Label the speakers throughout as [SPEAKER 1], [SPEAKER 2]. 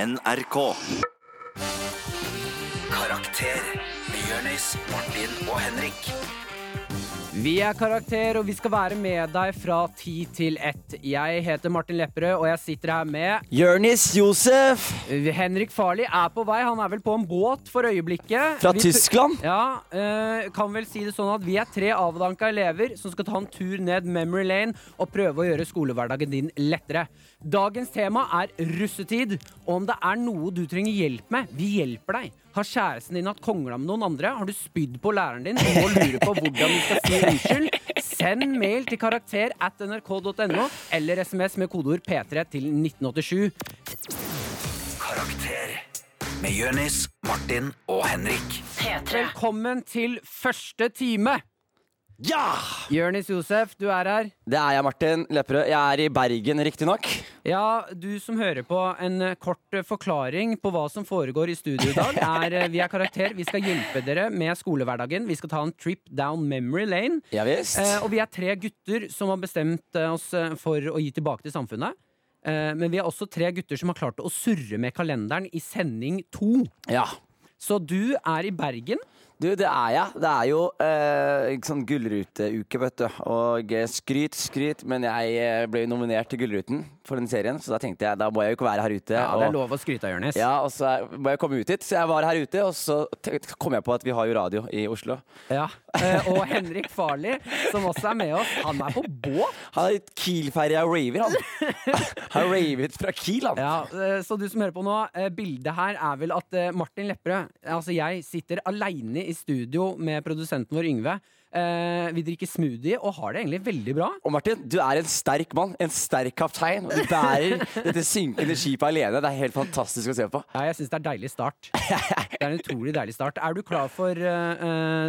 [SPEAKER 1] NRK. Karakter med Jonis, Martin og Henrik.
[SPEAKER 2] Vi er Karakter, og vi skal være med deg fra ti til ett. Jeg heter Martin Lepperød, og jeg sitter her med
[SPEAKER 3] Jørnis Josef
[SPEAKER 2] Henrik Farli er på vei. Han er vel på en båt for øyeblikket.
[SPEAKER 3] fra
[SPEAKER 2] Vi-
[SPEAKER 3] Tyskland.
[SPEAKER 2] Ja, eh, kan vel si det sånn at vi er tre avdanka elever som skal ta en tur ned memory lane og prøve å gjøre skolehverdagen din lettere. Dagens tema er russetid. Og om det er noe du trenger hjelp med, vi hjelper deg. Har kjæresten din hatt kongla med noen andre? Har du spydd på læreren din og nå lurer på hvordan du skal si unnskyld? Send mail til karakter at nrk.no eller SMS med kodeord P3 til 1987.
[SPEAKER 1] Karakter med Jonis, Martin og Henrik.
[SPEAKER 2] Velkommen til første time.
[SPEAKER 3] Ja!
[SPEAKER 2] Jørnis Josef, du er her.
[SPEAKER 3] Det er jeg, Martin Lepperød. Jeg er i Bergen, riktignok.
[SPEAKER 2] Ja, du som hører på, en eh, kort eh, forklaring på hva som foregår i studio i dag. Er, eh, vi er karakter, vi skal hjelpe dere med skolehverdagen. Vi skal ta en trip down memory lane.
[SPEAKER 3] Ja visst.
[SPEAKER 2] Eh, og vi er tre gutter som har bestemt eh, oss eh, for å gi tilbake til samfunnet. Eh, men vi er også tre gutter som har klart å surre med kalenderen i sending to.
[SPEAKER 3] Ja.
[SPEAKER 2] Så du er i Bergen.
[SPEAKER 3] Du, det er jeg. Det er jo eh, ikke sånn gullruteuke, vet du. Og eh, skryt, skryt, men jeg eh, ble jo nominert til Gullruten for den serien, så da tenkte jeg da må jeg jo ikke være her ute.
[SPEAKER 2] Ja, det er
[SPEAKER 3] og,
[SPEAKER 2] lov å skryte av, Jonis.
[SPEAKER 3] ja, og så er- må jeg komme ut hit. Så jeg var her ute, og så te- kom jeg på at vi har jo radio i Oslo.
[SPEAKER 2] Ja. Eh, og Henrik Farli, som også er med oss, han er på båt.
[SPEAKER 3] Han er litt Kiel-ferja raver, han. Han ravet fra Kiel, han.
[SPEAKER 2] Ja, eh, så du som hører på nå, eh, bildet her er vel at eh, Martin Lepperød, altså jeg, sitter aleine i studio med produsenten vår Yngve. Eh, Vi drikker smoothie og har det egentlig veldig bra.
[SPEAKER 3] Og Martin, du er en sterk mann, en sterk kaptein. Og du bærer dette synkende skipet alene. Det er helt fantastisk å se på.
[SPEAKER 2] Ja, jeg syns det er deilig start. Det er en utrolig deilig start. Er du klar for eh, eh,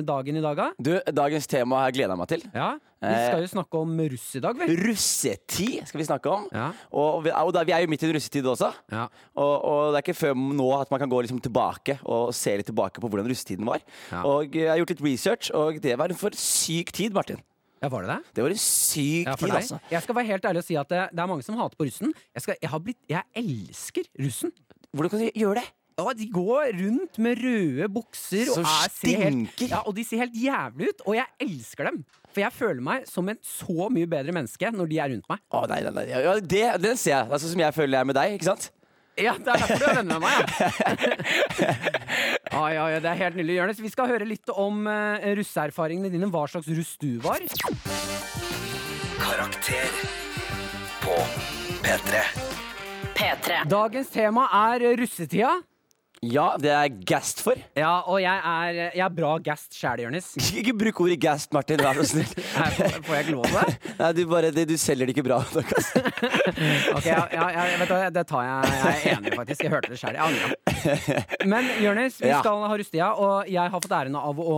[SPEAKER 2] dagen i dag, da?
[SPEAKER 3] Du, dagens tema har jeg gleda meg til.
[SPEAKER 2] Ja. Vi skal jo snakke om russ i dag, vel?
[SPEAKER 3] Russetid skal vi snakke om.
[SPEAKER 2] Ja.
[SPEAKER 3] Og, vi, og da, vi er jo midt i en russetid også.
[SPEAKER 2] Ja.
[SPEAKER 3] Og, og det er ikke før nå at man kan gå liksom tilbake og se litt tilbake på hvordan russetiden var.
[SPEAKER 2] Ja.
[SPEAKER 3] Og jeg har gjort litt research, og det var en for syk tid, Martin.
[SPEAKER 2] Ja, var det det?
[SPEAKER 3] Det var en syk
[SPEAKER 2] Ja, for
[SPEAKER 3] tid,
[SPEAKER 2] deg.
[SPEAKER 3] altså.
[SPEAKER 2] Jeg skal være helt ærlig og si at det, det er mange som hater på russen. Jeg, skal, jeg, har blitt, jeg elsker russen.
[SPEAKER 3] Hvordan kan du gjøre det?
[SPEAKER 2] Ja, de går rundt med røde bukser og,
[SPEAKER 3] Som
[SPEAKER 2] er, ser helt,
[SPEAKER 3] stinker.
[SPEAKER 2] ja, og de ser helt jævlig ut. Og jeg elsker dem. For jeg føler meg som en så mye bedre menneske når de er rundt meg.
[SPEAKER 3] Å, nei, nei, nei. Ja, det, den ser jeg. Det er sånn som jeg føler jeg er med deg, ikke sant?
[SPEAKER 2] Ja, Det er derfor du er venn med meg. Ja. Ai, ai, ai, det er helt nydelig, Jonis. Vi skal høre litt om eh, russeerfaringene dine. Hva slags russ du var.
[SPEAKER 1] Karakter på P3.
[SPEAKER 4] P3.
[SPEAKER 2] Dagens tema er russetida.
[SPEAKER 3] Ja, det er jeg gassed for.
[SPEAKER 2] Ja, og jeg er, jeg er bra gassed sjæl, Jonis.
[SPEAKER 3] Ikke ikke bruk ordet gassed, Martin. Vær så snill.
[SPEAKER 2] Her Får får jeg ikke lov til det?
[SPEAKER 3] Nei, du, bare, det, du selger det ikke bra nok. ass.
[SPEAKER 2] Ok, ja, ja, ja, vet du, hva, det tar jeg. Jeg er enig, faktisk. Jeg hørte det sjøl. Jeg angrer. Men Jonis, vi
[SPEAKER 3] Ja.
[SPEAKER 2] skal ha russetida, og jeg har fått æren av å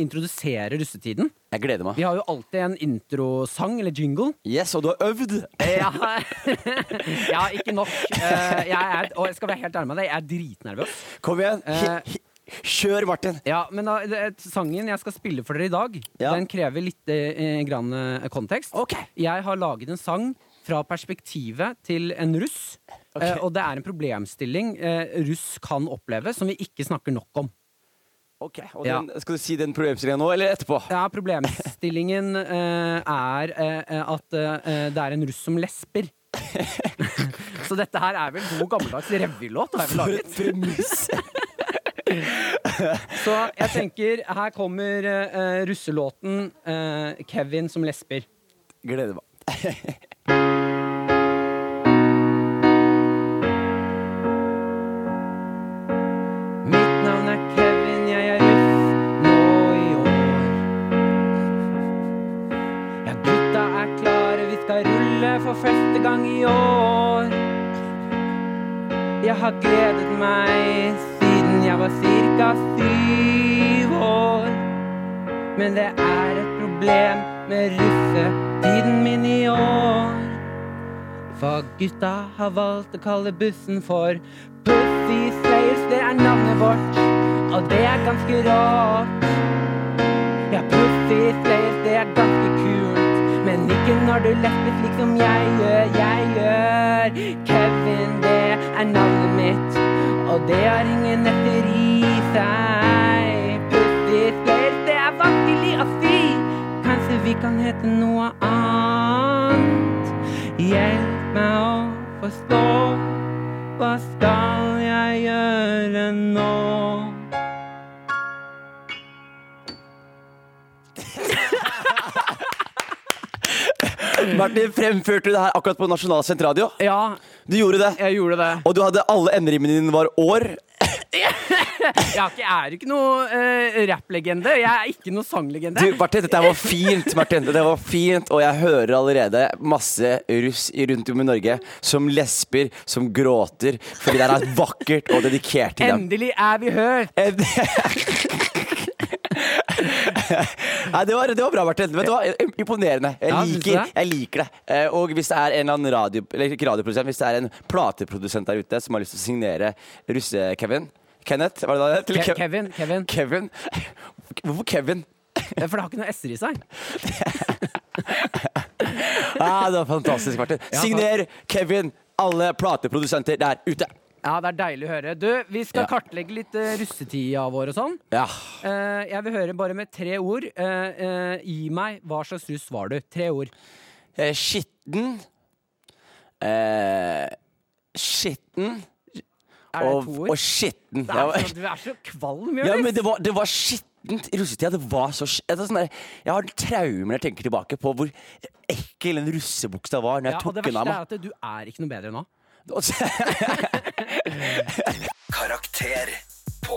[SPEAKER 2] introdusere russetiden.
[SPEAKER 3] Jeg gleder meg.
[SPEAKER 2] Vi har jo alltid en introsang eller jingle.
[SPEAKER 3] Yes, og du har øvd!
[SPEAKER 2] Ja, ja ikke nok. Eh, Jeg er, og jeg skal være helt ærlig med deg, jeg er dritnervøs.
[SPEAKER 3] Kom igjen.
[SPEAKER 2] Eh.
[SPEAKER 3] Hi- hi- Kjør, Martin.
[SPEAKER 2] Ja, Men da, det- sangen jeg skal spille for dere i dag,
[SPEAKER 3] Ja.
[SPEAKER 2] den krever litt eh, grann eh, kontekst.
[SPEAKER 3] Ok.
[SPEAKER 2] Jeg har laget en sang fra perspektivet til en russ.
[SPEAKER 3] Ok.
[SPEAKER 2] eh, og det er en problemstilling eh, russ kan oppleve, som vi ikke snakker nok om.
[SPEAKER 3] Ok, og
[SPEAKER 2] Ja.
[SPEAKER 3] den, Skal du si den problemstillingen nå, eller etterpå?
[SPEAKER 2] Ja, problemstillingen eh, er eh, at eh, det er en russ som lesber. Så dette her er vel god gammeldags revylåt, har jeg vel
[SPEAKER 3] For
[SPEAKER 2] laget.
[SPEAKER 3] et premiss!
[SPEAKER 2] Så jeg tenker, her kommer eh, russelåten eh, 'Kevin som lesber'.
[SPEAKER 3] Gleder meg.
[SPEAKER 2] Mitt navn er Kevin, jeg er russ nå i år. Ja, gutta er klare, vi skal rulle for første gang i år. Jeg har gledet meg siden jeg var cirka syv år. Men det er et problem med russetiden min i år. For gutta har valgt å kalle bussen for Pussy Slayers, det er navnet vårt, og det er ganske rått. Ja, Pussy Slayers, det er ganske kult, men ikke når du lesber slik som jeg gjør, jeg gjør. Kevin, det er navnet mitt, og det har ingen etter i seg. Pussisleir, det er vanskelig å si. Kanskje vi kan hete noe annet. Hjelp meg å forstå. Hva skal jeg gjøre nå?
[SPEAKER 3] Martin, fremførte du det her akkurat på Nasjonal sentralradio?
[SPEAKER 2] Ja,
[SPEAKER 3] Du gjorde det.
[SPEAKER 2] jeg gjorde det.
[SPEAKER 3] Og du hadde alle enderimene dine var år.
[SPEAKER 2] Jeg er ikke, er ikke noe uh, rapplegende. Jeg er ikke noe sanglegende.
[SPEAKER 3] Du, Martin, dette her var fint, Martin. Dette var fint, og jeg hører allerede masse russ i- rundt om i Norge som lesber, som gråter, fordi det er vakkert og dedikert til dem.
[SPEAKER 2] Endelig er vi hørt!
[SPEAKER 3] Eh, Nei, det var, det var bra, Martin. Vet du hva? Imponerende. Jeg
[SPEAKER 2] Ja, synes du
[SPEAKER 3] liker,
[SPEAKER 2] det?
[SPEAKER 3] jeg liker det. Eh, Og hvis det er en eller annen radio, eller ikke radioprodusent, hvis det er en plateprodusent der ute som har lyst til å signere russe-Kevin Kenneth, var det det? Til
[SPEAKER 2] Ke
[SPEAKER 3] Kev-
[SPEAKER 2] Kevin, Kevin.
[SPEAKER 3] Kevin? Hvorfor Kevin?
[SPEAKER 2] Eh, For det har ikke noe s-er i seg.
[SPEAKER 3] Ah, det var fantastisk, Martin.
[SPEAKER 2] Ja,
[SPEAKER 3] Signer Kevin, alle plateprodusenter der ute.
[SPEAKER 2] Ja, det er deilig å høre. Du, vi skal
[SPEAKER 3] Ja.
[SPEAKER 2] kartlegge litt eh, russetida vår og sånn.
[SPEAKER 3] Ja.
[SPEAKER 2] Eh, jeg vil høre bare med tre ord. Eh, eh, gi meg hva slags russ var du? Tre ord.
[SPEAKER 3] Eh, skitten. Eh, skitten
[SPEAKER 2] Er det
[SPEAKER 3] og,
[SPEAKER 2] to
[SPEAKER 3] og
[SPEAKER 2] ord?
[SPEAKER 3] skitten.
[SPEAKER 2] Det
[SPEAKER 3] Ja,
[SPEAKER 2] er så, du er så kvalm,
[SPEAKER 3] ja,
[SPEAKER 2] Jonis.
[SPEAKER 3] men det var, det var skittent i russetida. Det var så sk- det er sånn der, Jeg har traumer når jeg tenker tilbake på hvor ekkel den russebuksa var når jeg
[SPEAKER 2] Ja, og
[SPEAKER 3] tok
[SPEAKER 2] det
[SPEAKER 3] den
[SPEAKER 2] verste
[SPEAKER 3] av
[SPEAKER 2] er
[SPEAKER 3] meg.
[SPEAKER 2] at du er ikke noe bedre nå.
[SPEAKER 3] Og så-
[SPEAKER 1] Karakter på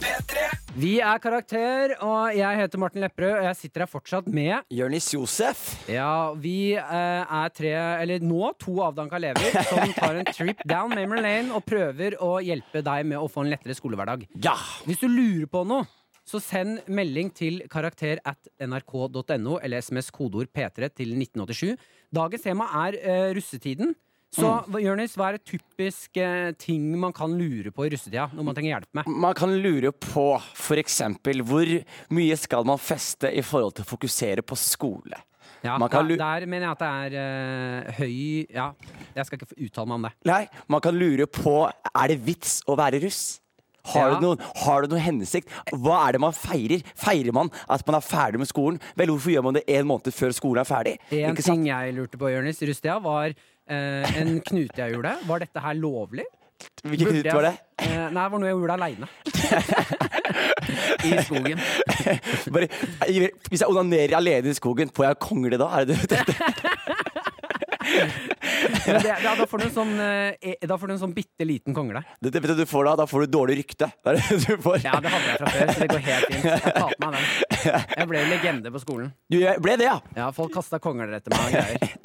[SPEAKER 1] P3.
[SPEAKER 2] Vi er Karakter, og jeg heter Martin Lepperød, og jeg sitter her fortsatt med
[SPEAKER 3] Jonis Josef.
[SPEAKER 2] Ja, vi eh, er tre, eller nå to avdanka elever som tar en trip down memory lane og prøver å hjelpe deg med å få en lettere skolehverdag.
[SPEAKER 3] Ja.
[SPEAKER 2] Hvis du lurer på noe, så send melding til karakter at nrk.no eller SMS kodeord P3 til 1987. Dagens tema er eh, russetiden. Så
[SPEAKER 3] Mm.
[SPEAKER 2] hva- Jonis, hva er det typisk eh, ting man kan lure på i russetida når man trenger hjelp med?
[SPEAKER 3] Man kan lure på f.eks. hvor mye skal man feste i forhold til å fokusere på skole.
[SPEAKER 2] Ja,
[SPEAKER 3] man kan
[SPEAKER 2] der,
[SPEAKER 3] lu-
[SPEAKER 2] der mener jeg at det er eh, høy Ja, jeg skal ikke få uttale meg om det.
[SPEAKER 3] Nei, man kan lure på er det vits å være russ. Har,
[SPEAKER 2] Ja.
[SPEAKER 3] du noen, har du noen hensikt? Hva er det man feirer? Feirer man at man er ferdig med skolen? Vel, hvorfor gjør man det en måned før skolen er ferdig?
[SPEAKER 2] En
[SPEAKER 3] Ikke sant?
[SPEAKER 2] ting jeg lurte på, Jonis, i russetida, var eh, en knute jeg gjorde. Var dette her lovlig?
[SPEAKER 3] Hvilken
[SPEAKER 2] Burde jeg-
[SPEAKER 3] knut var det?
[SPEAKER 2] Eh, nei, det var noe jeg gjorde aleine. I skogen.
[SPEAKER 3] Bare, hvis jeg onanerer alene i skogen, får jeg kongle da? Er det det? du-
[SPEAKER 2] Men det, ja, da får du en sånn, eh, e- da får du en sånn bitte liten kongle.
[SPEAKER 3] Det, det, vet du, du får da, da får du dårlig rykte. Det er det du får.
[SPEAKER 2] Ja, det hadde jeg fra før, så det går helt fint. Jeg tar på meg den. Jeg ble jo legende på skolen.
[SPEAKER 3] Du ble det, ja?
[SPEAKER 2] Ja, folk kasta kongler etter meg og greier.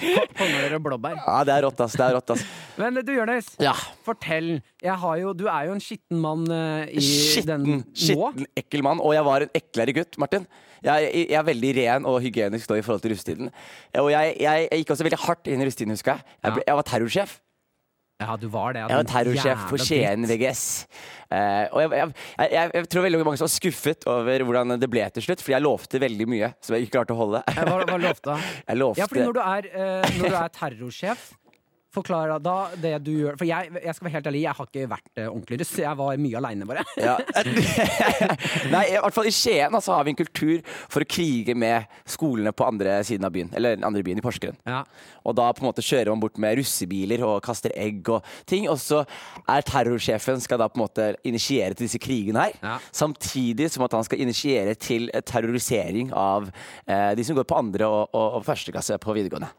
[SPEAKER 2] Ko- Kongler og blåbær.
[SPEAKER 3] Ja, det er rått, ass. Det er rått, ass.
[SPEAKER 2] Men eh, du, Jonis.
[SPEAKER 3] Ja.
[SPEAKER 2] Fortell. Jeg har jo, du er jo en skitten mann eh, i den
[SPEAKER 3] Skitten,
[SPEAKER 2] nå.
[SPEAKER 3] skitten, ekkel mann. Og jeg var en eklere gutt, Martin. Jeg, jeg, jeg er veldig ren og hygienisk da i forhold til russetiden. Og jeg, jeg, jeg gikk også veldig hardt inn i russetiden, husker jeg. Jeg, ble, jeg var terrorsjef.
[SPEAKER 2] Ja, du var det. ja,
[SPEAKER 3] Jeg var
[SPEAKER 2] din
[SPEAKER 3] terrorsjef for
[SPEAKER 2] jævla
[SPEAKER 3] Skien
[SPEAKER 2] dritt.
[SPEAKER 3] VGS. Eh, og jeg, jeg, jeg, jeg tror veldig mange som var skuffet over hvordan det ble til slutt, fordi jeg lovte veldig mye som jeg ikke klarte å holde.
[SPEAKER 2] Eh, Hva, hva lovte han?
[SPEAKER 3] Jeg lovte
[SPEAKER 2] Ja, fordi når du er, eh, når du er terrorsjef Forklar da det du gjør. For jeg, jeg skal være helt ærlig, jeg har ikke vært eh, ordentlig russ. Jeg var mye aleine, bare.
[SPEAKER 3] Ja. Nei, i hvert fall i Skien altså, har vi en kultur for å krige med skolene på andre siden av byen. Eller den andre byen i Porsgrunn.
[SPEAKER 2] Ja.
[SPEAKER 3] Og da på en måte kjører man bort med russebiler og kaster egg og ting. Og så er terrorsjefen skal da på en måte initiere til disse krigene her.
[SPEAKER 2] Ja.
[SPEAKER 3] Samtidig som at han skal initiere til terrorisering av eh, de som går på andre og, og, og første klasse på videregående.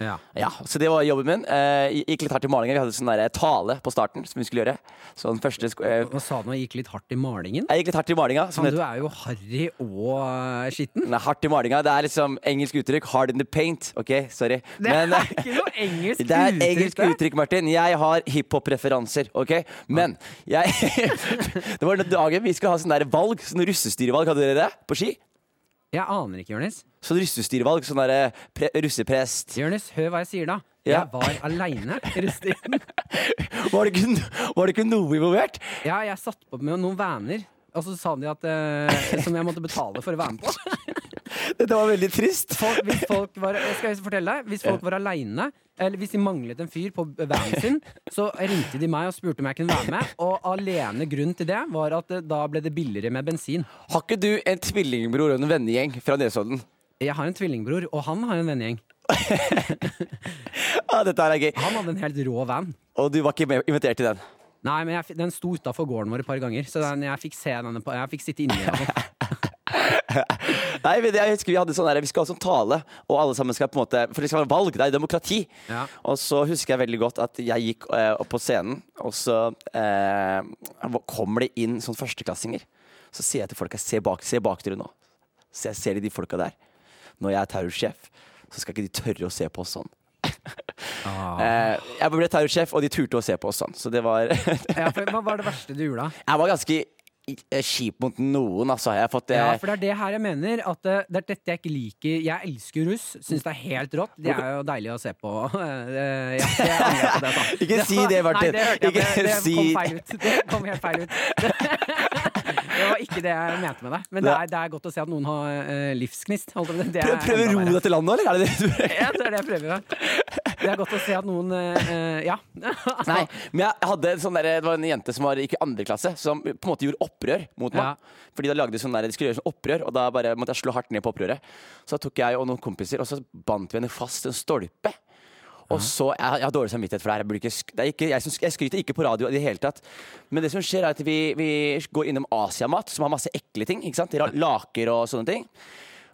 [SPEAKER 2] Ja.
[SPEAKER 3] Ja, så det var jobben min. Eh, gikk litt hardt i malinga. Vi hadde sånn der tale på starten som vi skulle gjøre. Så den første sko eh,
[SPEAKER 2] Hva sa du nå? Gikk litt hardt i malingen?
[SPEAKER 3] jeg gikk litt hardt i malinga. som
[SPEAKER 2] Men
[SPEAKER 3] det
[SPEAKER 2] du er jo harry og eh, skitten.
[SPEAKER 3] Den er hardt i malinga. Det er liksom engelsk uttrykk. Hard in the paint. OK, sorry.
[SPEAKER 2] Det
[SPEAKER 3] Men eh,
[SPEAKER 2] er ikke noe engelsk
[SPEAKER 3] det er engelsk
[SPEAKER 2] der.
[SPEAKER 3] uttrykk, Martin. Jeg har hiphop-referanser, OK? Men jeg Det var den dagen vi skulle ha sånn der valg. Sånn russestyrevalg. Hadde dere det på ski?
[SPEAKER 2] Jeg aner ikke, Jonis.
[SPEAKER 3] Sånn russestyrevalg. Sånn derre pre- russeprest.
[SPEAKER 2] Jonis, hør hva jeg sier, da.
[SPEAKER 3] Ja.
[SPEAKER 2] Jeg var aleine i russetiden.
[SPEAKER 3] Var det ikke, no- var det ikke noe involvert?
[SPEAKER 2] Ja, jeg satt på med noen vaner. Og så sa de at eh, Som jeg måtte betale for å være med på.
[SPEAKER 3] Dette var veldig trist.
[SPEAKER 2] Folk, hvis folk var, skal jeg fortelle deg? Hvis folk var aleine, eller hvis de manglet en fyr på vanen sin, så ringte de meg og spurte om jeg kunne være med. Og alene grunnen til det var at eh, da ble det billigere med bensin.
[SPEAKER 3] Har ikke du en tvillingbror og en vennegjeng fra Nesodden?
[SPEAKER 2] Jeg har en tvillingbror, og han har en vennegjeng.
[SPEAKER 3] Ah, dette her er gøy.
[SPEAKER 2] Han hadde en helt rå van.
[SPEAKER 3] Og du var ikke med, invitert til den?
[SPEAKER 2] Nei, men jeg, fi- Den sto utafor gården vår et par ganger, så den, jeg fikk se denne på, jeg fikk sitte inni den. og sånn.
[SPEAKER 3] Nei, men jeg husker Vi hadde sånn der, vi skal ha sånn tale, og alle sammen skal på en måte For det skal være valg, det er demokrati.
[SPEAKER 2] Ja.
[SPEAKER 3] Og så husker jeg veldig godt at jeg gikk eh, opp på scenen, og så eh, kommer det inn sånn førsteklassinger. Så sier jeg til folka Se bak, se bak dere nå. Så jeg ser de folka der. Når jeg er terrorsjef, så skal ikke de tørre å se på oss sånn.
[SPEAKER 2] Ah.
[SPEAKER 3] Eh, jeg ble terrorsjef, og de turte å se på oss sånn. Så det var
[SPEAKER 2] Ja, for, hva var det verste du gjorde, da?
[SPEAKER 3] Jeg var ganske eh, kjip mot noen, altså. Jeg har fått eh,
[SPEAKER 2] Ja, for det er det her jeg mener. At eh, det er dette jeg ikke liker. Jeg elsker russ. Syns det er helt rått. De er jo deilige å se på. Eh, ja, jeg angrer på det, da.
[SPEAKER 3] Ikke si det, Martin.
[SPEAKER 2] Nei, det, hørte jeg,
[SPEAKER 3] Ikke
[SPEAKER 2] men det, det kom
[SPEAKER 3] si-
[SPEAKER 2] feil ut. Det kom helt feil ut. Det, var ikke det jeg mente med det. Men det er, det er godt å se at noen har eh, livsgnist. holdt jeg på å si. Det er
[SPEAKER 3] Prøv prøv
[SPEAKER 2] enda
[SPEAKER 3] å ro
[SPEAKER 2] verre.
[SPEAKER 3] deg til landet, eller? Er det det du
[SPEAKER 2] Ja, det er det jeg prøver med. Det er godt å se at noen eh, eh, Ja.
[SPEAKER 3] Nei, men jeg hadde en sånn der, det var en jente som var gikk i andre klasse, som på en måte gjorde opprør mot meg.
[SPEAKER 2] Ja.
[SPEAKER 3] Fordi da lagde de sånn der, de skulle gjøre sånn opprør, og da bare måtte jeg slå hardt ned på opprøret. Så da tok jeg og noen kompiser, og så bandt vi henne fast til en stolpe. Og så, jeg, jeg har dårlig samvittighet for det her. Jeg, burde ikke, sk- det er ikke, jeg, som- jeg skryter ikke på radio i det hele tatt. Men det som skjer, er at vi, vi går innom Asiamat, som har masse ekle ting. ikke sant? De har Laker og sånne ting.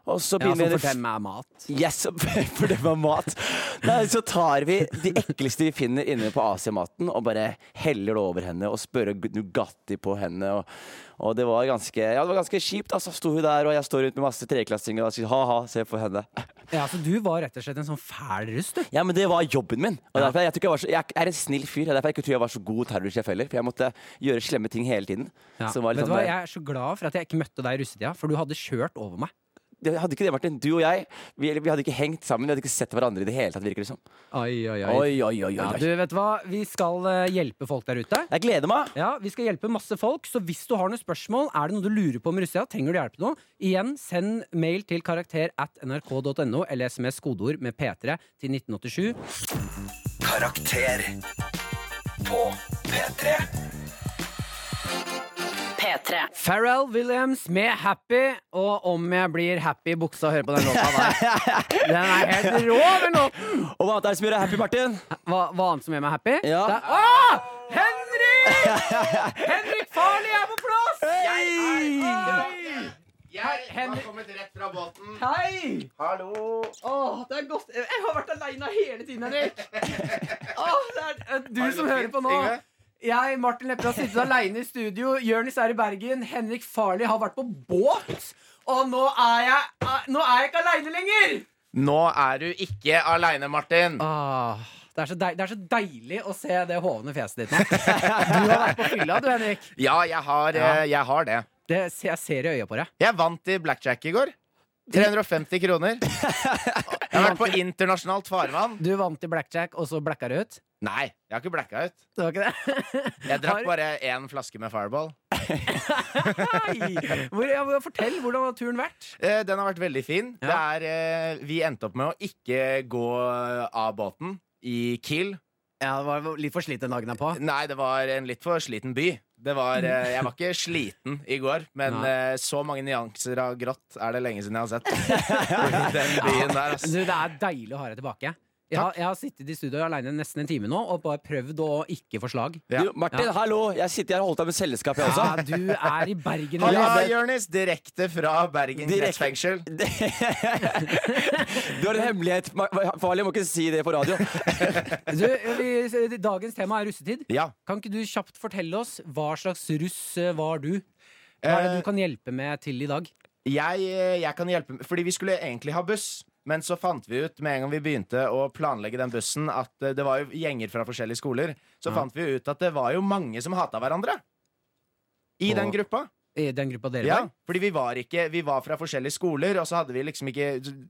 [SPEAKER 3] Og så
[SPEAKER 2] Ja,
[SPEAKER 3] begynner
[SPEAKER 2] som
[SPEAKER 3] vi-
[SPEAKER 2] for dem er mat.
[SPEAKER 3] Yes, for det var mat. Nei, så tar vi de ekleste vi finner inne på Asiamaten og bare heller det over henne og spørre Nugatti på henne. Og, og det var ganske Ja, det var ganske kjipt. Altså, sto hun der, og jeg står rundt med masse treklassinger og sier ha-ha, se på henne.
[SPEAKER 2] Ja, Så du var rett og slett en sånn fæl russ, du.
[SPEAKER 3] Ja, men det var jobben min. Og derfor, jeg, tror ikke jeg, var så, jeg er en snill fyr. Det er derfor jeg ikke tror jeg var så god terrorsjef heller. For jeg måtte gjøre slemme ting hele tiden.
[SPEAKER 2] Ja.
[SPEAKER 3] Som var litt
[SPEAKER 2] Vet du
[SPEAKER 3] sånn
[SPEAKER 2] hva,
[SPEAKER 3] der-
[SPEAKER 2] Jeg er så glad for at jeg ikke møtte deg i russetida, for du hadde kjørt over meg.
[SPEAKER 3] Det- Hadde ikke det, Martin, du og jeg, vi, vi hadde ikke hengt sammen. Vi hadde ikke sett hverandre i det hele tatt, virker det som.
[SPEAKER 2] Oi, oi, oi.
[SPEAKER 3] Oi, oi, oi, oi.
[SPEAKER 2] Ja,
[SPEAKER 3] oi.
[SPEAKER 2] du vet hva, Vi skal eh, hjelpe folk der ute.
[SPEAKER 3] Jeg gleder meg.
[SPEAKER 2] Ja, Vi skal hjelpe masse folk, så hvis du har noen spørsmål, er det noe du lurer på om Russia, trenger du hjelp nå, igjen, send mail til karakter at nrk.no eller SMS kodeord med P3 til 1987.
[SPEAKER 1] Karakter på P3.
[SPEAKER 5] P3.
[SPEAKER 2] Pharrell Williams med 'Happy', og om jeg blir happy i buksa og hører på den låta der. Den er helt rå, den låten!
[SPEAKER 3] Og hva annet er det som gjør deg happy, Martin?
[SPEAKER 2] Hva, hva annet som gjør meg happy?
[SPEAKER 3] Ja.
[SPEAKER 2] Det er, Åh! Henrik! Henrik Farley er på plass!
[SPEAKER 6] Jeg
[SPEAKER 2] Henrik-
[SPEAKER 6] har kommet rett fra båten.
[SPEAKER 2] Hei!
[SPEAKER 6] Hallo.
[SPEAKER 2] Åh, det er godt. Jeg har vært aleine hele tiden, Henrik. Åh, det er eh, du
[SPEAKER 6] Har det
[SPEAKER 2] som
[SPEAKER 6] gått
[SPEAKER 2] hører
[SPEAKER 6] fint,
[SPEAKER 2] på nå.
[SPEAKER 6] Yngve?
[SPEAKER 2] Jeg, Martin Lepper, har sittet aleine i studio. Jonis er i Bergen. Henrik Farley har vært på båt. Og nå er jeg, eh, nå er jeg ikke aleine lenger!
[SPEAKER 6] Nå er du ikke aleine, Martin. Ah.
[SPEAKER 2] Åh, det, er så deil, det er så deilig å se det hovne fjeset ditt nå. Du har vært på fylla, du, Henrik.
[SPEAKER 6] Ja, jeg har, eh, jeg har det.
[SPEAKER 2] Det, ser- jeg ser i øya på deg.
[SPEAKER 6] Jeg vant i blackjack i går. 350 kroner. Jeg har vært på internasjonalt farvann.
[SPEAKER 2] Du vant i blackjack, og så blacka du ut.
[SPEAKER 6] Nei, jeg har ikke blacka ut.
[SPEAKER 2] Det var ikke det?
[SPEAKER 6] Jeg drakk
[SPEAKER 2] Har-
[SPEAKER 6] bare én flaske med Fireball.
[SPEAKER 2] Hei! Hvor, ja, hvor- fortell, hvordan har turen vært?
[SPEAKER 6] Eh, Den har vært veldig fin. Det
[SPEAKER 2] Ja.
[SPEAKER 6] er, eh, vi endte opp med å ikke gå av båten i Kiel.
[SPEAKER 2] Ja, det var litt for slitt den dagen derpå.
[SPEAKER 6] Nei, det var en litt for sliten by. Det var, eh, jeg var ikke sliten i går, men
[SPEAKER 2] Nei.
[SPEAKER 6] eh, så mange nyanser av grått er det lenge siden jeg har sett. Den byen der, ass.
[SPEAKER 2] Du, det er deilig å ha deg tilbake. Jeg har, jeg har sittet i studio aleine nesten en time nå og bare prøvd å ikke få slag.
[SPEAKER 6] Ja.
[SPEAKER 3] Du, Martin, hallo! Jeg sitter her og holdt deg med selskap, jeg også.
[SPEAKER 2] Ja, du er i Bergen.
[SPEAKER 6] Hallo,
[SPEAKER 2] eller?
[SPEAKER 6] Jonis, direkte fra Bergen
[SPEAKER 3] Direkte.
[SPEAKER 6] kretsfengsel.
[SPEAKER 3] Du har en hemmelighet. Ma- Ma- Farley må ikke si det på radio.
[SPEAKER 2] Du, vi, dagens tema er russetid.
[SPEAKER 6] Ja.
[SPEAKER 2] Kan ikke du kjapt fortelle oss hva slags russ eh, var du? Hva er det
[SPEAKER 6] Eh,
[SPEAKER 2] du kan hjelpe med til i dag?
[SPEAKER 6] Jeg, jeg kan hjelpe med- Fordi vi skulle egentlig ha buss Men så fant vi ut med en gang vi begynte å planlegge den bussen At eh, det var jo gjenger fra forskjellige skoler Så fant vi ut at det var jo mange som hatet hverandre I den
[SPEAKER 2] Og-
[SPEAKER 6] gruppa
[SPEAKER 2] I den gruppa dere
[SPEAKER 6] ja,
[SPEAKER 2] var?
[SPEAKER 6] Fordi vi var, ikke, vi var fra forskjellige skoler Og så hadde vi liksom ikke,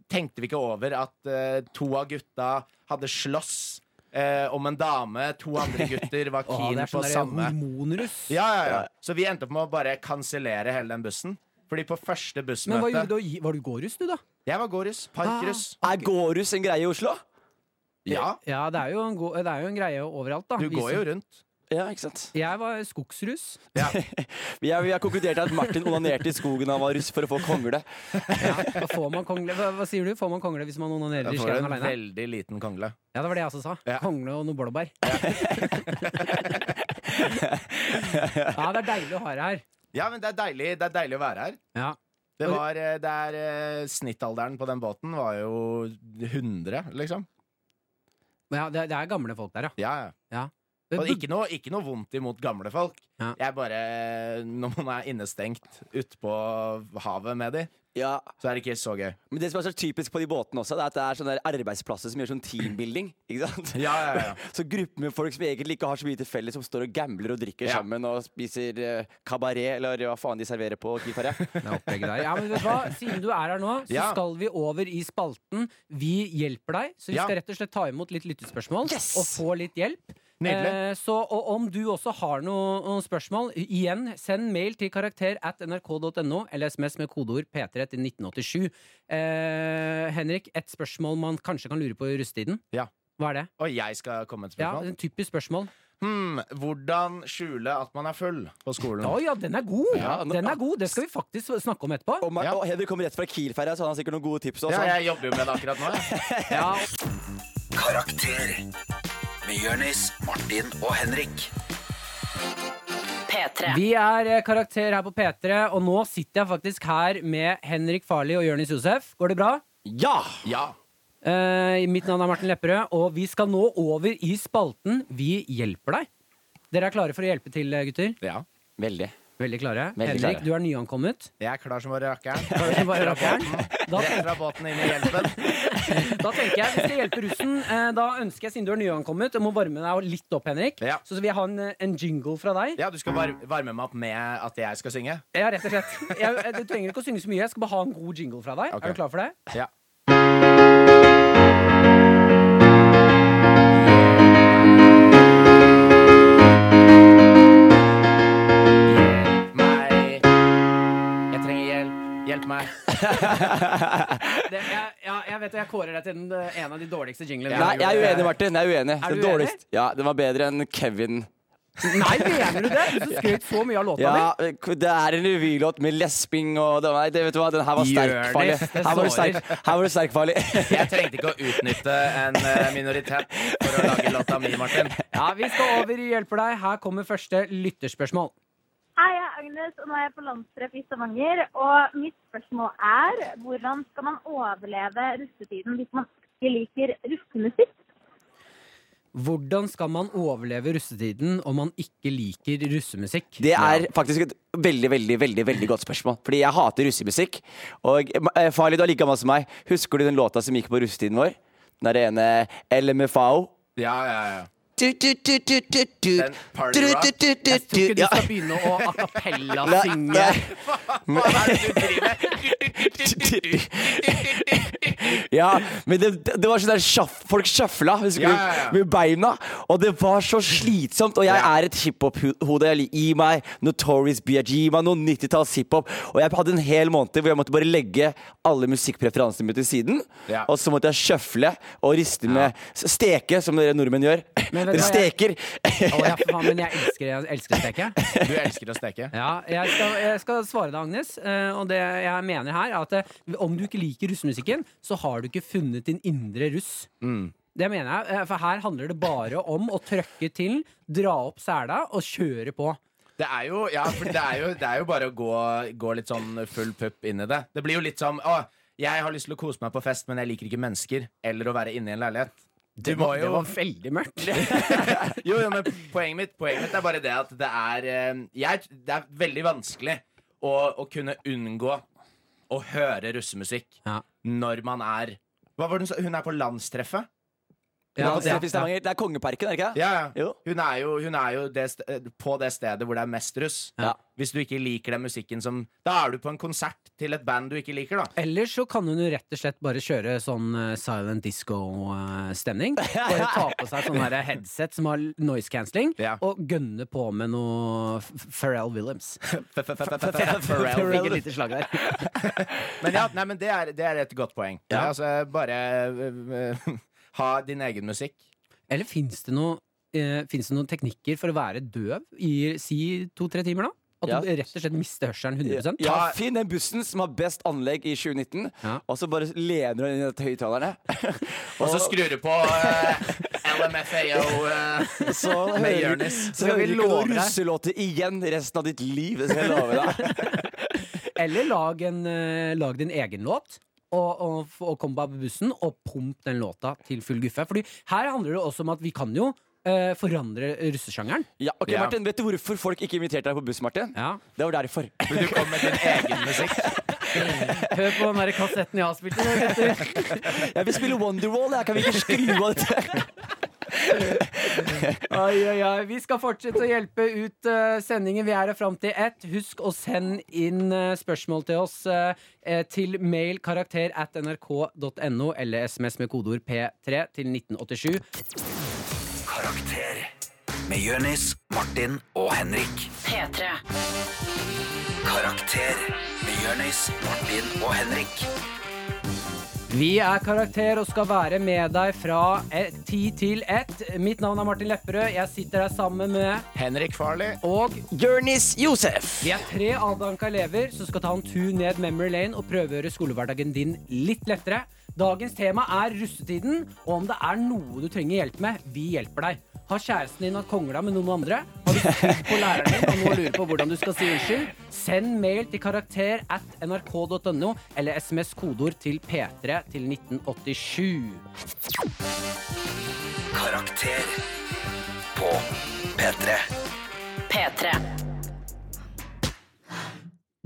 [SPEAKER 6] tenkte vi ikke over at eh, to av gutta hadde slåss eh, om en dame To andre gutter var
[SPEAKER 2] Åh,
[SPEAKER 6] keen
[SPEAKER 2] det er
[SPEAKER 6] på
[SPEAKER 2] sånn der
[SPEAKER 6] samme
[SPEAKER 2] hormonruss.
[SPEAKER 6] ja, ja, ja. Så vi endte opp med å bare kansellere hele den bussen. Fordi på første
[SPEAKER 2] Men hva
[SPEAKER 6] bussmøte
[SPEAKER 2] gjorde du? Ah. Var du gåruss, du, da?
[SPEAKER 6] Jeg var gåruss. Parkruss.
[SPEAKER 3] Er gåruss en greie i Oslo?
[SPEAKER 6] Ja,
[SPEAKER 2] Ja, det er jo en, go det er jo en greie overalt, da.
[SPEAKER 6] du
[SPEAKER 2] Vi
[SPEAKER 6] går jo
[SPEAKER 2] som-
[SPEAKER 6] rundt.
[SPEAKER 3] Ja, ikke sant?
[SPEAKER 2] Jeg var skogsruss.
[SPEAKER 3] Vi har, vi har konkludert at Martin onanerte i skogen da han var russ for å få kongle.
[SPEAKER 2] Da Får man kongle, hva, hva sier du? Får man kongle hvis man onanerer i
[SPEAKER 6] Jeg får
[SPEAKER 2] skauen
[SPEAKER 6] en
[SPEAKER 2] aleine?
[SPEAKER 6] veldig liten kongle.
[SPEAKER 2] Ja, det var det jeg også sa.
[SPEAKER 6] Ja.
[SPEAKER 2] Kongle og noe blåbær. ja, det er deilig å ha det her.
[SPEAKER 6] Ja, men det er deilig, det er deilig å være her.
[SPEAKER 2] Ja.
[SPEAKER 6] Det var, eh, det er, eh, snittalderen på den båten var jo 100, liksom.
[SPEAKER 2] Men ja, det, det er gamle folk der, ja.
[SPEAKER 6] Ja, ja.
[SPEAKER 2] Men
[SPEAKER 6] Og
[SPEAKER 2] burde-
[SPEAKER 6] ikke noe, ikke noe vondt imot gamle folk.
[SPEAKER 2] Ja.
[SPEAKER 6] Jeg bare, eh, Når man er innestengt utpå havet med de,
[SPEAKER 3] Ja,
[SPEAKER 6] så er det ikke så gøy.
[SPEAKER 3] Men det som er så typisk på de båtene også, det er at det er sånne der arbeidsplasser som gjør sånn teambuilding. Ikke sant?
[SPEAKER 6] Ja, ja, ja.
[SPEAKER 3] Så grupper med folk som egentlig ikke har så mye til felles, som står og gambler og drikker
[SPEAKER 6] Ja.
[SPEAKER 3] sammen og spiser eh, kabaret, eller hva faen de serverer på Kifar. ja.
[SPEAKER 2] Det er opplegget der. Ja, men vet du hva? Siden du er her nå, så
[SPEAKER 6] Ja.
[SPEAKER 2] skal vi over i spalten Vi hjelper deg. Så vi
[SPEAKER 6] Ja.
[SPEAKER 2] skal rett og slett ta imot litt lyttespørsmål
[SPEAKER 3] Yes!
[SPEAKER 2] og få litt hjelp.
[SPEAKER 6] Nydelig.
[SPEAKER 2] Eh, så og om du også har noe- noen spørsmål, igjen, send mail til karakter at nrk.no eller SMS med kodeord P3 til 1987. Eh, Henrik, et spørsmål man kanskje kan lure på i russetiden.
[SPEAKER 6] Ja.
[SPEAKER 2] Hva er det?
[SPEAKER 6] Og jeg skal komme med et
[SPEAKER 2] Ja,
[SPEAKER 6] spørsmål.
[SPEAKER 2] en Typisk spørsmål.
[SPEAKER 6] Hmm, hvordan skjule at man er full på skolen?
[SPEAKER 2] Å ja, den er god!
[SPEAKER 3] Ja, nå-
[SPEAKER 2] den er god, Det skal vi faktisk snakke om etterpå.
[SPEAKER 3] Og, Mar
[SPEAKER 6] Ja.
[SPEAKER 3] og Henrik kommer rett fra Kielferja, så han har sikkert noen gode tips. Også.
[SPEAKER 6] Ja, jeg jobber jo med det akkurat nå. jeg.
[SPEAKER 2] Ja,
[SPEAKER 1] Karakter med Jørnis, Martin og Henrik.
[SPEAKER 4] P3.
[SPEAKER 2] Vi er eh, karakter her på P3, og nå sitter jeg faktisk her med Henrik Farli og Jørnis Josef. Går det bra?
[SPEAKER 3] Ja!
[SPEAKER 6] Ja.
[SPEAKER 2] Eh, mitt navn er Martin Lepperød, og vi skal nå over i spalten Vi hjelper deg. Dere er klare for å hjelpe til, eh, gutter?
[SPEAKER 6] ja.
[SPEAKER 3] Veldig.
[SPEAKER 2] Veldig klare.
[SPEAKER 3] Veldig
[SPEAKER 2] Henrik,
[SPEAKER 3] klare.
[SPEAKER 2] du er nyankommet.
[SPEAKER 6] Jeg er klar som bare rakkeren.
[SPEAKER 2] Bare- bare rapp jern. Da,
[SPEAKER 6] Rett fra båten inn i hjelpen.
[SPEAKER 2] da tenker jeg, Hvis det hjelper russen, eh, da ønsker jeg, siden du er nyankommet, jeg må varme deg litt opp, Henrik.
[SPEAKER 6] Ja.
[SPEAKER 2] Så vil jeg ha en, eh, en jingle fra deg.
[SPEAKER 6] Ja, du skal var varme meg opp med at jeg skal synge?
[SPEAKER 2] Ja, rett og slett. Jeg, eh, du trenger ikke å synge så mye. Jeg skal bare ha en god jingle fra deg.
[SPEAKER 6] Ok.
[SPEAKER 2] Er du klar for det?
[SPEAKER 6] Ja. Hjelp meg. Jeg trenger hjelp. Hjelp meg.
[SPEAKER 2] Det, jeg, ja, jeg vet det, jeg kårer deg til den, eh, en av de dårligste jinglene.
[SPEAKER 3] Nei, jeg er uenig, Martin. Jeg er uenig.
[SPEAKER 2] Er
[SPEAKER 3] Den
[SPEAKER 2] du uenig?
[SPEAKER 3] dårligst. Ja, Den var bedre enn Kevin.
[SPEAKER 2] Nei, mener du det? Du som skrøt så mye av låta di.
[SPEAKER 3] Ja, Det er en revylåt med lesping og det, Nei, det, vet du hva, Den her var sterk,
[SPEAKER 2] Jonis,
[SPEAKER 3] farlig.
[SPEAKER 2] det
[SPEAKER 3] Her var du
[SPEAKER 2] sårer.
[SPEAKER 3] sterk, her var du sterk farlig.
[SPEAKER 6] Jeg trengte ikke å utnytte en eh, minoritet for å lage låta mi, Martin.
[SPEAKER 2] Ja, vi skal over i Hjelper deg. Her kommer første lytterspørsmål.
[SPEAKER 7] Hei, jeg er Agnes, og nå er jeg på landstreff i Stavanger. Og mitt spørsmål er hvordan skal man overleve russetiden hvis man ikke liker russemusikk?
[SPEAKER 2] Hvordan skal man overleve russetiden om man ikke liker russemusikk?
[SPEAKER 3] Det er faktisk et veldig veldig, veldig, veldig godt spørsmål. Fordi jeg hater russemusikk. Og eh, Farlig, du er like gammel som meg. Husker du den låta som gikk på russetiden vår? Den der ene LMFAO?
[SPEAKER 6] Ja, ja, ja.
[SPEAKER 3] Du, du, du, du, du, du.
[SPEAKER 6] Den party
[SPEAKER 3] Du,
[SPEAKER 6] rock.
[SPEAKER 3] du, du, du,
[SPEAKER 2] Jeg tror ikke du
[SPEAKER 3] ja.
[SPEAKER 2] skal begynne å a cappella
[SPEAKER 3] Nei,
[SPEAKER 2] synge.
[SPEAKER 3] nei.
[SPEAKER 6] Hva er det du driver med?
[SPEAKER 3] Ja, men det, det var sånn der sjaff, folk sjafla husker
[SPEAKER 6] Ja,
[SPEAKER 3] du,
[SPEAKER 6] ja, ja.
[SPEAKER 3] med beina. Og det var så slitsomt. Og jeg
[SPEAKER 6] Ja.
[SPEAKER 3] er et hiphop-hode. Jeg liker- Gi meg Notorious BIG, meg noe 90-talls hiphop. Og jeg hadde en hel måned hvor jeg måtte bare legge alle musikkpreferansene mine til siden.
[SPEAKER 6] Ja.
[SPEAKER 3] Og så måtte jeg sjøfle og riste med Steke, som dere nordmenn gjør.
[SPEAKER 2] Men vet du
[SPEAKER 3] Dere
[SPEAKER 2] hva, jeg-
[SPEAKER 3] steker.
[SPEAKER 2] Å, ja, faen, men jeg elsker, jeg elsker steket.
[SPEAKER 6] Du elsker å steke?
[SPEAKER 2] Ja, jeg skal, jeg skal svare deg, Agnes. eh, Og det jeg mener her, er at eh, om du ikke liker russemusikken, så har du ikke funnet din indre russ.
[SPEAKER 6] Mm.
[SPEAKER 2] Det mener jeg, eh, for her handler det bare om å trøkke til, dra opp sela og kjøre på.
[SPEAKER 6] Det er jo, ja, for det er jo, det er jo bare å gå, gå litt sånn full pupp inn i det. Det blir jo litt som å, jeg har lyst til å kose meg på fest, men jeg liker ikke mennesker. Eller å være inne i en leilighet. Du må
[SPEAKER 2] Det
[SPEAKER 6] jo,
[SPEAKER 2] var veldig mørkt.
[SPEAKER 6] jo, jo, men poenget mitt, poenget mitt er bare det at det er, eh, jeg, det er veldig vanskelig å, å kunne unngå å høre russemusikk
[SPEAKER 2] Ja.
[SPEAKER 6] når man er Hva var det hun sa? Hun er på landstreffet?
[SPEAKER 2] Ja,
[SPEAKER 3] Landstrøm
[SPEAKER 2] det-
[SPEAKER 3] i Stavanger. Det er Kongeparken, er det ikke det?
[SPEAKER 6] Ja, ja.
[SPEAKER 3] Jo.
[SPEAKER 6] Hun er jo, hun er jo det st eh, på det stedet hvor det er mest russ.
[SPEAKER 3] Ja.
[SPEAKER 6] Hvis du ikke liker den musikken som Da er du på en konsert til et band du ikke liker, da.
[SPEAKER 2] Ellers så kan hun jo rett og slett bare kjøre sånn eh, silent disco-stemning. Bare ta på seg sånn her headset som har noise cancelling,
[SPEAKER 6] Ja.
[SPEAKER 2] og gønne på med noe F- Pharrell Williams.
[SPEAKER 6] Pharrell.
[SPEAKER 2] Fikk et lite slag der.
[SPEAKER 6] Men ja, nei, men det er, det er et godt poeng.
[SPEAKER 2] Ja.
[SPEAKER 6] Altså, bare eh, ha din egen musikk.
[SPEAKER 2] Eller fins det, noe, eh, finnes det noen teknikker for å være døv i si to-tre timer, da? At
[SPEAKER 3] Ja.
[SPEAKER 2] du rett og slett mister hørselen 100
[SPEAKER 3] Ja, Finn den bussen som har best anlegg i 2019,
[SPEAKER 2] Ja.
[SPEAKER 3] og så bare lener du den inn i høyttalerne.
[SPEAKER 6] Og så skrur du på eh, LMFAO. eh.
[SPEAKER 3] Så
[SPEAKER 6] Med
[SPEAKER 3] hører,
[SPEAKER 6] Jonis.
[SPEAKER 3] så hører
[SPEAKER 6] Vi
[SPEAKER 3] du ikke
[SPEAKER 6] lover
[SPEAKER 3] noen
[SPEAKER 6] deg.
[SPEAKER 3] russelåter igjen resten av ditt liv. Det skal jeg love deg.
[SPEAKER 2] Eller lag, en, eh, lag din egen låt. Og, og, f- og kom bare på bussen og pump den låta til full guffe. Fordi her handler det også om at vi kan jo eh, forandre russesjangeren.
[SPEAKER 3] Ja, ok,
[SPEAKER 6] Ja.
[SPEAKER 3] Martin, Vet du hvorfor folk ikke inviterte deg på buss, Martin?
[SPEAKER 2] Ja.
[SPEAKER 3] Det var derfor.
[SPEAKER 6] Men du kom med din egen musikk.
[SPEAKER 2] Hør på den der kassetten jeg har spilt i dag, gutter.
[SPEAKER 3] Jeg vil spille Wonderwall. Jeg kan vi ikke skru av dette?
[SPEAKER 2] Oi, oi, oi. Vi skal fortsette å hjelpe ut eh, sendingen. Vi er her fram til ett. Husk å sende inn eh, spørsmål til oss eh, eh, til mail karakter at nrk.no eller SMS med kodeord P3 til 1987.
[SPEAKER 1] Karakter med Jonis, Martin og Henrik.
[SPEAKER 4] P3.
[SPEAKER 1] Karakter med Jonis, Martin og Henrik.
[SPEAKER 2] Vi er Karakter og skal være med deg fra eh, ti til ett. Mitt navn er Martin Lepperød. Jeg sitter her sammen med
[SPEAKER 6] Henrik Farley.
[SPEAKER 2] Og
[SPEAKER 3] Jonis Josef.
[SPEAKER 2] vi er tre avdanka elever som skal ta en tur ned memory lane og prøve å gjøre skolehverdagen din litt lettere. Dagens tema er russetiden, og om det er noe du trenger hjelp med, vi hjelper deg. Har kjæresten din hatt kongla med noen andre? Har du skrudd på læreren din og nå lurer på hvordan du skal si unnskyld? Send mail til karakter at nrk.no eller SMS kodeord til P3 til 1987.
[SPEAKER 1] Karakter på P3.
[SPEAKER 4] P3.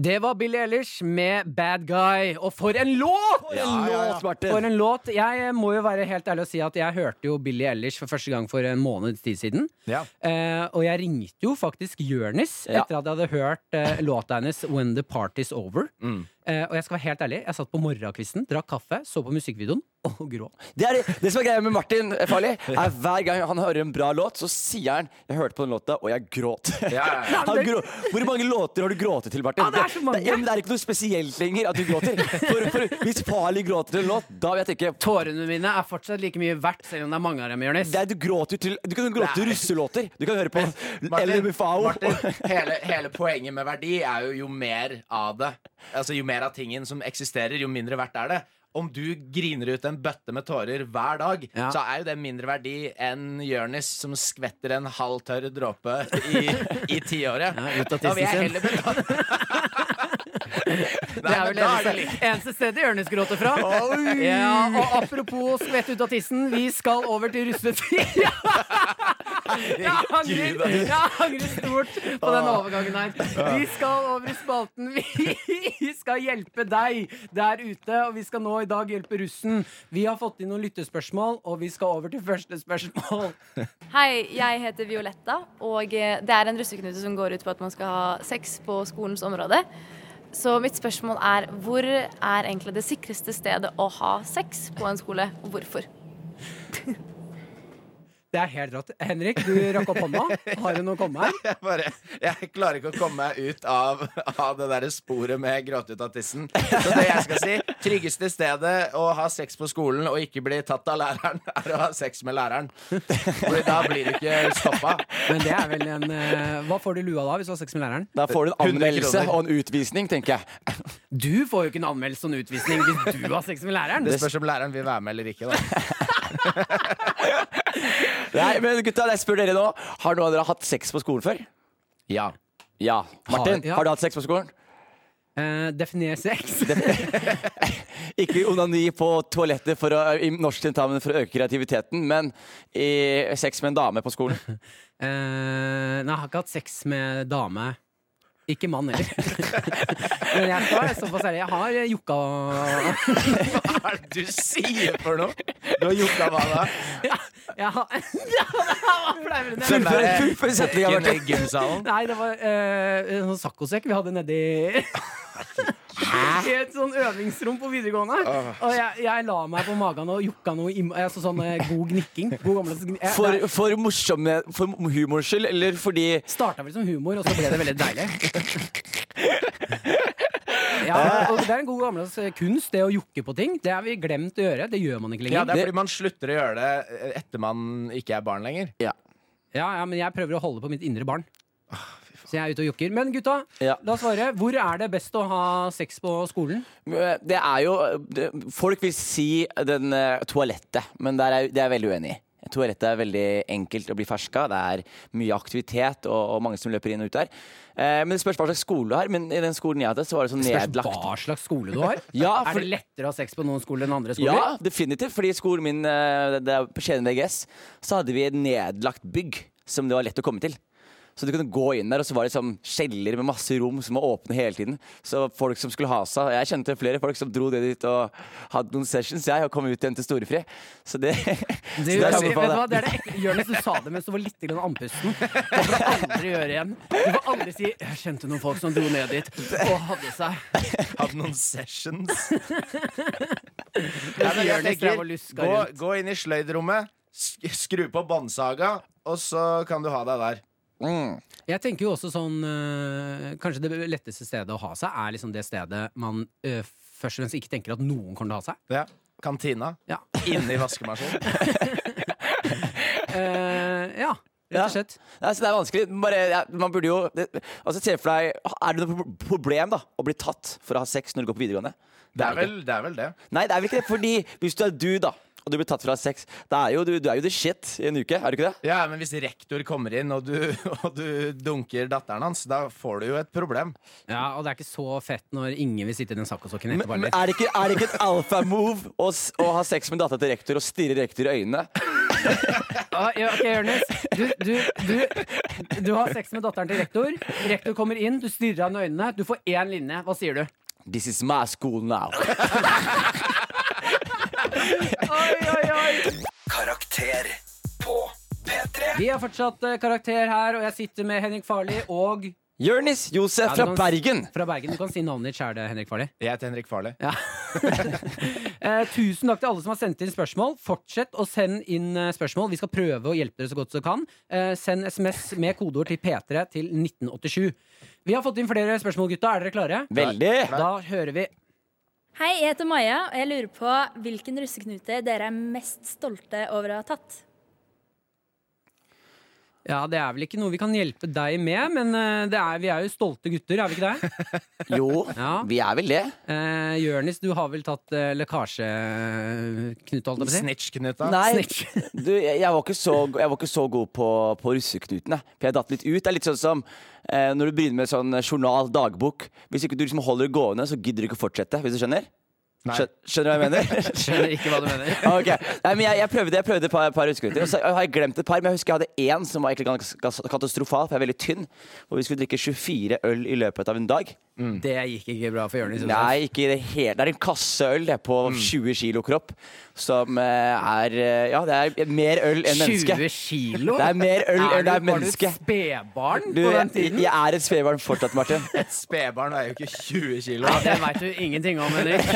[SPEAKER 2] Det var Billie Eilish med Bad Guy. Og for en låt! For en
[SPEAKER 3] låt, Martin.
[SPEAKER 2] For en låt. Jeg må jo være helt ærlig og si at jeg hørte jo Billie Eilish for første gang for en måneds tid siden.
[SPEAKER 6] Ja.
[SPEAKER 2] Eh, og jeg ringte jo faktisk Jørnis
[SPEAKER 3] Ja.
[SPEAKER 2] etter at jeg hadde hørt eh, låta hennes When The Party's Over. Eh, og jeg skal være helt ærlig, jeg satt på morgenkvisten, drakk kaffe, så på musikkvideoen og grå.
[SPEAKER 3] Det, er, det som er greia med Martin eh, Farley, er hver gang han hører en bra låt, så sier han 'Jeg hørte på den låta, og jeg gråt'.
[SPEAKER 6] ja, ja.
[SPEAKER 3] Han grå, hvor mange låter har du gråtet til, Martin?
[SPEAKER 2] Ja, det er så mange.
[SPEAKER 3] Det, ja, men det er ikke noe spesielt lenger at du gråter. For, for Hvis Farley gråter til en låt, da vil jeg tenke
[SPEAKER 2] Tårene mine er fortsatt like mye verdt, selv om det er mange av dem, Jørnis.
[SPEAKER 3] det er, du, gråter til, du kan gråte til
[SPEAKER 6] Nei.
[SPEAKER 3] russelåter. Du kan høre på LMFAO.
[SPEAKER 6] Martin hele, hele poenget med verdi er jo jo mer av det. Altså Jo mer av tingen som eksisterer, jo mindre verdt er det. Om du griner ut en bøtte med tårer hver dag,
[SPEAKER 2] Ja.
[SPEAKER 6] så er jo det mindre verdi enn Jonis som skvetter en halv tørr dråpe i, i tiåret.
[SPEAKER 2] Ja, ut av
[SPEAKER 6] Da vil jeg
[SPEAKER 2] tissen sin.
[SPEAKER 6] heller betale
[SPEAKER 2] Det er vel
[SPEAKER 6] Nei, men da er det
[SPEAKER 2] eneste, eneste stedet Jonis gråter fra. Ja, og apropos skvett ut av tissen, vi skal over til russetid. Ja. Jeg angrer, jeg angrer stort på den overgangen her. Vi skal over i spalten. Vi skal hjelpe deg der ute, og vi skal nå i dag hjelpe russen. Vi har fått inn noen lyttespørsmål, og vi skal over til første spørsmål.
[SPEAKER 8] Hei, jeg heter Violetta, og eh, det er en russeknute som går ut på at man skal ha sex på skolens område. Så mitt spørsmål er hvor er egentlig det sikreste stedet å ha sex på en skole, og hvorfor?
[SPEAKER 2] Det er helt rått. Henrik, du rakk opp hånda. Har du noe å komme med?
[SPEAKER 6] jeg, bare, jeg klarer ikke å komme meg ut av, av det der sporet med gråte ut av tissen. Så det jeg skal si, tryggeste stedet å ha sex på skolen og ikke bli tatt av læreren, er å ha sex med læreren. Fordi da blir du ikke stoppa.
[SPEAKER 2] Men det er vel en eh, Hva får du i lua da, hvis du har sex med læreren?
[SPEAKER 3] Da får du en
[SPEAKER 6] 100
[SPEAKER 3] anmeldelse
[SPEAKER 6] kroner.
[SPEAKER 3] og en utvisning, tenker jeg.
[SPEAKER 2] Du får jo ikke en anmeldelse og en utvisning hvis du har sex med læreren.
[SPEAKER 6] Det spørs om læreren vil være med eller ikke. Da.
[SPEAKER 3] Nei, men gutta, jeg spør dere nå. Har noen av dere hatt sex på skolen før?
[SPEAKER 6] Ja.
[SPEAKER 3] Ja. Martin,
[SPEAKER 2] Har- ja.
[SPEAKER 3] har du hatt sex på skolen?
[SPEAKER 2] Eh, definer sex.
[SPEAKER 3] Ikke onani på toalettet for å, i norsktentamen for å øke kreativiteten, men i sex med en dame på skolen.
[SPEAKER 2] Eh, nei, jeg har ikke hatt sex med dame. Ikke mann heller. Men jeg skal være såpass ærlig. Jeg har jokka
[SPEAKER 6] Hva er det du sier for noe? Du har jukka hva da?
[SPEAKER 2] ja, Jeg har- Det var flauere enn jeg
[SPEAKER 6] Den
[SPEAKER 3] Fullfør
[SPEAKER 6] der-
[SPEAKER 3] fullfør setninga,
[SPEAKER 6] Sekken
[SPEAKER 3] Bjarte.
[SPEAKER 6] i gymsalen.
[SPEAKER 2] Nei, det var eh, en sånn saccosekk vi hadde nedi I et sånn øvingsrom på videregående. Og jeg, jeg la meg på magen og jokka noe im altså sånn eh, god gnikking. God gammeldags gni- jeg-
[SPEAKER 3] For,
[SPEAKER 2] det
[SPEAKER 3] for, morsomme, for humors skyld, eller fordi
[SPEAKER 2] starta vel som humor, og så ble det veldig deilig. Ja, og Det er en god gammeldags kunst, det å jokke på ting. Det har vi glemt å gjøre. Det gjør man ikke
[SPEAKER 6] Ja,
[SPEAKER 2] lenger.
[SPEAKER 6] det er fordi man slutter å gjøre det eh, etter man ikke er barn lenger.
[SPEAKER 3] Ja.
[SPEAKER 2] Ja, ja, men jeg prøver å holde på mitt indre barn.
[SPEAKER 3] Ah,
[SPEAKER 2] Så jeg er ute og jokker. Men gutta,
[SPEAKER 3] Ja.
[SPEAKER 2] la oss svare. Hvor er det best å ha sex på skolen?
[SPEAKER 3] Det er jo det, Folk vil si den eh, toalettet, men der er, det er jeg veldig uenig i. Toalettet er veldig enkelt å bli ferska. Det er mye aktivitet og, og mange som løper inn og ut der. Eh, men Det spørs hva slags skole du har. Men i den skolen jeg hadde, så var det sånn
[SPEAKER 2] Spørs
[SPEAKER 3] nedlagt.
[SPEAKER 2] hva slags skole du har.
[SPEAKER 3] Ja,
[SPEAKER 2] Er
[SPEAKER 3] for-
[SPEAKER 2] det lettere å ha sex på noen skoler enn andre skoler?
[SPEAKER 3] Ja, definitivt. Fordi skolen min eh, det- det er på Skien VGS så hadde vi et nedlagt bygg som det var lett å komme til. Så du kunne gå inn der, og så var det sånn kjeller med masse rom som var åpne hele tiden. Så folk som skulle ha seg Jeg kjente flere folk som dro det dit og hadde noen sessions, jeg, og kom ut igjen til storefri. Så det så
[SPEAKER 2] Det,
[SPEAKER 3] det er
[SPEAKER 2] vet
[SPEAKER 3] samme
[SPEAKER 2] du
[SPEAKER 3] på
[SPEAKER 2] hva,
[SPEAKER 3] det.
[SPEAKER 2] det er det ekle. Jonis, du sa det mens du var litt grann andpusten. Det får du aldri gjøre igjen. Du får aldri si 'jeg kjente noen folk som dro ned dit og hadde seg'.
[SPEAKER 6] Hadde noen sessions.
[SPEAKER 2] Mens Jonis drev og luska
[SPEAKER 6] gå,
[SPEAKER 2] rundt.
[SPEAKER 6] gå inn i sløydrommet, sk- skru på båndsaga, og så kan du ha deg der.
[SPEAKER 3] Mm.
[SPEAKER 2] Jeg tenker jo også sånn øh, Kanskje det letteste stedet å ha seg er liksom det stedet man øh, først og fremst ikke tenker at noen kommer til å ha seg.
[SPEAKER 6] Ja. Kantina.
[SPEAKER 2] Ja.
[SPEAKER 6] Inne i vaskemaskinen.
[SPEAKER 2] Eh, ja, rett
[SPEAKER 3] Ja.
[SPEAKER 2] og slett.
[SPEAKER 3] Nei, så det er vanskelig. Bare, ja, man burde jo det, altså, Se for deg Er det noe pro- problem da å bli tatt for å ha sex når du går på videregående?
[SPEAKER 6] Det er vel det. Er vel det.
[SPEAKER 3] Nei, det er vel ikke det. Fordi hvis du er du, da, og du blir tatt fra sex, da er jo du, du er jo the shit i en uke, er du ikke det?
[SPEAKER 6] Ja, men hvis rektor kommer inn, og du, og du dunker datteren hans, da får du jo et problem.
[SPEAKER 2] Ja, Og det er ikke så fett når ingen vil sitte i den saccosokken
[SPEAKER 3] Men,
[SPEAKER 2] etterpå.
[SPEAKER 3] men
[SPEAKER 2] heller.
[SPEAKER 3] er, det ikke, er det ikke et alfamove å, s- å ha sex med dattera til rektor og stirre rektor i øynene?
[SPEAKER 2] Ah, ja, ok, Jonis. Du, du, du, du har sex med datteren til rektor. Rektor kommer inn, du stirrer han i øynene. Du får én linje. Hva sier du?
[SPEAKER 3] This is my school now.
[SPEAKER 1] Karakter på P3.
[SPEAKER 2] Vi har fortsatt eh, karakter her, og jeg sitter med Henrik Farli og
[SPEAKER 3] Jonis Josef
[SPEAKER 2] Ja, du
[SPEAKER 3] fra
[SPEAKER 2] kan s-
[SPEAKER 3] Bergen.
[SPEAKER 2] Fra Bergen. Du kan si navnet ditt sjæl, Henrik Farli.
[SPEAKER 6] Jeg heter Henrik Farley.
[SPEAKER 2] Ja. eh, tusen takk til alle som har sendt inn spørsmål. Fortsett å sende inn eh, spørsmål. Vi skal prøve å hjelpe dere så godt som kan. Eh, send SMS med kodeord til P3 til 1987. Vi har fått inn flere spørsmål, gutta. Er dere klare?
[SPEAKER 3] Veldig.
[SPEAKER 2] Da hører vi
[SPEAKER 9] Hei, jeg heter Maja, og jeg lurer på hvilken russeknute dere er mest stolte over å ha tatt.
[SPEAKER 2] Ja, det er vel ikke noe vi kan hjelpe deg med, men eh, det er, vi er jo stolte gutter, er vi ikke det?
[SPEAKER 3] Jo,
[SPEAKER 2] Ja.
[SPEAKER 3] vi er vel det.
[SPEAKER 2] Eh, Jørnis, du har vel tatt eh, lekkasjeknut, holdt jeg på å si?
[SPEAKER 6] Snitch-Knuta.
[SPEAKER 3] Nei, du, jeg, jeg, var ikke så, jeg var ikke så god på, på russeknuten. Jeg. For jeg datt litt ut. Det er litt sånn som eh, når du begynner med sånn journal, dagbok. Hvis ikke du liksom holder det gående, så gidder du ikke å fortsette. Hvis du skjønner?
[SPEAKER 6] Nei.
[SPEAKER 3] Skjø- Skjønner du hva jeg mener?
[SPEAKER 2] Skjønner ikke hva du mener.
[SPEAKER 3] Ok, Nei, men jeg, jeg prøvde jeg prøvde et par, par ruskeknuter. Og så har jeg glemt et par, men jeg husker jeg hadde én som var egentlig gans- gans- katastrofal, for jeg er veldig tynn. Og vi skulle drikke 24 øl i løpet av en dag.
[SPEAKER 6] Mm.
[SPEAKER 2] Det gikk ikke bra for Jørnis.
[SPEAKER 3] Nei, ikke i det hele Det er en kasse øl det, på
[SPEAKER 2] Mm.
[SPEAKER 3] 20 kilo kropp, som eh, er eh, Ja, det er mer øl enn menneske.
[SPEAKER 2] 20 kilo?
[SPEAKER 3] Det er mer øl enn det er menneske.
[SPEAKER 2] Var du et spedbarn
[SPEAKER 3] Du,
[SPEAKER 2] på
[SPEAKER 3] jeg,
[SPEAKER 2] den tiden?
[SPEAKER 3] jeg er et spedbarn fortsatt, Martin.
[SPEAKER 6] Et spedbarn veier jo ikke 20 kilo.
[SPEAKER 2] Ja, det veit du ingenting om, Henrik.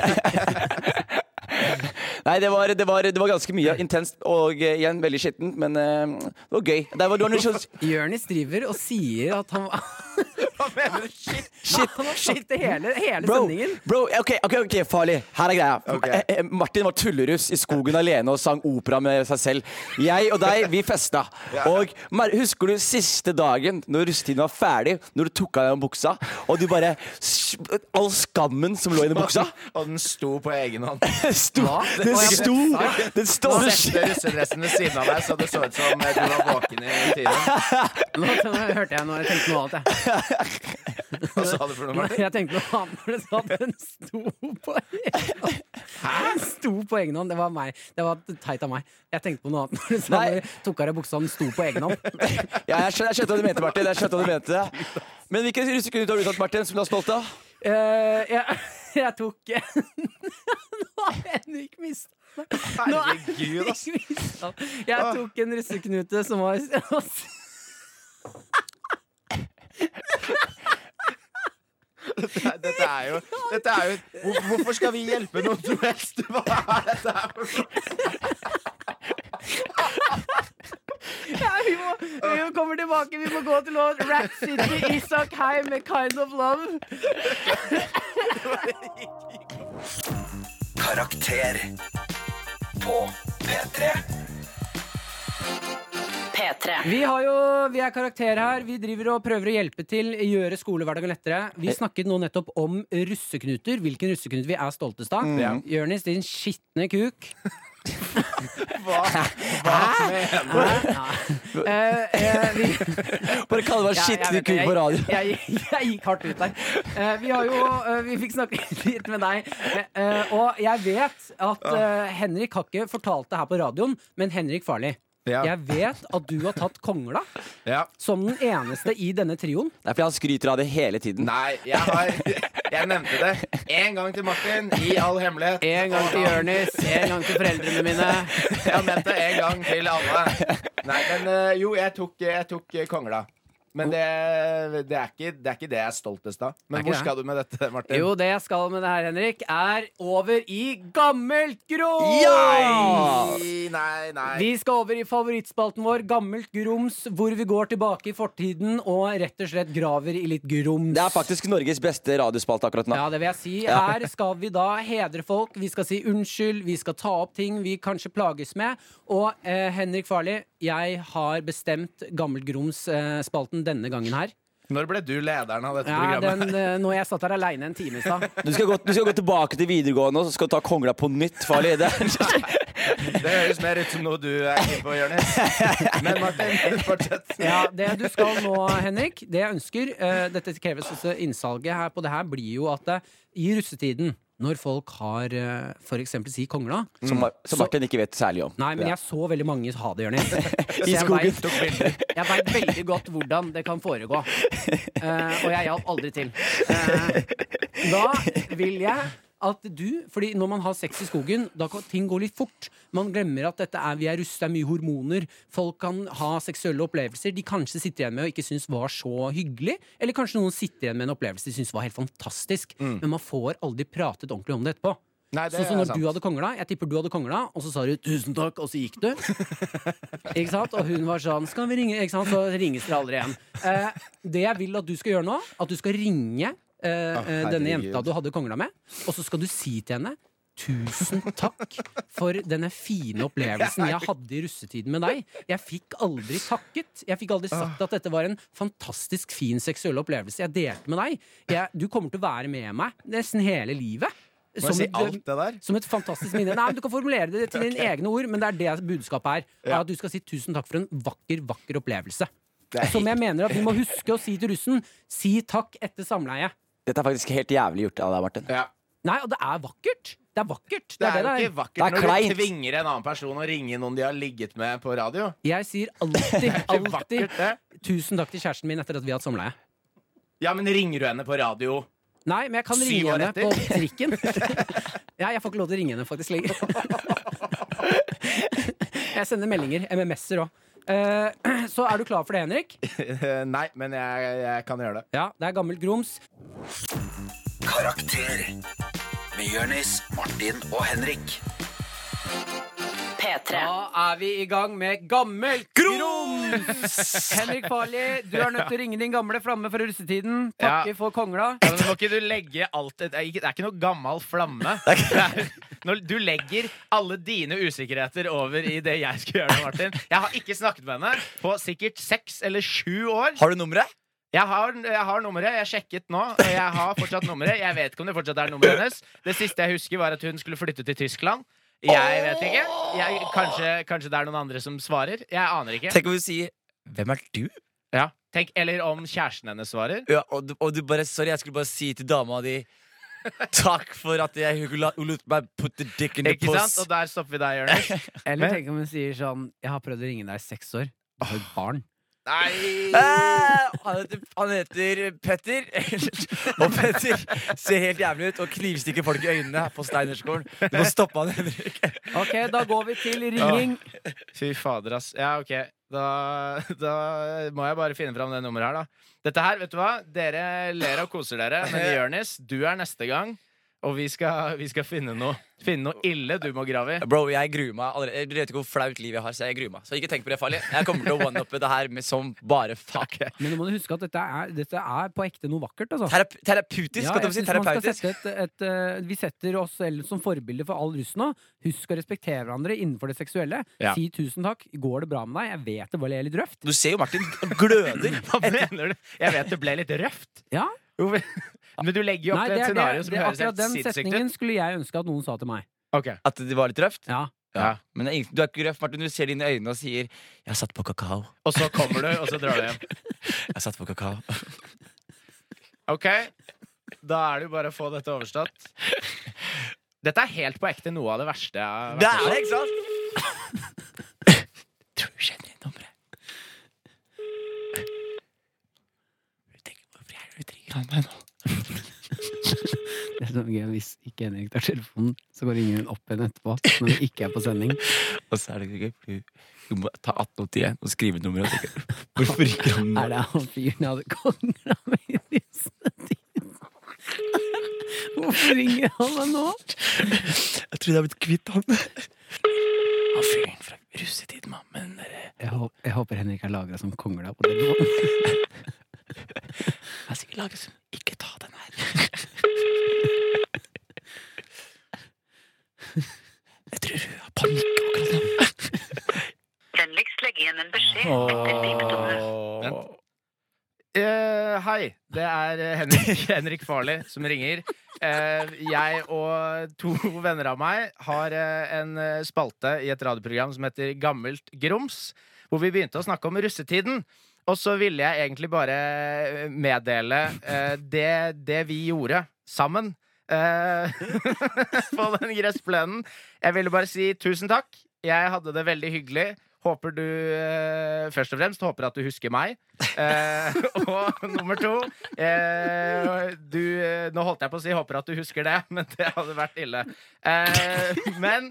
[SPEAKER 3] Nei, det var, det var, det var ganske mye intenst og eh, igjen veldig skittent, men eh, det var gøy. Det var, det var noe sånn
[SPEAKER 2] Jørnis driver og sier at han
[SPEAKER 6] Hva mener du? Shit!
[SPEAKER 3] Shit,
[SPEAKER 2] Han har
[SPEAKER 3] shit.
[SPEAKER 2] sagt det hele, hele
[SPEAKER 3] Bro,
[SPEAKER 2] sendingen.
[SPEAKER 3] bro ok, ok, ok, farlig. Her er greia.
[SPEAKER 6] Ok.
[SPEAKER 3] Eh, eh, Martin var tulleruss i skogen alene og sang opera med seg selv. Jeg og deg, vi festa. Og Mar- husker du siste dagen, når russetiden var ferdig, når du tok av deg buksa, og du bare s- All skammen som lå i den buksa,
[SPEAKER 6] Og den sto på egen hånd.
[SPEAKER 3] sto Den
[SPEAKER 6] Hva?
[SPEAKER 3] sto! Den sto
[SPEAKER 6] Han sette russedressen ved siden av deg, så det så ut som eh, du var våken i tiden.
[SPEAKER 2] Nå hørte jeg noe, jeg tenkte noe annet, jeg.
[SPEAKER 6] Hva sa du for noe, Martin?
[SPEAKER 2] Jeg tenkte noe annet når du sa at den sto på egen hånd. Den sto på egen hånd. Det var meg. Det var teit av meg. Jeg tenkte på noe annet når du sa
[SPEAKER 3] Nei.
[SPEAKER 2] at du tok av deg buksa, den sto på egen hånd.
[SPEAKER 3] Ja, jeg skjønte, jeg skjønte hva du mente, Martin. Jeg skjønte hva du mente Men hvilke russeknuter har du tatt, Martin, som du er stolt av?
[SPEAKER 2] Eh, jeg, jeg tok Nå har Henrik mista
[SPEAKER 6] Herregud, ass. Ah.
[SPEAKER 2] Jeg tok en russeknute som var
[SPEAKER 6] Dette, dette er jo, dette er jo hvor, Hvorfor skal vi hjelpe noen som helst? Hva er dette her for noe?
[SPEAKER 2] Ja, vi, må,
[SPEAKER 6] Ah.
[SPEAKER 2] vi må kommer tilbake. Vi må gå til låt Rat City Isak Heim med Kind of Love.
[SPEAKER 1] Karakter på P3.
[SPEAKER 4] P3.
[SPEAKER 2] Vi, har jo, vi er karakter her. Vi driver og prøver å hjelpe til, gjøre skolehverdagen lettere. Vi snakket nå nettopp om russeknuter. Hvilken russeknut vi er stoltest av. Mm. Jørnis, din skitne kuk.
[SPEAKER 6] Hva, hva mener du?
[SPEAKER 2] Eh, eh, vi,
[SPEAKER 3] Bare kall
[SPEAKER 2] Ja,
[SPEAKER 3] meg
[SPEAKER 2] jeg
[SPEAKER 3] skitten
[SPEAKER 2] vet
[SPEAKER 3] kuk
[SPEAKER 2] det.
[SPEAKER 3] på radio.
[SPEAKER 2] Jeg, jeg, jeg gikk hardt ut der. Eh, vi har jo eh, Vi fikk snakke litt med deg. Eh, eh, og jeg vet at eh, Henrik har ikke fortalt det her på radioen, men Henrik Farli.
[SPEAKER 6] Ja.
[SPEAKER 2] Jeg vet at du har tatt kongla
[SPEAKER 6] Ja.
[SPEAKER 2] som den eneste i denne trioen.
[SPEAKER 3] Det er fordi han skryter av det hele tiden.
[SPEAKER 6] Nei, jeg har Jeg nevnte det én gang til Martin, i all hemmelighet.
[SPEAKER 2] En gang til Jonis, en gang til foreldrene mine.
[SPEAKER 6] Jeg har nevnt det én gang til alle. Nei, men eh, jo, jeg tok, jeg tok eh, kongla. Men det, det, er ikke, det er ikke det jeg er stoltest av.
[SPEAKER 2] Det er
[SPEAKER 6] Men
[SPEAKER 2] ikke
[SPEAKER 6] hvor
[SPEAKER 2] det.
[SPEAKER 6] skal du med dette, Martin?
[SPEAKER 2] Jo, det jeg skal med det her, Henrik, er over i Gammelt grums!
[SPEAKER 6] Ja! Nei, nei.
[SPEAKER 2] Vi skal over i favorittspalten vår, Gammelt grums, hvor vi går tilbake i fortiden og rett og slett graver i litt grums.
[SPEAKER 3] Det er faktisk Norges beste radiospalte akkurat nå.
[SPEAKER 2] Ja, det vil jeg si.
[SPEAKER 3] Ja.
[SPEAKER 2] Her skal vi da hedre folk. Vi skal si unnskyld, vi skal ta opp ting vi kanskje plages med. Og eh, Henrik Farli, jeg har bestemt Gammelt grums-spalten denne gangen her.
[SPEAKER 6] Når ble du lederen av dette
[SPEAKER 2] Ja,
[SPEAKER 6] programmet?
[SPEAKER 2] den, eh, når jeg satt her aleine en time i stad.
[SPEAKER 3] Du, skal gå, du skal gå tilbake til videregående og så skal du ta kongla på nytt, farlig. Det
[SPEAKER 10] Mm.
[SPEAKER 3] er
[SPEAKER 6] Det høres mer ut som noe du er inne på, Jonis. Men Martin, fortsett.
[SPEAKER 2] Ja, det du skal nå, Henrik, det jeg ønsker eh, Dette kreves også innsalget her på det her, blir jo at eh, i russetiden, når folk har eh, for eksempel si kongla
[SPEAKER 3] som, Mar- som Martin ikke vet særlig om.
[SPEAKER 2] Nei, men jeg så veldig mange ha det, Jonis. Så
[SPEAKER 3] I
[SPEAKER 2] jeg
[SPEAKER 3] skogen.
[SPEAKER 2] vet- Jeg veit veldig godt hvordan det kan foregå. Eh, og jeg hjalp aldri til. Eh, da vil jeg at du Fordi når man har sex i skogen, da kan ting gå litt fort. Man glemmer at dette er vi er russ, det er mye hormoner. Folk kan ha seksuelle opplevelser de kanskje sitter igjen med og ikke syns var så hyggelig. Eller kanskje noen sitter igjen med en opplevelse de syns var helt fantastisk. Men man får aldri pratet ordentlig om det etterpå.
[SPEAKER 6] Nei, det
[SPEAKER 2] Sånn som
[SPEAKER 6] er
[SPEAKER 2] når du
[SPEAKER 6] sant.
[SPEAKER 2] hadde kongla, jeg tipper du hadde kongla, og så sa du 'tusen takk', og så gikk du. ikke sant? Og hun var sånn 'skal vi ringe', ikke sant? så ringes dere aldri igjen. Eh, det jeg vil at du skal gjøre nå, at du skal ringe eh, eh, denne
[SPEAKER 6] Ah, herregud.
[SPEAKER 2] jenta du hadde kongla med, og så skal du si til henne Tusen takk for denne fine opplevelsen jeg hadde i russetiden med deg. Jeg fikk aldri takket. Jeg fikk aldri sagt
[SPEAKER 6] Ah.
[SPEAKER 2] at dette var en fantastisk fin seksuell opplevelse jeg delte med deg. Jeg, du kommer til å være med meg nesten hele livet.
[SPEAKER 6] Må jeg si
[SPEAKER 2] et-
[SPEAKER 6] alt det der?
[SPEAKER 2] som et fantastisk minne. Nei, men Du kan formulere det til dine egne ord, men det er det budskapet er. er At du skal si tusen takk for en vakker, vakker opplevelse. Som jeg mener at vi må huske å si til russen. Si takk etter samleie.
[SPEAKER 3] Dette er faktisk helt jævlig gjort av deg, Martin.
[SPEAKER 6] Ja.
[SPEAKER 2] Nei, og det er vakkert. Det er vakkert.
[SPEAKER 6] Det
[SPEAKER 2] det
[SPEAKER 6] er jo ikke
[SPEAKER 2] det
[SPEAKER 3] Det er
[SPEAKER 6] vakkert når
[SPEAKER 3] kleint.
[SPEAKER 6] du tvinger en annen person å ringe noen de har ligget med på radio.
[SPEAKER 2] Jeg sier alltid,
[SPEAKER 6] Det er
[SPEAKER 2] alltid
[SPEAKER 6] vakkert, det.
[SPEAKER 2] tusen takk til kjæresten min etter at vi har hatt samleie.
[SPEAKER 6] Ja, men ringer du henne på radio?
[SPEAKER 2] Nei, men jeg kan
[SPEAKER 6] Syv
[SPEAKER 2] ringe
[SPEAKER 6] år
[SPEAKER 2] henne
[SPEAKER 6] etter.
[SPEAKER 2] på trikken. Ja, jeg får ikke lov til å ringe henne faktisk lenger. Jeg sender meldinger. MMS-er òg. Eh, Så er du klar for det, Henrik?
[SPEAKER 6] Eh, Nei, men jeg, jeg kan gjøre det.
[SPEAKER 2] Ja, det er gammelt grums.
[SPEAKER 1] Karakter med Jonis, Martin og Henrik.
[SPEAKER 4] P3.
[SPEAKER 2] Da er vi i gang med gammelt grums! Henrik Farli, du er nødt til å ringe din gamle flamme fra russetiden. Takke
[SPEAKER 6] Ja.
[SPEAKER 2] for kongla.
[SPEAKER 6] Ja, men må ikke du legge alt Det er ikke, det er ikke noe gammel flamme. Det er- Når du legger alle dine usikkerheter over i det jeg skal gjøre nå, Martin. Jeg har ikke snakket med henne på sikkert seks eller sju år.
[SPEAKER 3] Har du nummeret?
[SPEAKER 6] Jeg har, jeg har nummeret. Jeg sjekket nå. og Jeg har fortsatt nummeret. Jeg vet ikke om det fortsatt er nummeret hennes. Det siste jeg husker, var at hun skulle flytte til Tyskland. Jeg vet ikke. Jeg, kanskje, kanskje det er noen andre som svarer. Jeg aner ikke.
[SPEAKER 10] Tenk om du sier 'Hvem er du?'
[SPEAKER 6] Ja. Tenk, eller om kjæresten hennes svarer.
[SPEAKER 10] Ja, og, du, og du bare 'Sorry, jeg skulle bare si til dama di' Takk for at jeg hun la- hun lot meg put the dick in the
[SPEAKER 6] Ikke sant?
[SPEAKER 10] puss.
[SPEAKER 6] Og der stopper vi deg, Jonis.
[SPEAKER 2] Eller tenk om hun sier sånn Jeg har prøvd å ringe deg i seks år. Du har et barn.
[SPEAKER 10] Eh, han, heter, han heter Petter. og Petter ser helt jævlig ut og knivstikker folk i øynene på Steinerskolen. Du må stoppe han, Henrik.
[SPEAKER 2] Ok, da går vi til ringing.
[SPEAKER 6] Fy fader, ass. Ja, ok. Da, da må jeg bare finne fram det nummeret her, da. Dette her, vet du hva? Dere ler og koser dere, men Jonis, du er neste gang. Og vi skal, vi skal finne noe Finne noe ille du må grave i.
[SPEAKER 10] Bro, jeg gruer meg allerede. Jeg vet ikke hvor flaut liv jeg har, så jeg gruer meg. Så ikke tenk på det farlig. Jeg kommer til å one-uppe det her med som bare fuck.
[SPEAKER 2] Men nå må du huske at dette er, dette er på ekte noe vakkert. Altså.
[SPEAKER 10] Terap terapeutisk,
[SPEAKER 2] Ja,
[SPEAKER 10] skal
[SPEAKER 2] jeg
[SPEAKER 10] du si.
[SPEAKER 2] synes man skal
[SPEAKER 10] Terapeutisk.
[SPEAKER 2] sette et, et, eh, vi setter oss selv som forbilde for all russ nå. Husk å respektere hverandre innenfor det seksuelle.
[SPEAKER 10] Ja.
[SPEAKER 2] Si tusen takk. Går det bra med deg? Jeg vet det bare er litt røft.
[SPEAKER 10] Du ser jo Martin gløder.
[SPEAKER 6] Hva mener du? Jeg vet det ble litt røft.
[SPEAKER 2] Ja.
[SPEAKER 6] Men du legger jo opp til et scenario som
[SPEAKER 2] det,
[SPEAKER 6] høres
[SPEAKER 2] Akkurat
[SPEAKER 6] helt
[SPEAKER 2] den
[SPEAKER 6] sinnssykt
[SPEAKER 2] setningen
[SPEAKER 6] ut.
[SPEAKER 2] skulle jeg ønske at noen sa til meg.
[SPEAKER 10] At det var litt røft?
[SPEAKER 2] Ja.
[SPEAKER 10] Men det er ingen- du er ikke røff, Martin. Du ser det inn i øynene og sier 'Jeg satt på kakao'.
[SPEAKER 6] Og så kommer du, og så drar du hjem.
[SPEAKER 10] Jeg satt på kakao.
[SPEAKER 6] Ok, da er det jo bare å få dette overstått. Dette er helt på ekte noe av det verste jeg har
[SPEAKER 10] Det er
[SPEAKER 6] vært med
[SPEAKER 10] det,
[SPEAKER 6] på.
[SPEAKER 10] ikke sant? Tror du kjenner igjen nummeret? Hvorfor er det du ringer han meg nå?
[SPEAKER 2] Det er så gøy Hvis ikke Henrik tar telefonen, så går ingen opp igjen etterpå. Når vi ikke er på sending.
[SPEAKER 10] Og så er det gøy, for du- du må ta 1881 og skrive nummeret. og tenke, Hvorfor ringer han nå?
[SPEAKER 2] Er det han fyren jeg hadde kongra med i disse tider? Hvorfor ringer han meg nå?
[SPEAKER 10] Jeg trodde jeg hadde blitt kvitt han. Han fyren fra russetiden, mann. Men eh,
[SPEAKER 2] Jeg, håp, jeg håper Henrik er lagra som kongla på telefonen.
[SPEAKER 10] jeg er sikkert laget som Ikke ta den her. Jeg tror hun har panikk akkurat nå.
[SPEAKER 11] Vennligst legg igjen en beskjed etter pipetonen.
[SPEAKER 6] Vent. Eh, hei, det er eh, Henrik, Henrik Farley som ringer. Eh, jeg og to venner av meg har eh, en eh, spalte i et radioprogram som heter Gammelt grums, hvor vi begynte å snakke om russetiden. Og så ville jeg egentlig bare eh, meddele eh, det, det vi gjorde sammen eh, på den gressplenen. Jeg ville bare si tusen takk. Jeg hadde det veldig hyggelig. Håper du eh, Først og fremst håper at du husker meg. Eh, og nummer to eh, du, eh, Nå holdt jeg på å si 'håper at du husker det', men det hadde vært ille. Eh, men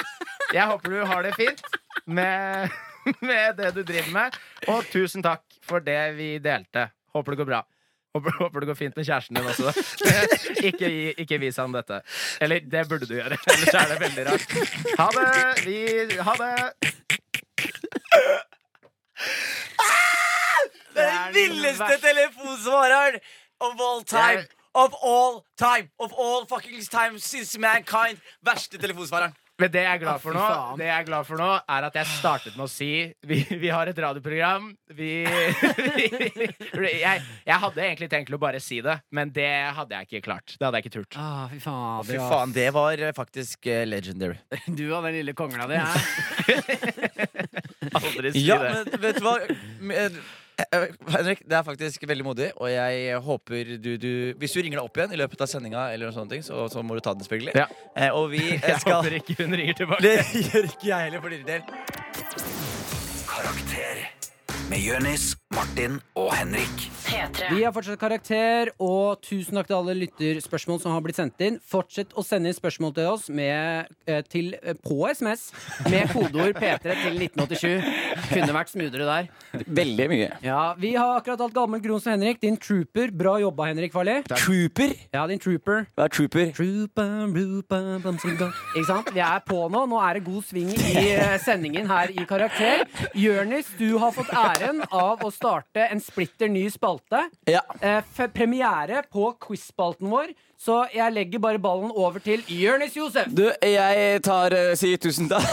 [SPEAKER 6] jeg håper du har det fint med, med det du driver med. Og tusen takk for det vi delte. Håper det går bra. Håper, håper det går fint med kjæresten din også. Ikke, gi- ikke vis han dette. Eller det burde du gjøre. Ellers er det veldig rart. Ha det! Vi, ha det!
[SPEAKER 10] Det er den villeste telefonsvareren of all time. Of all time. Of all fucking time since mankind. Verste telefonsvareren.
[SPEAKER 6] Men det jeg er glad for nå,
[SPEAKER 10] Å, fy faen.
[SPEAKER 6] det jeg er glad for nå er at jeg startet med å si Vi, vi har et radioprogram. Vi, jeg, jeg hadde egentlig tenkt til å bare si det, men det hadde jeg ikke klart. Det hadde jeg ikke turt.
[SPEAKER 2] Ah, fy faen,
[SPEAKER 10] Fy faen, det var eh, faktisk eh, legendary.
[SPEAKER 2] Du og den lille kongla di. ja.
[SPEAKER 6] Aldri si
[SPEAKER 10] Ja,
[SPEAKER 6] det.
[SPEAKER 10] men vet du hva? Men, eh, eh, Henrik, det er faktisk veldig modig, og jeg håper du, du Hvis du ringer deg opp igjen i løpet av sendinga, eller noe sånt, så, så må du ta den, selvfølgelig.
[SPEAKER 6] Ja.
[SPEAKER 10] Eh, og vi eh,
[SPEAKER 6] Jeg
[SPEAKER 10] skal
[SPEAKER 6] håper ikke hun ringer tilbake.
[SPEAKER 10] Det gjør ikke jeg heller, for din del.
[SPEAKER 1] Karakter med Jonis, Martin og Henrik.
[SPEAKER 4] P3.
[SPEAKER 2] Vi har fortsatt karakter, og tusen takk til alle lytterspørsmål som har blitt sendt inn. Fortsett å sende inn spørsmål til oss med, eh, til, eh, på SMS med kodeord P3 til 1987. Kunne vært smoothere der.
[SPEAKER 3] Veldig mye.
[SPEAKER 2] Ja, Vi har akkurat hatt gammel grums med Henrik. Din trooper. Bra jobba, Henrik Farley.
[SPEAKER 3] Trooper?
[SPEAKER 2] Ja, din trooper.
[SPEAKER 3] Hva er trooper?
[SPEAKER 2] Trooper, rooper, bum, bum, bum. Ikke sant? Vi er på nå. Nå er det god sving i eh, sendingen her i Karakter. Jørnis, du har fått æren av å starte en splitter ny spalte.
[SPEAKER 3] Ja.
[SPEAKER 2] Eh, f- premiere på quiz-spalten vår, så jeg legger bare ballen over til Jørnis Josef.
[SPEAKER 3] Du, jeg tar eh, sier tusen takk.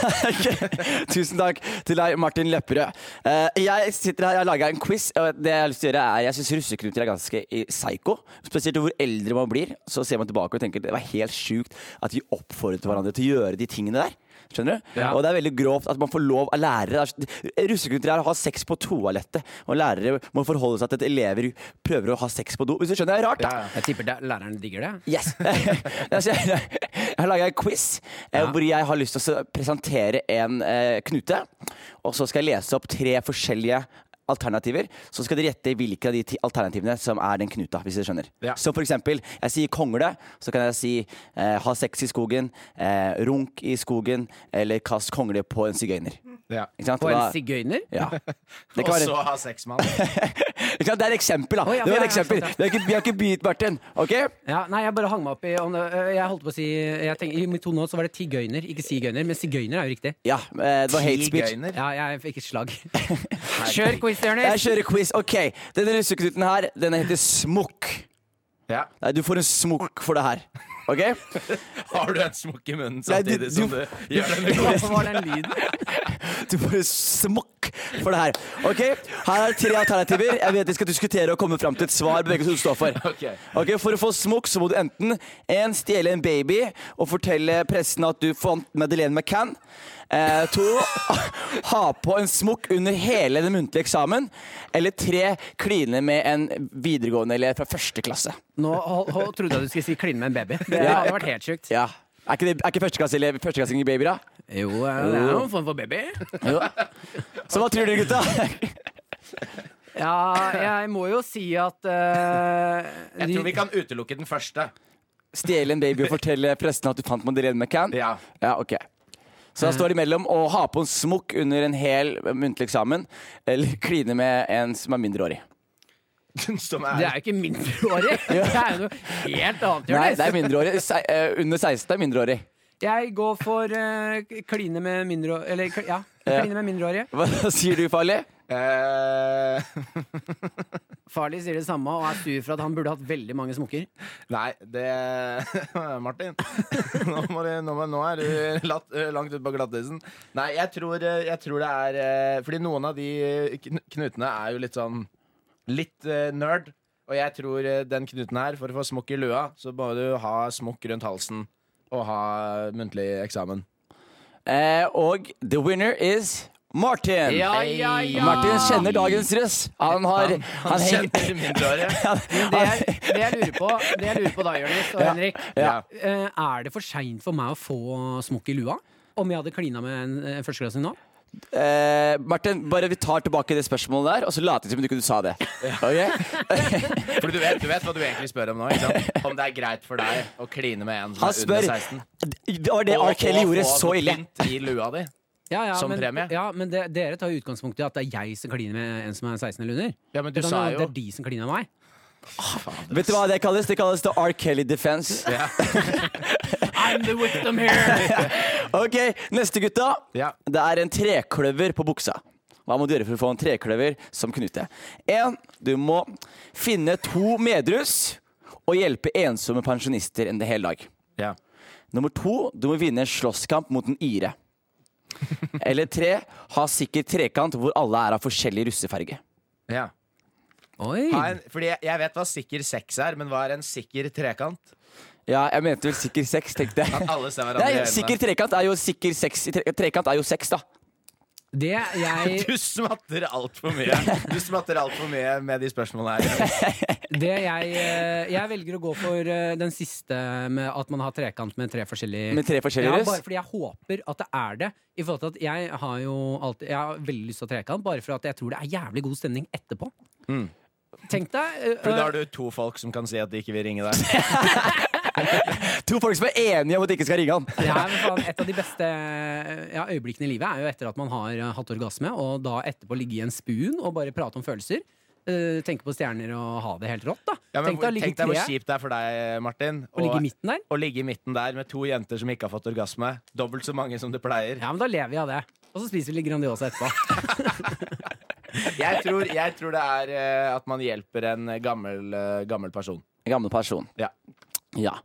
[SPEAKER 3] tusen takk til deg, Martin Lepperød. Eh, jeg sitter her, jeg har laga en quiz. Og det jeg har lyst til å gjøre er Jeg syns russeknuter er ganske i- psycho. Spesielt hvor eldre man blir. Så ser man tilbake og tenker det var helt sjukt at vi oppfordret hverandre til å gjøre de tingene der. Skjønner du? Og det er veldig grovt at man får lov av lærere. Det er så- Russeknuter er å ha sex på toalettet, og lærere må forholde seg til at elever prøver å ha sex på do. Hvis du skjønner, det er rart, da.
[SPEAKER 2] Jeg tipper det, læreren digger det.
[SPEAKER 3] Yes. altså, jeg, jeg har laga en quiz eh, hvor jeg har lyst til å presentere en eh, knute. Og så skal jeg lese opp tre forskjellige alternativer, så skal dere gjette hvilke av de ti alternativene som er den knuta, hvis dere skjønner.
[SPEAKER 6] Ja.
[SPEAKER 3] Så for eksempel, jeg sier kongle, så kan jeg si eh, ha sex i skogen, eh, runk i skogen, eller kast kongle på en sigøyner.
[SPEAKER 6] Ja.
[SPEAKER 3] Ikke sant?
[SPEAKER 2] På en
[SPEAKER 3] Da-
[SPEAKER 2] sigøyner?
[SPEAKER 3] Ja. Det
[SPEAKER 6] Og
[SPEAKER 3] kan
[SPEAKER 6] så
[SPEAKER 3] være,
[SPEAKER 6] ha sex med han.
[SPEAKER 3] ikke sant? Det er et eksempel, da.
[SPEAKER 2] Å, ja, ja, sånn,
[SPEAKER 3] det var et
[SPEAKER 2] ja,
[SPEAKER 3] eksempel.
[SPEAKER 2] sant,
[SPEAKER 3] Vi har ikke, vi har ikke begynt, Martin. OK?
[SPEAKER 2] Ja, nei, jeg bare hang meg opp i om det, øh, Jeg holdt på å si jeg tenker, I mitt hode nå så var det tigøyner, ikke sigøyner. Men sigøyner er jo riktig.
[SPEAKER 3] Ja, eh, det var hate speech.
[SPEAKER 6] Sigøyner.
[SPEAKER 2] Ja, jeg fikk et slag. Kjør quiz, Jonis!
[SPEAKER 3] Jeg kjører quiz. OK. Denne russeknuten her, den heter Smokk.
[SPEAKER 6] Ja.
[SPEAKER 3] Nei, du får en smokk for det her. OK?
[SPEAKER 6] Har du en smokk i munnen
[SPEAKER 3] Nei, du-
[SPEAKER 6] samtidig som du
[SPEAKER 3] du-
[SPEAKER 6] gjør den?
[SPEAKER 2] Hvorfor var den lyden?
[SPEAKER 3] Du får en smokk for det her. OK? Her er tre alternativer. Jeg vet vi skal diskutere og komme fram til et svar begge to står for.
[SPEAKER 6] Ok.
[SPEAKER 3] Ok, For å få smokk så må du enten en, stjele en baby og fortelle pressen at du fant Madeleine McCann. Eh, to, ha på en smokk under hele den muntlige eksamen. Eller tre, kline med en videregående eller fra første klasse.
[SPEAKER 2] Nå hold, hold, trodde jeg du skulle si 'kline med en baby'. Det
[SPEAKER 3] Ja.
[SPEAKER 2] hadde vært helt sjukt.
[SPEAKER 3] Ja. Er ikke, det, er ikke førsteklasselev førsteklassing i baby, da?
[SPEAKER 2] Jo, det er jo en form for baby.
[SPEAKER 3] Jo. Så hva tror dere, gutta?
[SPEAKER 2] Ja, jeg må jo si at øh,
[SPEAKER 6] Jeg
[SPEAKER 2] de-
[SPEAKER 6] tror vi kan utelukke den første.
[SPEAKER 3] Stjele en baby og fortelle pressen at du fant Madeleine McCann?
[SPEAKER 6] Ja.
[SPEAKER 3] Ja, ok Så da står det imellom å ha på en smokk under en hel muntlig eksamen, eller kline med en som er mindreårig.
[SPEAKER 6] Som
[SPEAKER 2] Det
[SPEAKER 6] er
[SPEAKER 2] er jo ikke mindreårig! Det er jo noe helt annet,
[SPEAKER 3] Nei,
[SPEAKER 2] Jonis.
[SPEAKER 3] det er mindreårig. Se, eh, under 16 er mindreårig.
[SPEAKER 2] Jeg går for eh, kline med mindreårige Eller kl- ja,
[SPEAKER 3] Ja.
[SPEAKER 2] kline med mindreårige.
[SPEAKER 3] Hva sier du, Farley?
[SPEAKER 6] Eh,
[SPEAKER 2] Farley sier det samme og er sur for at han burde hatt veldig mange smokker.
[SPEAKER 6] Nei, det Martin, nå, må du, nå, må, nå er du latt, langt ut på glattisen. Nei, jeg tror, jeg tror det er eh, Fordi noen av de kn- knutene er jo litt sånn Litt eh, nerd. Og jeg tror eh, den knuten her, for å få smokk i lua, så må du ha smokk rundt halsen og ha muntlig eksamen.
[SPEAKER 3] Eh, og the winner is Martin.
[SPEAKER 2] ja,
[SPEAKER 3] Martin kjenner dagens russ. Han har Han,
[SPEAKER 6] Han
[SPEAKER 3] henger-
[SPEAKER 6] kjenner mindreårige.
[SPEAKER 3] han,
[SPEAKER 2] Det jeg, det jeg lurer på Det jeg lurer på da, Jonis og Henrik,
[SPEAKER 6] Ja.
[SPEAKER 2] eh, er det for seint for meg å få smokk i lua? Om jeg hadde klina med en eh, førsteklassing nå?
[SPEAKER 3] eh, Martin, bare vi tar tilbake det spørsmålet der, og så later vi som du ikke sa det. Ok?
[SPEAKER 6] For du vet, du vet hva du egentlig spør om nå? Ikke sant? Om det er greit for deg å kline med en som
[SPEAKER 3] Han
[SPEAKER 6] er under
[SPEAKER 3] spør
[SPEAKER 6] 16?
[SPEAKER 3] Det var det
[SPEAKER 6] Og-
[SPEAKER 3] R. Kelly
[SPEAKER 6] og
[SPEAKER 3] gjorde
[SPEAKER 6] få
[SPEAKER 3] så ille.
[SPEAKER 6] pynt I lua di.
[SPEAKER 2] Ja, ja,
[SPEAKER 6] Som
[SPEAKER 2] men,
[SPEAKER 6] premie?
[SPEAKER 2] Ja, men det, dere tar jo utgangspunkt i at det er jeg som kliner med en som er 16 eller under.
[SPEAKER 6] Ja, men du
[SPEAKER 2] Det kan
[SPEAKER 6] sa
[SPEAKER 2] jo-
[SPEAKER 6] jo
[SPEAKER 2] Det er de som kliner med meg.
[SPEAKER 3] Vet du hva det kalles? Det kalles the R. Kelly defense.
[SPEAKER 2] I'm the victim here!
[SPEAKER 3] Ok, neste gutta.
[SPEAKER 6] Ja.
[SPEAKER 3] Det er en trekløver på buksa. Hva må du gjøre for å få en trekløver som Knute? En, du må finne to medrus og hjelpe ensomme pensjonister en hel dag.
[SPEAKER 6] Ja.
[SPEAKER 3] Nummer to, du må vinne en slåsskamp mot en ire. Eller tre, ha sikker trekant hvor alle er av forskjellig russefarge.
[SPEAKER 6] Ja.
[SPEAKER 2] Oi!
[SPEAKER 6] Ha en, fordi jeg, jeg vet hva sikker sex er, men hva er en sikker trekant?
[SPEAKER 3] Ja, jeg mente vel sikker sex, tenkte jeg.
[SPEAKER 6] At alle ser hverandre i
[SPEAKER 3] Nei,
[SPEAKER 6] øynene.
[SPEAKER 3] sikker trekant er jo sikker sex. i tre- Trekant er jo sex, da.
[SPEAKER 2] Det jeg
[SPEAKER 6] Du smatter altfor mye Du smatter alt for mye med de spørsmålene her.
[SPEAKER 2] Det jeg, eh, jeg velger å gå for eh, den siste med at man har trekant med tre forskjellige
[SPEAKER 3] Med tre forskjellige
[SPEAKER 2] ja,
[SPEAKER 3] rus.
[SPEAKER 2] Bare fordi jeg håper at det er det. I forhold til at Jeg har jo alltid Jeg har veldig lyst til å ha trekant, bare for at jeg tror det er jævlig god stemning etterpå. Tenk deg eh,
[SPEAKER 6] Mm. For da har du to folk som kan si at de ikke vil ringe deg.
[SPEAKER 3] To folk som er enige om at de ikke skal ringe han.
[SPEAKER 2] det eh, er vel faen Et av de beste eh, ja, øyeblikkene i livet er jo etter at man har eh, hatt orgasme, og da etterpå ligge i en spoon og bare prate om følelser. Eh, tenke på stjerner og ha det helt rått, da.
[SPEAKER 6] Ja, men,
[SPEAKER 2] tenk deg å ligge i
[SPEAKER 6] tenk deg hvor
[SPEAKER 2] treet
[SPEAKER 6] kjipt det er for deg, Martin.
[SPEAKER 2] og ligge i midten der.
[SPEAKER 6] å ligge i midten der med to jenter som ikke har fått orgasme. Dobbelt så mange som det pleier.
[SPEAKER 2] Ja, men da lever vi av det. Og så spiser vi litt Grandiosa etterpå.
[SPEAKER 6] Jeg tror, jeg tror det er eh, at man hjelper en gammel, eh, gammel person.
[SPEAKER 3] En gammel person.
[SPEAKER 6] Ja.
[SPEAKER 3] Ja.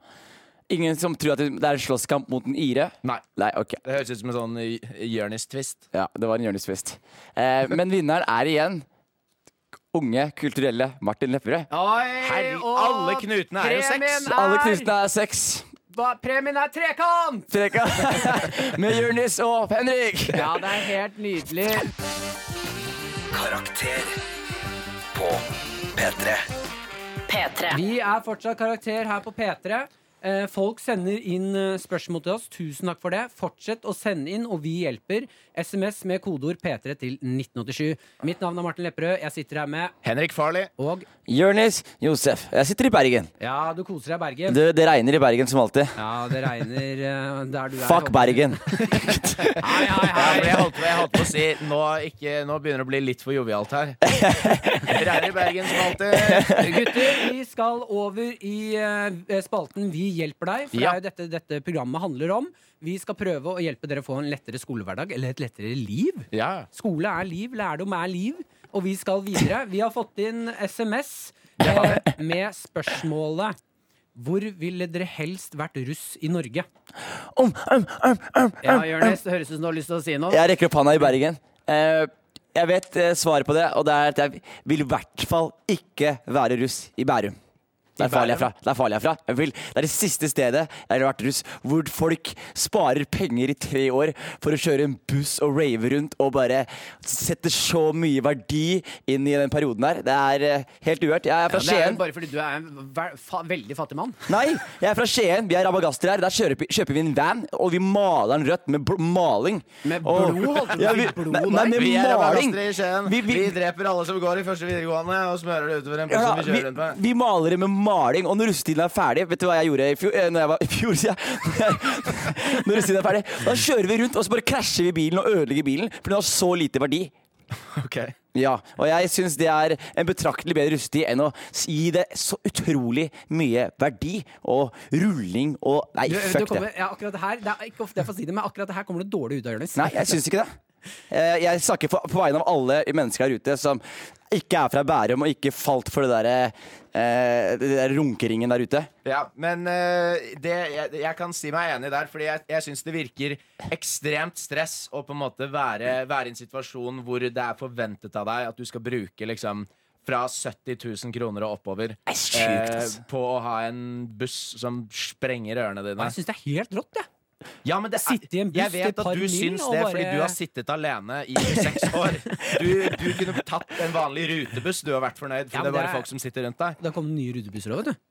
[SPEAKER 3] Ingen som tror at det er en slåsskamp mot en ire?
[SPEAKER 6] Nei.
[SPEAKER 3] Nei, ok.
[SPEAKER 6] Det høres ut som en sånn Jonis-twist.
[SPEAKER 3] Ja, det var en hjørnesfest. Eh, men vinneren er igjen unge, kulturelle Martin Lepperød.
[SPEAKER 6] Herre- alle knutene er jo seks!
[SPEAKER 3] Alle knusene er seks.
[SPEAKER 2] premien er trekant!
[SPEAKER 3] Trekant med Jonis og Henrik.
[SPEAKER 2] Ja, det er helt nydelig.
[SPEAKER 1] Karakter på P3.
[SPEAKER 4] P3.
[SPEAKER 2] Vi er fortsatt karakter her på P3. Eh, Eh, Folk sender inn eh, spørsmål til oss. Tusen takk for det. Fortsett å sende inn, og vi hjelper. SMS med kodeord P3 til 1987. Mitt navn er Martin Lepperød. Jeg sitter her med
[SPEAKER 6] Henrik Farley.
[SPEAKER 2] Og
[SPEAKER 3] Jonis Josef. Jeg sitter i Bergen.
[SPEAKER 2] Ja, du koser deg i Bergen.
[SPEAKER 3] Det, det regner i Bergen som alltid.
[SPEAKER 2] Ja, det regner eh, der du er.
[SPEAKER 3] Fuck Bergen.
[SPEAKER 6] Jeg holdt, på- jeg holdt på å si nå, ikke, nå begynner det å bli litt for jovialt her. Det regner i Bergen som alltid.
[SPEAKER 2] Gutter, vi skal over i eh, spalten Vi hjelper deg. For det
[SPEAKER 6] Ja.
[SPEAKER 2] er jo dette dette programmet handler om. Vi skal prøve å hjelpe dere å få en lettere skolehverdag, eller et lettere liv. Skole er liv, lærdom er liv. Og vi skal videre. Vi har fått inn SMS eh, med spørsmålet Hvor ville dere helst vært russ i Norge?
[SPEAKER 3] Om, om, om, om,
[SPEAKER 2] Ja,
[SPEAKER 3] om,
[SPEAKER 2] Jonis, det høres ut som du har lyst til å si noe.
[SPEAKER 3] Jeg rekker opp handa i Bergen. Eh, jeg vet eh, svaret på det, og det er at jeg vil i hvert fall ikke være russ i Bærum. Det er farlig herfra. Det er farlig herfra. Jeg vil, det er det siste stedet jeg har vært russ, hvor folk sparer penger i tre år for å kjøre en buss og rave rundt og bare setter så mye verdi inn i den perioden der. Det er eh, helt uhørt. Jeg er
[SPEAKER 2] Ja, det
[SPEAKER 3] fra
[SPEAKER 2] er
[SPEAKER 3] Skien.
[SPEAKER 2] jo bare fordi du er en ver- fa veldig fattig mann.
[SPEAKER 3] Nei, jeg er fra Skien. Vi er rabagaster her. Der kjører, vi- kjøper vi en van, og vi maler den rødt med bl maling.
[SPEAKER 2] Med
[SPEAKER 3] Og-
[SPEAKER 6] blod? Holdt du på å
[SPEAKER 3] Ja,
[SPEAKER 6] si
[SPEAKER 3] vi-
[SPEAKER 6] blod
[SPEAKER 3] Nei,
[SPEAKER 6] der?
[SPEAKER 3] nei, med
[SPEAKER 6] Vi er
[SPEAKER 3] maling.
[SPEAKER 6] rabagasterne i Skien.
[SPEAKER 3] Vi- vi-
[SPEAKER 6] Vi dreper alle som går i første videregående, og smører det utover en buss
[SPEAKER 3] Ja,
[SPEAKER 6] som vi
[SPEAKER 3] vi,
[SPEAKER 6] kjører rundt med.
[SPEAKER 3] vi maler det med maling, og når russetiden er ferdig Vet du hva jeg gjorde i fjor? eh, Når jeg var i fjor, sier jeg. Når russetiden er ferdig, da kjører vi rundt, og så bare krasjer vi bilen og ødelegger bilen, for den har så lite verdi.
[SPEAKER 6] Ok.
[SPEAKER 3] Ja, og jeg syns det er en betraktelig bedre russetid enn å gi det så utrolig mye verdi og rulling og Nei,
[SPEAKER 2] Du, du
[SPEAKER 3] fuck det.
[SPEAKER 2] kommer, ja, akkurat her, det er ikke ofte jeg får si det, men akkurat det her kommer det dårlig ut av, Jonis.
[SPEAKER 3] Nei, jeg syns ikke det. Eh, Jeg snakker for, på vegne av alle mennesker her ute som ikke er fra Bærum og ikke falt for det der, eh, det der runkeringen der ute.
[SPEAKER 6] Ja, men eh, det, jeg, jeg kan si meg enig der, fordi jeg, jeg syns det virker ekstremt stress å på en måte være, være i en situasjon hvor det er forventet av deg at du skal bruke liksom fra 70 000 kroner og oppover
[SPEAKER 3] sjukt,
[SPEAKER 6] eh,
[SPEAKER 3] ass.
[SPEAKER 6] på å ha en buss som sprenger ørene dine.
[SPEAKER 2] Jeg syns det er helt rått, jeg.
[SPEAKER 6] Ja, men det er,
[SPEAKER 2] Sitte i en buss
[SPEAKER 6] jeg
[SPEAKER 2] til
[SPEAKER 6] vet
[SPEAKER 2] et par
[SPEAKER 6] at du
[SPEAKER 2] mil
[SPEAKER 6] syns
[SPEAKER 2] og
[SPEAKER 6] det,
[SPEAKER 2] bare-
[SPEAKER 6] fordi du har sittet alene i seks år. Du, du kunne tatt en vanlig rutebuss, du har vært fornøyd,
[SPEAKER 2] Ja,
[SPEAKER 6] for
[SPEAKER 2] men
[SPEAKER 6] det er
[SPEAKER 2] det
[SPEAKER 6] bare
[SPEAKER 2] er-
[SPEAKER 6] folk som sitter rundt deg.
[SPEAKER 2] Det har kommet nye rutebusser òg, vet du.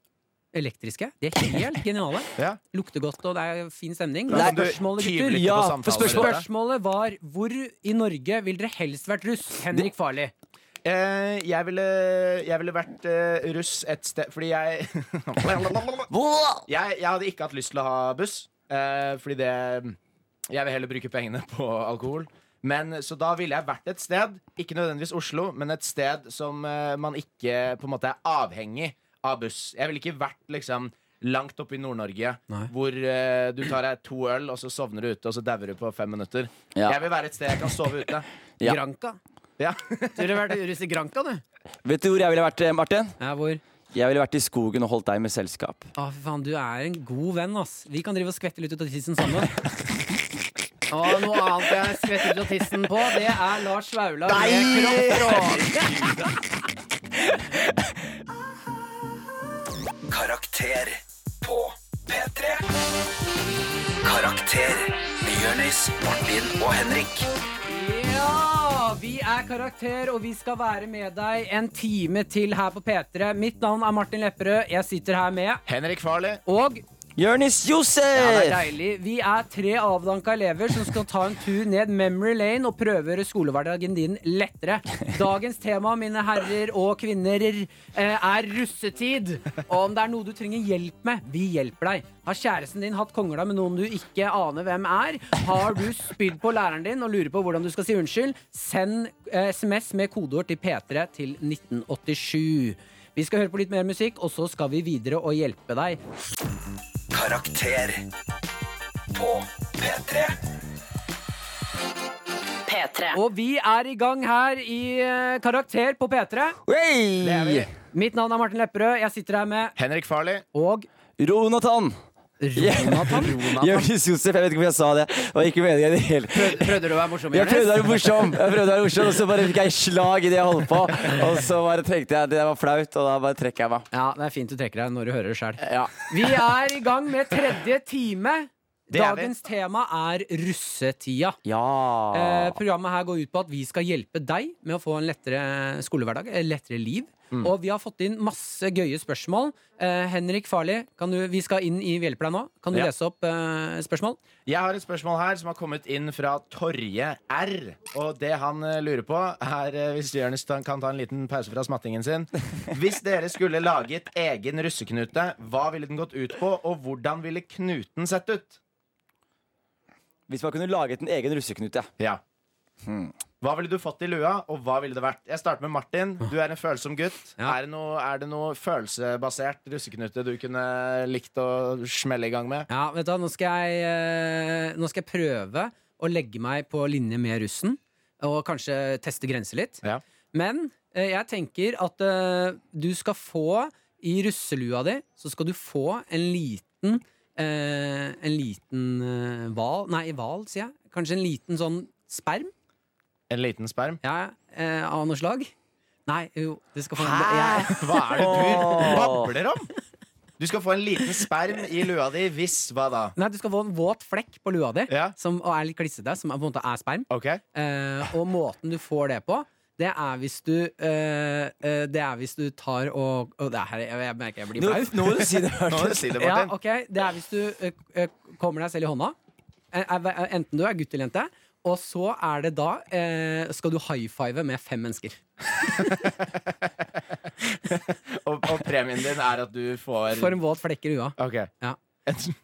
[SPEAKER 2] Elektriske. De er helt geniale.
[SPEAKER 6] Ja.
[SPEAKER 2] Lukter godt, og det er fin stemning.
[SPEAKER 6] Da kan du
[SPEAKER 2] spørsmålet,
[SPEAKER 6] tyvlytte
[SPEAKER 2] gutter.
[SPEAKER 6] på
[SPEAKER 3] Ja,
[SPEAKER 6] samtaler.
[SPEAKER 3] for spørsmål-
[SPEAKER 2] Spørsmålet var hvor i Norge vil dere helst vært russ? Henrik Farli.
[SPEAKER 6] Eh, jeg, ville, jeg ville vært eh, russ et sted Fordi jeg
[SPEAKER 3] Wow!
[SPEAKER 6] jeg, jeg hadde ikke hatt lyst til å ha buss. eh, fordi det Jeg vil heller bruke pengene på alkohol. Men, så da ville jeg vært et sted, ikke nødvendigvis Oslo, men et sted som eh, man ikke på en måte er avhengig av buss. Jeg ville ikke vært liksom langt oppe i Nord-Norge
[SPEAKER 2] Nei.
[SPEAKER 6] hvor eh, du tar deg to øl, og så sovner du ute, og så dauer du på fem minutter.
[SPEAKER 3] Ja.
[SPEAKER 6] Jeg vil være et sted jeg kan sove ute.
[SPEAKER 3] Ja.
[SPEAKER 2] Granka.
[SPEAKER 6] Ja.
[SPEAKER 2] Ville vært russ i Granka, du?
[SPEAKER 3] Vet du hvor jeg ville vært, eh, Martin?
[SPEAKER 2] Ja, hvor?
[SPEAKER 3] Jeg ville vært i skogen og holdt deg med selskap.
[SPEAKER 2] Å, fy faen, du er en god venn, ass. Vi kan drive og skvette litt ut av tissen sammen. Og noe annet jeg skvetter ut av tissen på, det er Lars Vaular med kroppsspråk.
[SPEAKER 1] Karakter på P3. Karakter med Jonis, Martin og Henrik.
[SPEAKER 2] Ja! Vi er Karakter, og vi skal være med deg en time til her på P3. Mitt navn er Martin Lepperød. Jeg sitter her med
[SPEAKER 6] Henrik Farley.
[SPEAKER 2] Og
[SPEAKER 3] Jonis
[SPEAKER 2] ja, det er
[SPEAKER 3] Josef!
[SPEAKER 2] deilig. Vi er tre avdanka elever som skal ta en tur ned memory lane og prøve å gjøre skolehverdagen din lettere. Dagens tema, mine herrer og kvinner, eh, er russetid. Og om det er noe du trenger hjelp med, vi hjelper deg. Har kjæresten din hatt kongla med noen du ikke aner hvem er? Har du spydd på læreren din og lurer på hvordan du skal si unnskyld? Send eh, SMS med kodeord til P3 til 1987. Vi skal høre på litt mer musikk, og så skal vi videre og hjelpe deg.
[SPEAKER 1] Karakter på P3.
[SPEAKER 4] P3.
[SPEAKER 2] Og vi er i gang her i eh, Karakter på P3.
[SPEAKER 3] Hey!
[SPEAKER 2] Mitt navn er Martin Lepperød. Jeg sitter her med
[SPEAKER 6] Henrik Farley.
[SPEAKER 2] og
[SPEAKER 3] Ronatan!
[SPEAKER 2] Jonathan.
[SPEAKER 3] Jonis Josef, jeg vet ikke om jeg sa det. Det var ikke meningen i det hele
[SPEAKER 2] Prøvde du å være morsom,
[SPEAKER 3] Jeg prøvde å
[SPEAKER 2] Jonis?
[SPEAKER 3] være morsom, Jeg prøvde å være morsom og så bare fikk jeg slag i det jeg holdt på. Og så bare tenkte jeg at det der var flaut, og da bare trekker jeg meg.
[SPEAKER 2] Ja, det er fint du trekker deg når du hører det sjøl.
[SPEAKER 3] Ja.
[SPEAKER 2] Vi er i gang med tredje time.
[SPEAKER 6] Det er vi.
[SPEAKER 2] Dagens tema er russetida.
[SPEAKER 3] ja.
[SPEAKER 6] Ah.
[SPEAKER 2] Eh, programmet her går ut på at vi skal hjelpe deg med å få en lettere skolehverdag. eh, lettere liv.
[SPEAKER 6] Mm.
[SPEAKER 2] Og vi har fått inn masse gøye spørsmål. Eh, Henrik Farli, kan du, vi skal inn i Hjelper deg nå. Kan du
[SPEAKER 6] Ja.
[SPEAKER 2] lese opp eh, spørsmål?
[SPEAKER 6] Jeg har et spørsmål her som har kommet inn fra Torje R. Og det han eh, lurer på, er eh, hvis Jonis ta- kan ta en liten pause fra smattingen sin Hvis dere skulle laget egen russeknute, hva ville den gått ut på, og hvordan ville knuten sett ut?
[SPEAKER 3] Hvis man kunne laget en egen russeknute.
[SPEAKER 6] Ja. Hva ville du fått i lua, og hva ville det vært? Jeg starter med Martin. Du er en følsom gutt. Er, det noe, er det noe følelsebasert russeknute du kunne likt å smelle i gang med?
[SPEAKER 2] Ja, vet du, hva, nå skal, jeg, eh, nå skal jeg prøve å legge meg på linje med russen, og kanskje teste grenser litt. Men eh, jeg tenker at eh, du skal få, i russelua di, så skal du få en liten eh, En liten eh, hval Nei, hval, sier jeg. Kanskje en liten sånn sperm?
[SPEAKER 6] En liten sperm?
[SPEAKER 2] Ja, eh, Av noe slag? Nei, jo, du skal få
[SPEAKER 6] Hæ?
[SPEAKER 2] Jeg-
[SPEAKER 6] Hva er det du babler om? Du skal få en liten sperm i lua di hvis hva da?
[SPEAKER 2] Nei, du skal få en våt flekk på lua di, som og er litt klissete, som er, på en måte er sperm. Eh, og måten du får det på, det er hvis du eh, eh, Det er hvis du tar og, og det her, jeg, jeg merker jeg blir
[SPEAKER 3] Nå-
[SPEAKER 2] flau.
[SPEAKER 3] nå må du si det, Martin. Nå må du si det, Martin.
[SPEAKER 2] Ja, ok. Det er hvis du eh, eh, kommer deg selv i hånda, eh, eh, enten du er gutt eller jente, og så er det da eh, skal du high five med fem mennesker.
[SPEAKER 6] Og, og premien din er at du får
[SPEAKER 2] For en våt flekk i lua.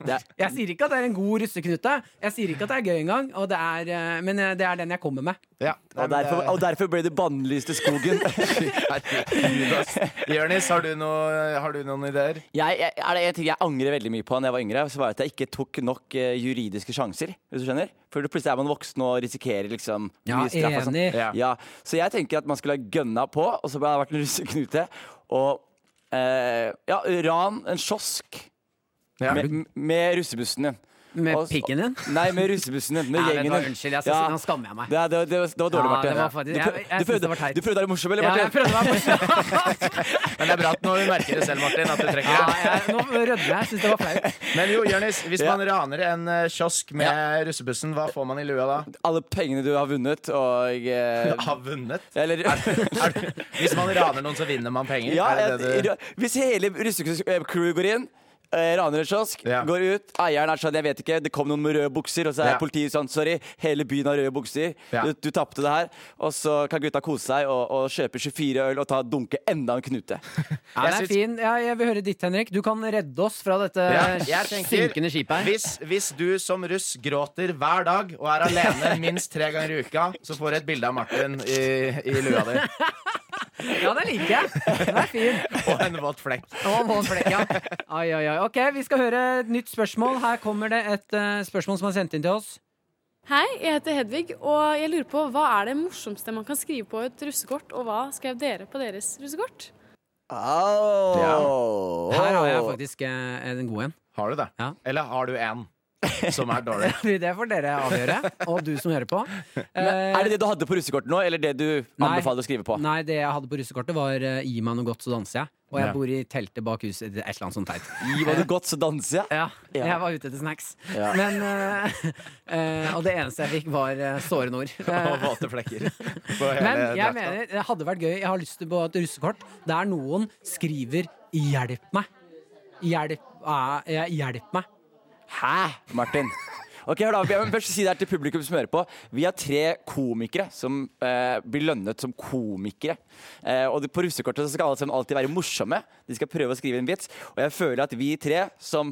[SPEAKER 2] Ja. Jeg sier ikke at det er en god russeknute, Jeg sier ikke at det er gøy engang, og det er, eh, men eh, det er den jeg kommer med.
[SPEAKER 3] Og derfor, og derfor ble du bannlyst i skogen.
[SPEAKER 6] eh, Jonis, har, du noe- har du noen ideer?
[SPEAKER 3] Jeg, jeg, er det en ting jeg angrer veldig mye på da jeg var yngre, så var det at jeg ikke tok nok eh, juridiske sjanser. Hvis du skjønner For plutselig er man voksen og risikerer liksom
[SPEAKER 2] Ja,
[SPEAKER 3] mye straff. Og sånn.
[SPEAKER 2] enig.
[SPEAKER 3] ja. Så jeg tenker at man skulle ha gønna på, og så burde det vært en russeknute. Og eh, ja, ran en kiosk med, med russebussen din.
[SPEAKER 2] Med
[SPEAKER 3] Og-
[SPEAKER 2] pikken din?
[SPEAKER 3] Nei, med russebussen din. Med
[SPEAKER 2] Nei, vet du
[SPEAKER 3] gjengen
[SPEAKER 2] hva,
[SPEAKER 3] din.
[SPEAKER 2] unnskyld, jeg skal si- nå skammer jeg meg.
[SPEAKER 3] Det, det, det, var- det var dårlig,
[SPEAKER 2] Ja,
[SPEAKER 3] Martin.
[SPEAKER 2] det var faktisk-
[SPEAKER 3] du,
[SPEAKER 2] jeg- jeg
[SPEAKER 3] prøvde-
[SPEAKER 2] synes det
[SPEAKER 3] du,
[SPEAKER 2] var
[SPEAKER 3] prøvde,
[SPEAKER 2] teit.
[SPEAKER 3] du prøvde å være morsom, eller,
[SPEAKER 2] Ja,
[SPEAKER 3] Martin?
[SPEAKER 2] jeg prøvde å være morsom.
[SPEAKER 6] Men det er bra at nå merker det selv, Martin. At du trekker det.
[SPEAKER 2] Nå rødmer jeg. Syns det var flaut.
[SPEAKER 6] Men jo, Jonis, hvis
[SPEAKER 3] Ja.
[SPEAKER 6] man raner en eh, kiosk med russebussen, hva får man i lua da?
[SPEAKER 3] Alle pengene du har vunnet, og eh,
[SPEAKER 6] Har vunnet?
[SPEAKER 3] Eller
[SPEAKER 6] Hvis man raner noen, så vinner man penger?
[SPEAKER 3] ja,
[SPEAKER 6] er det det
[SPEAKER 3] jeg-
[SPEAKER 6] du...
[SPEAKER 3] Hvis hele russecrew går inn eh, Raner en kiosk, går ut. Eieren er sånn, jeg vet ikke, det kom noen med røde bukser. Og så er
[SPEAKER 6] Ja.
[SPEAKER 3] politiet sånn, sorry, hele byen har røde bukser.
[SPEAKER 6] Ja.
[SPEAKER 3] Du, du tapte det her. Og så kan gutta kose seg og, og kjøpe 24 øl og ta dunke enda en knute.
[SPEAKER 2] Ja, den er fin. Ja, jeg vil høre ditt, Henrik. Du kan redde oss fra dette
[SPEAKER 6] Ja, jeg tenker,
[SPEAKER 2] synkende skipet Eh, her.
[SPEAKER 6] hvis, hvis du som russ gråter hver dag og er alene minst tre ganger i uka, så får du et bilde av Martin i, i lua di.
[SPEAKER 2] Ja, den liker jeg. Den er fin.
[SPEAKER 6] Og en våt flekk.
[SPEAKER 2] Og våt flekk, ja. Oi, oi, oi. Ok, vi skal høre et nytt spørsmål. Her kommer det et eh, spørsmål som er sendt inn til oss.
[SPEAKER 12] Hei, jeg heter Hedvig, og jeg lurer på hva er det morsomste man kan skrive på et russekort, og hva skrev dere på deres russekort?
[SPEAKER 3] Au.
[SPEAKER 2] Her har jeg faktisk eh, en god en.
[SPEAKER 6] Har du det? Eller har du en som er dårlig?
[SPEAKER 2] Det får dere avgjøre, og du som hører på.
[SPEAKER 3] Men er det det du hadde på russekortet nå, eller det du
[SPEAKER 2] Eh. Nei.
[SPEAKER 3] anbefaler å skrive på?
[SPEAKER 2] Nei, det jeg hadde på russekortet var eh, 'gi meg noe godt, så danser jeg'. Og jeg
[SPEAKER 3] Ja.
[SPEAKER 2] bor i teltet bak huset. Et eller annet sånt teit.
[SPEAKER 3] Gi meg noe godt, så danser jeg.
[SPEAKER 2] Ja,
[SPEAKER 3] Ja.
[SPEAKER 2] jeg var ute etter snacks.
[SPEAKER 3] Ja.
[SPEAKER 2] Men, eh, eh, og det eneste jeg fikk, var eh, sårende ord.
[SPEAKER 6] Og våte flekker. På hele
[SPEAKER 2] Men jeg
[SPEAKER 6] drakta.
[SPEAKER 2] mener, det hadde vært gøy. Jeg har lyst til på et russekort der noen skriver 'hjelp meg'. Hjelp, eh, ja, hjelp meg.
[SPEAKER 3] Hæ, Martin? Ok, hør da, jeg må først si det her til publikum som hører på. Vi er tre komikere som eh, blir lønnet som komikere. Eh, og det- på russekortet så skal alle sammen alltid være morsomme. De skal prøve å skrive en vits. Og jeg føler at vi tre som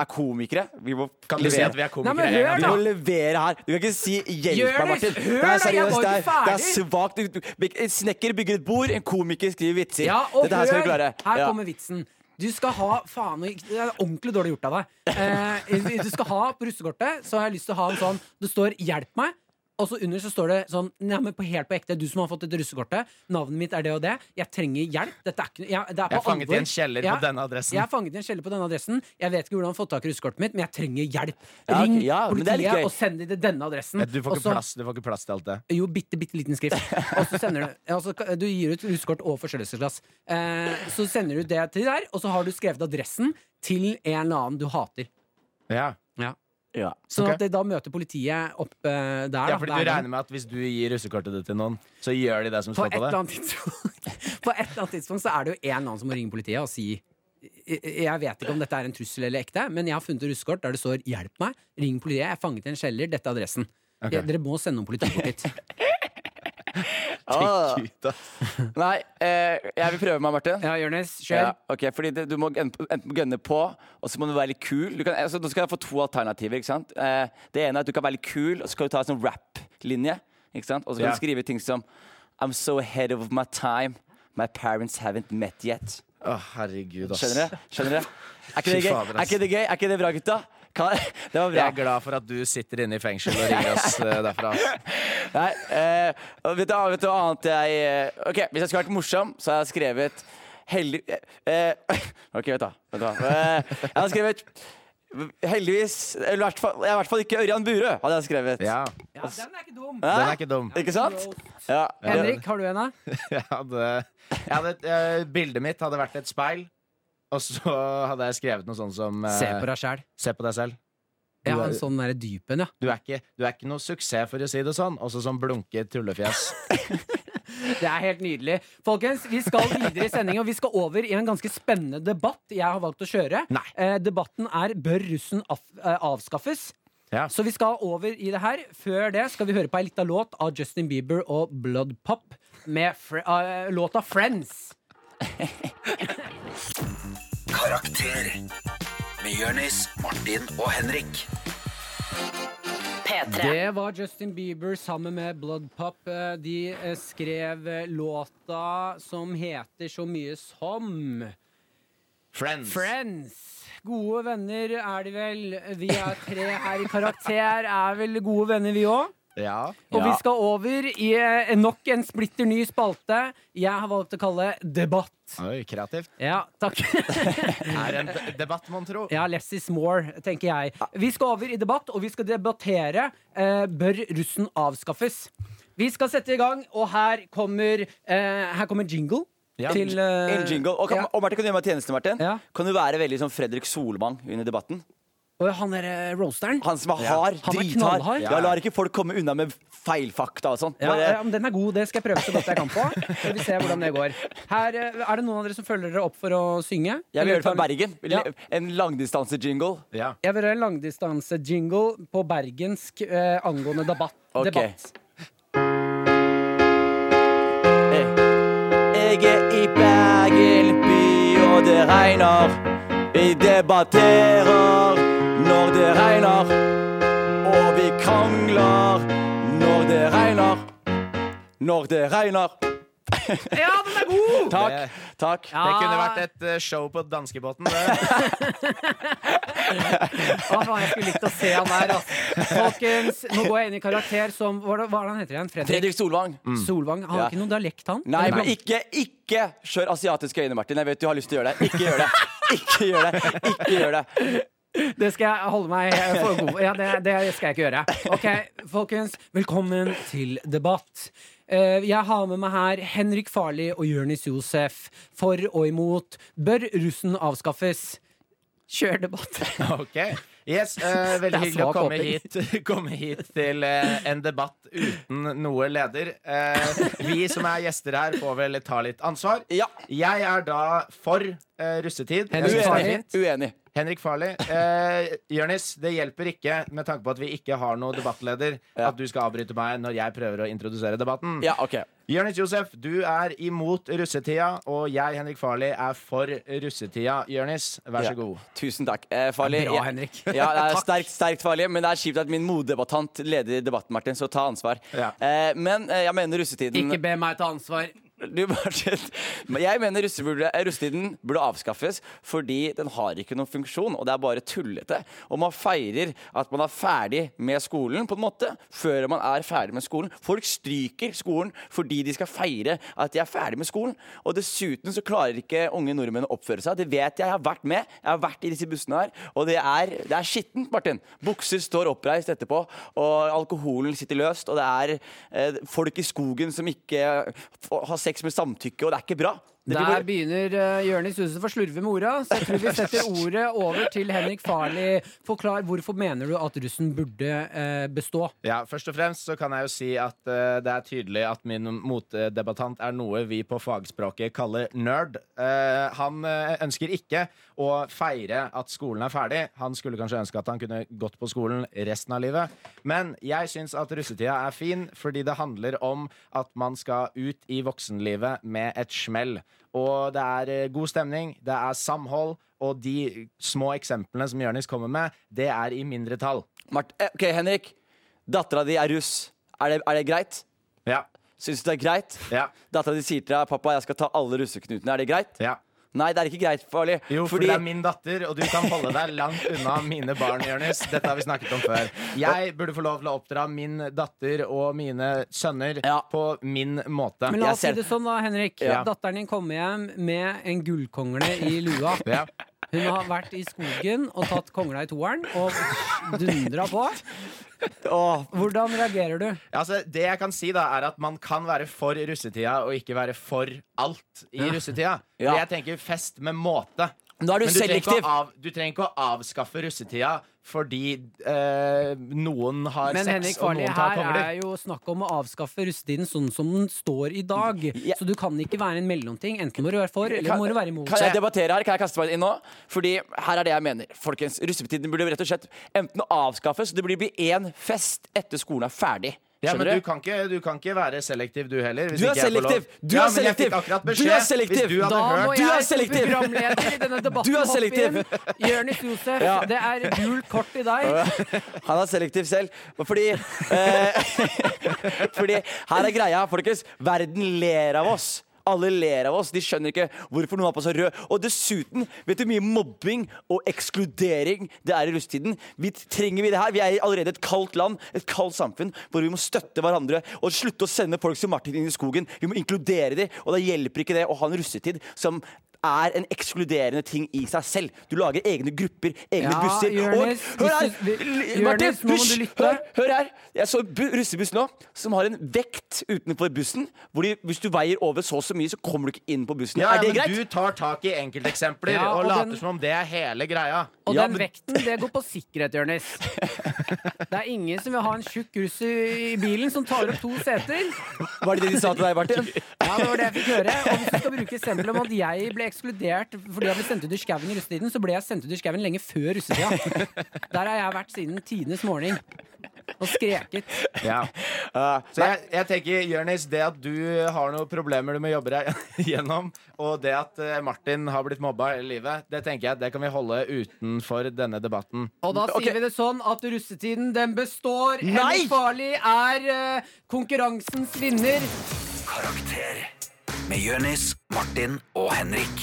[SPEAKER 3] er komikere vi må
[SPEAKER 6] Kan du si at vi er komikere Nei, men en gang hør
[SPEAKER 3] Vi
[SPEAKER 6] til?
[SPEAKER 3] må levere her. Du kan ikke si 'hjelp
[SPEAKER 6] Gjør
[SPEAKER 3] meg,
[SPEAKER 6] det,
[SPEAKER 3] Martin'.
[SPEAKER 6] hør
[SPEAKER 3] det er
[SPEAKER 6] da, jeg var
[SPEAKER 3] seriøst. Det er,
[SPEAKER 6] ikke ferdig.
[SPEAKER 3] det er svakt. Du- du- En snekker bygger et bord, en komiker skriver vitser.
[SPEAKER 2] Ja, og
[SPEAKER 3] Dette her skal vi
[SPEAKER 2] hør,
[SPEAKER 3] klare.
[SPEAKER 2] Her
[SPEAKER 3] Ja.
[SPEAKER 2] kommer vitsen. Du skal ha faen, og ikke- Det er ordentlig dårlig gjort av deg. Eh, du skal ha På russekortet så har jeg lyst til å ha en sånn Det står 'hjelp meg'. Og så under så står det sånn nei, men på, helt på ekte, du som har fått dette russekortet. Navnet mitt er det og det. Jeg trenger hjelp. Dette er ikke noe jeg, det er
[SPEAKER 6] Jeg er
[SPEAKER 2] på
[SPEAKER 6] fanget i
[SPEAKER 2] alvor.
[SPEAKER 6] en kjeller på
[SPEAKER 2] Ja,
[SPEAKER 6] denne adressen.
[SPEAKER 2] Jeg er fanget i en kjeller på denne adressen. Jeg vet ikke hvordan jeg har fått tak i russekortet mitt, men jeg trenger hjelp.
[SPEAKER 6] Ja, ok,
[SPEAKER 2] Ring
[SPEAKER 6] ja, men det er litt gøy.
[SPEAKER 2] politiet og send dem til denne adressen.
[SPEAKER 6] Eh, Du får,
[SPEAKER 2] Og
[SPEAKER 6] ikke
[SPEAKER 2] så-
[SPEAKER 6] plass, du får ikke plass til alt det.
[SPEAKER 2] jo, bitte, bitte liten skrift. Og så sender du ja, altså, Du gir ut russekort og forstørrelsesglass. Eh, så sender du det til der, og så har du skrevet adressen til en eller annen du hater.
[SPEAKER 6] Ja.
[SPEAKER 2] Ja.
[SPEAKER 3] Ja.
[SPEAKER 2] Sånn at
[SPEAKER 6] Ok.
[SPEAKER 2] det, da møter politiet opp eh, der. da.
[SPEAKER 6] Ja, fordi
[SPEAKER 2] Hver
[SPEAKER 6] du
[SPEAKER 2] gang.
[SPEAKER 6] regner med at hvis du gir russekortet ditt til noen, så gjør de det som
[SPEAKER 2] på
[SPEAKER 6] står
[SPEAKER 2] et,
[SPEAKER 6] på
[SPEAKER 2] eller
[SPEAKER 6] det?
[SPEAKER 2] annet tidspunkt, på et eller annet tidspunkt så er det jo en eller annen som må ringe politiet og si «Jeg- jeg vet ikke om dette er en trussel eller ekte, men jeg har funnet et russekort der det står 'hjelp meg', ring politiet, jeg er fanget i en kjeller, dette er adressen.
[SPEAKER 3] Ok.
[SPEAKER 2] Ja, Dere må sende noen politikort hit.
[SPEAKER 3] Ah. Nei, eh, jeg vil prøve meg, Martin.
[SPEAKER 2] Ja, Jonis, kjør.
[SPEAKER 3] ok, fordi det, Du må en- enten gønne på, og så må du være litt kul. Du kan, altså, nå skal jeg få to alternativer. ikke sant? Eh, det ene er at du kan være litt kul, og så kan du ta en sånn rap-linje. ikke sant? Og så kan
[SPEAKER 6] Ja.
[SPEAKER 3] du skrive ting som I'm so ahead of my time. My parents haven't met yet.
[SPEAKER 6] Å, herregud, ass.
[SPEAKER 3] Skjønner dere? Skjønner dere? Er ikke
[SPEAKER 6] Fy
[SPEAKER 3] det gøy?
[SPEAKER 6] fader,
[SPEAKER 3] Er
[SPEAKER 6] ass.
[SPEAKER 3] ikke det, gøy? Er ikke det bra, gutta? Kan, det var bra.
[SPEAKER 6] Jeg er glad for at du sitter inne i fengsel og ringer oss eh, derfra.
[SPEAKER 3] Nei, eh, og vet, du, vet du hva annet jeg eh, Ok, Hvis jeg skulle vært morsom, så har jeg skrevet heldig... Eh, ok, vet du hva. Vet du hva. Eh, jeg har skrevet Heldigvis Eller i hvert fall, jeg er i hvert fall ikke Ørjan Burøe, hadde jeg skrevet. Ja,
[SPEAKER 2] den er ikke dum.
[SPEAKER 6] Den er ikke dum.
[SPEAKER 3] Ikke sant? Ja.
[SPEAKER 2] Henrik, har du en, da?
[SPEAKER 6] Jeg hadde, jeg hadde et, eh, bildet mitt hadde vært et speil, og så hadde jeg skrevet noe sånn som eh,
[SPEAKER 2] Se på deg sjæl.
[SPEAKER 6] Se på deg selv.
[SPEAKER 2] Jeg
[SPEAKER 6] Du
[SPEAKER 2] har
[SPEAKER 6] er-
[SPEAKER 2] en sånn derre dyp en, ja.
[SPEAKER 6] Du er, ikke, du er ikke noe suksess, for å si det sånn. Også sånn blunket tullefjes.
[SPEAKER 2] Det er helt nydelig. Folkens, vi skal videre i sendingen, og vi skal over i en ganske spennende debatt jeg har valgt å kjøre. Eh, debatten er 'Bør russen af eh, avskaffes?' Så vi skal over i det her. Før det skal vi høre på ei lita låt av Justin Bieber og Blood Pop med fr eh, låta 'Friends'.
[SPEAKER 1] Karakter med Jonis, Martin og Henrik.
[SPEAKER 2] Det var Justin Bieber sammen med Blood Pop. Eh, De eh, skrev eh, låta som heter så mye som
[SPEAKER 6] Friends.
[SPEAKER 2] Gode venner er de vel. Vi er tre her i karakter. Er vel gode venner, vi òg?
[SPEAKER 6] Ja.
[SPEAKER 2] Og vi skal over i eh, nok en splitter ny spalte jeg har valgt å kalle Debatt.
[SPEAKER 6] Oi, kreativt.
[SPEAKER 2] Ja, takk.
[SPEAKER 6] Er en d- debatt, mon tro.
[SPEAKER 2] Ja, less is more, tenker jeg. Vi skal over i debatt, og vi skal debattere eh, Bør russen avskaffes? Vi skal sette i gang, og her kommer, eh, her kommer jingle.
[SPEAKER 3] Ja.
[SPEAKER 2] Til, eh,
[SPEAKER 3] en jingle. Og, kan,
[SPEAKER 2] ja.
[SPEAKER 3] og Martin, kan du gjøre meg en tjeneste, Martin? Kan du være veldig som Fredrik Solvang under debatten?
[SPEAKER 2] Og han derre roasteren.
[SPEAKER 3] Han som er
[SPEAKER 2] Ja.
[SPEAKER 3] hard,
[SPEAKER 2] Han er
[SPEAKER 3] drithard.
[SPEAKER 2] knallhard.
[SPEAKER 3] Ja, lar ikke folk komme unna med feilfakta og sånn.
[SPEAKER 2] Ja,
[SPEAKER 3] Bare-
[SPEAKER 2] ja, men den er god. Det skal jeg prøve så godt jeg kan på. Så vi ser hvordan det går. Her, eh, er det noen av dere som følger dere opp for å synge?
[SPEAKER 3] Jeg vil gjøre det fra
[SPEAKER 2] Eller-
[SPEAKER 3] Bergen.
[SPEAKER 2] Ja.
[SPEAKER 3] En langdistanse-jingle.
[SPEAKER 2] Jeg vil ha en langdistanse-jingle på bergensk eh, angående debatt.
[SPEAKER 3] Ok.
[SPEAKER 2] debatt.
[SPEAKER 3] Jeg er i Bergen by, og det regner. Vi debatterer når det regner. Og vi krangler når det regner. Når det regner.
[SPEAKER 2] Ja, den er god!
[SPEAKER 3] Takk. takk.
[SPEAKER 6] Det kunne vært et eh, show på danskebåten. det.
[SPEAKER 2] Å, Ah, faen, jeg skulle likt å se han der, ass. Folkens, nå går jeg inn i karakter som Hva er det hva er det han heter igjen? Fredrik?
[SPEAKER 3] Fredrik Solvang.
[SPEAKER 2] Solvang. Han har
[SPEAKER 3] Ja.
[SPEAKER 2] ikke noen dialekt, han?
[SPEAKER 3] Nei,
[SPEAKER 2] Eller
[SPEAKER 3] men
[SPEAKER 2] blant-
[SPEAKER 3] ikke, ikke kjør asiatiske øyne, Martin. Jeg vet du har lyst til å gjøre det. Ikke gjør det. Ikke gjør det. Ikke gjør det.
[SPEAKER 2] Det skal jeg holde meg for god for. Ja, det, det skal jeg ikke gjøre. Ok, folkens, velkommen til debatt. Eh, Jeg har med meg her Henrik Farli og Jonis Josef. For og imot. Bør russen avskaffes? Kjør debatt.
[SPEAKER 6] Ok. Yes, eh,
[SPEAKER 2] Det er
[SPEAKER 6] veldig hyggelig å
[SPEAKER 2] svak
[SPEAKER 6] komme
[SPEAKER 2] åpning.
[SPEAKER 6] hit, komme hit til eh, en debatt uten noe leder. Eh, vi som er gjester her, får vel ta litt ansvar. Jeg er da for eh, russetid. Jeg synes det er
[SPEAKER 3] Uenig.
[SPEAKER 6] fint.
[SPEAKER 3] Uenig.
[SPEAKER 6] Henrik Farley. Eh, Jørnis, det hjelper ikke med tanke på at vi ikke har noen debattleder, at du skal avbryte meg når jeg prøver å introdusere debatten.
[SPEAKER 3] Ja, ok.
[SPEAKER 6] Jørnis Josef, du er imot russetida, og jeg, Henrik Farley, er for russetida. Jørnis, vær
[SPEAKER 3] Ja.
[SPEAKER 6] så god.
[SPEAKER 3] Tusen takk. Eh, farlig.
[SPEAKER 6] Bra,
[SPEAKER 3] Ja.
[SPEAKER 6] Henrik.
[SPEAKER 3] Ja, det er
[SPEAKER 6] Takk.
[SPEAKER 3] sterkt, sterkt farlig, men det er kjipt at min motdebattant leder debatten, Martin, så ta ansvar. Eh, men eh, jeg mener russetiden
[SPEAKER 2] Ikke be meg ta ansvar.
[SPEAKER 3] du, Martin, men jeg mener russe burde, eh, russetiden burde avskaffes fordi den har ikke noen funksjon, og det er bare tullete. Og man feirer at man er ferdig med skolen, på en måte, før man er ferdig med skolen. Folk stryker skolen fordi de skal feire at de er ferdig med skolen. Og dessuten så klarer ikke unge nordmenn å oppføre seg. Det vet jeg, jeg har vært med. Jeg har vært i disse bussene her, og det er, det er skittent, Martin. Bukser står oppreist etterpå, og alkoholen sitter løst, eh, og det er eh, folk i skogen som ikke f- har sex med samtykke, og det er ikke bra.
[SPEAKER 2] Der begynner uh, Jørnis Huset for slurve med orda, så jeg tror vi setter ordet over til Henrik Farley. Forklar hvorfor mener du at russen burde eh, bestå?
[SPEAKER 6] Ja, Først og fremst så kan jeg jo si at eh, det er tydelig at min motdebattant er noe vi på fagspråket kaller nerd. Eh, han eh, ønsker ikke å feire at skolen er ferdig. Han skulle kanskje ønske at han kunne gått på skolen resten av livet. Men jeg syns at russetida er fin, fordi det handler om at man skal ut i voksenlivet med et smell. Og det er eh, god stemning, det er samhold, og de små eksemplene som Jonis kommer med, det er i mindretall.
[SPEAKER 3] Mart eh, ok, Henrik. Dattera di er russ. Er det, er det greit?
[SPEAKER 6] Ja.
[SPEAKER 3] Syns du det er greit?
[SPEAKER 6] Ja.
[SPEAKER 3] Dattera di sier til deg pappa, jeg skal ta alle russeknutene. Er det greit?
[SPEAKER 6] Ja.
[SPEAKER 3] Nei, det er ikke greit, farlig.
[SPEAKER 6] Jo, for det er min datter, og du kan holde deg langt unna mine barn, Jonis. Dette har vi snakket om før. Jeg burde få lov til å oppdra min datter og mine sønner på min måte.
[SPEAKER 2] Men la oss si det sånn da, Henrik.
[SPEAKER 6] Ja.
[SPEAKER 2] Datteren din kommer hjem med en gullkongle i lua.
[SPEAKER 6] Ja.
[SPEAKER 2] Hun har vært i skogen og tatt kongla i toeren og dundra på. Hvordan reagerer du?
[SPEAKER 6] Altså, det jeg kan si da, er at man kan være for russetida og ikke være for alt i
[SPEAKER 3] Ja.
[SPEAKER 6] russetida.
[SPEAKER 3] Ja.
[SPEAKER 6] For Jeg tenker fest med måte.
[SPEAKER 3] Nå er du
[SPEAKER 6] Men du trenger,
[SPEAKER 3] selektiv.
[SPEAKER 6] ikke å av, du trenger ikke å avskaffe russetida fordi eh, noen har
[SPEAKER 2] Men
[SPEAKER 6] sex
[SPEAKER 2] Henrik
[SPEAKER 6] og
[SPEAKER 2] Farley,
[SPEAKER 6] noen tar
[SPEAKER 2] her
[SPEAKER 6] kongler.
[SPEAKER 2] er jo snakk om å avskaffe russetiden sånn som den står i dag. Så du kan ikke være en mellomting. Enten må du være for, eller
[SPEAKER 3] Kan-
[SPEAKER 2] må du være imot.
[SPEAKER 3] Kan jeg debattere her? Kan jeg kaste meg inn nå? Fordi her er det jeg mener. Folkens, Russetiden burde rett og slett enten avskaffes, det burde bli én fest etter skolen er ferdig.
[SPEAKER 6] Ja, men
[SPEAKER 3] Skjønner
[SPEAKER 6] du kan, ikke, du kan ikke være selektiv, du heller. hvis
[SPEAKER 3] Du er
[SPEAKER 6] ikke jeg får lov.
[SPEAKER 3] selektiv! Du
[SPEAKER 6] Ja,
[SPEAKER 3] er
[SPEAKER 6] men jeg fikk
[SPEAKER 3] selektiv!
[SPEAKER 6] akkurat
[SPEAKER 3] Du
[SPEAKER 6] beskjed.
[SPEAKER 3] er selektiv!
[SPEAKER 6] Hvis du hadde hørt
[SPEAKER 3] Du er selektiv!
[SPEAKER 2] programleder i denne debatten.
[SPEAKER 3] Du er
[SPEAKER 2] hoppe
[SPEAKER 3] selektiv.
[SPEAKER 2] inn. Jonis Josef,
[SPEAKER 3] Ja.
[SPEAKER 2] det er gult kort til deg.
[SPEAKER 3] Han er selektiv selv. Fordi, eh, fordi her er greia, folkens. Verden ler av oss. Alle ler av oss. De skjønner ikke hvorfor noen har på seg rød. Og dessuten, vet du hvor mye mobbing og ekskludering det er i russetiden? Vi trenger vi det her? Vi er allerede et kaldt land, et kaldt samfunn, hvor vi må støtte hverandre og slutte å sende folk som Martin inn i skogen. Vi må inkludere dem, og da hjelper ikke det å ha en russetid som er en ekskluderende ting i seg selv. Du lager egne grupper, egne
[SPEAKER 2] Ja,
[SPEAKER 3] busser.
[SPEAKER 2] Jonis,
[SPEAKER 3] og hør her!
[SPEAKER 2] hvis du- vi-
[SPEAKER 3] L- Martin,
[SPEAKER 2] Jonis, nå må
[SPEAKER 3] hysj!
[SPEAKER 2] du lytte.
[SPEAKER 3] hør, hør her! Jeg så en bu- russebuss nå som har en vekt utenfor bussen. Hvor de, hvis du veier over så og så mye, så kommer du ikke inn på bussen.
[SPEAKER 6] Ja,
[SPEAKER 3] er det
[SPEAKER 6] men
[SPEAKER 3] greit?
[SPEAKER 6] Du tar tak i enkelteksempler
[SPEAKER 2] Ja,
[SPEAKER 6] og,
[SPEAKER 2] og
[SPEAKER 6] later
[SPEAKER 2] den-
[SPEAKER 6] som om det er hele greia.
[SPEAKER 2] Og
[SPEAKER 6] Ja,
[SPEAKER 2] den
[SPEAKER 6] men-
[SPEAKER 2] vekten, det går på sikkerhet, Jonis. Det er ingen som vil ha en tjukk russ i i bilen som tar opp to seter.
[SPEAKER 3] Var det det de sa til deg, Martin?
[SPEAKER 2] Ja, det var det jeg fikk høre. Og hvis du skal bruke eksempelet om at jeg ble ekskludert fordi jeg ble sendt ut i skauen i russetiden, så ble jeg sendt ut i skauen lenge før russetida. Der har jeg vært siden tidenes morgen. Og skreket.
[SPEAKER 6] Ja. Så jeg, jeg tenker, Jørnis, det at du har noen problemer du må jobbe deg gjennom, og det at eh, Martin har blitt mobba hele livet, det tenker jeg, det kan vi holde utenfor denne debatten.
[SPEAKER 2] Og da sier vi det sånn at russetiden, den består.
[SPEAKER 6] Nei!
[SPEAKER 2] Henrik Farley er eh, konkurransens vinner.
[SPEAKER 1] Karakter med Jørnis, Martin og Henrik.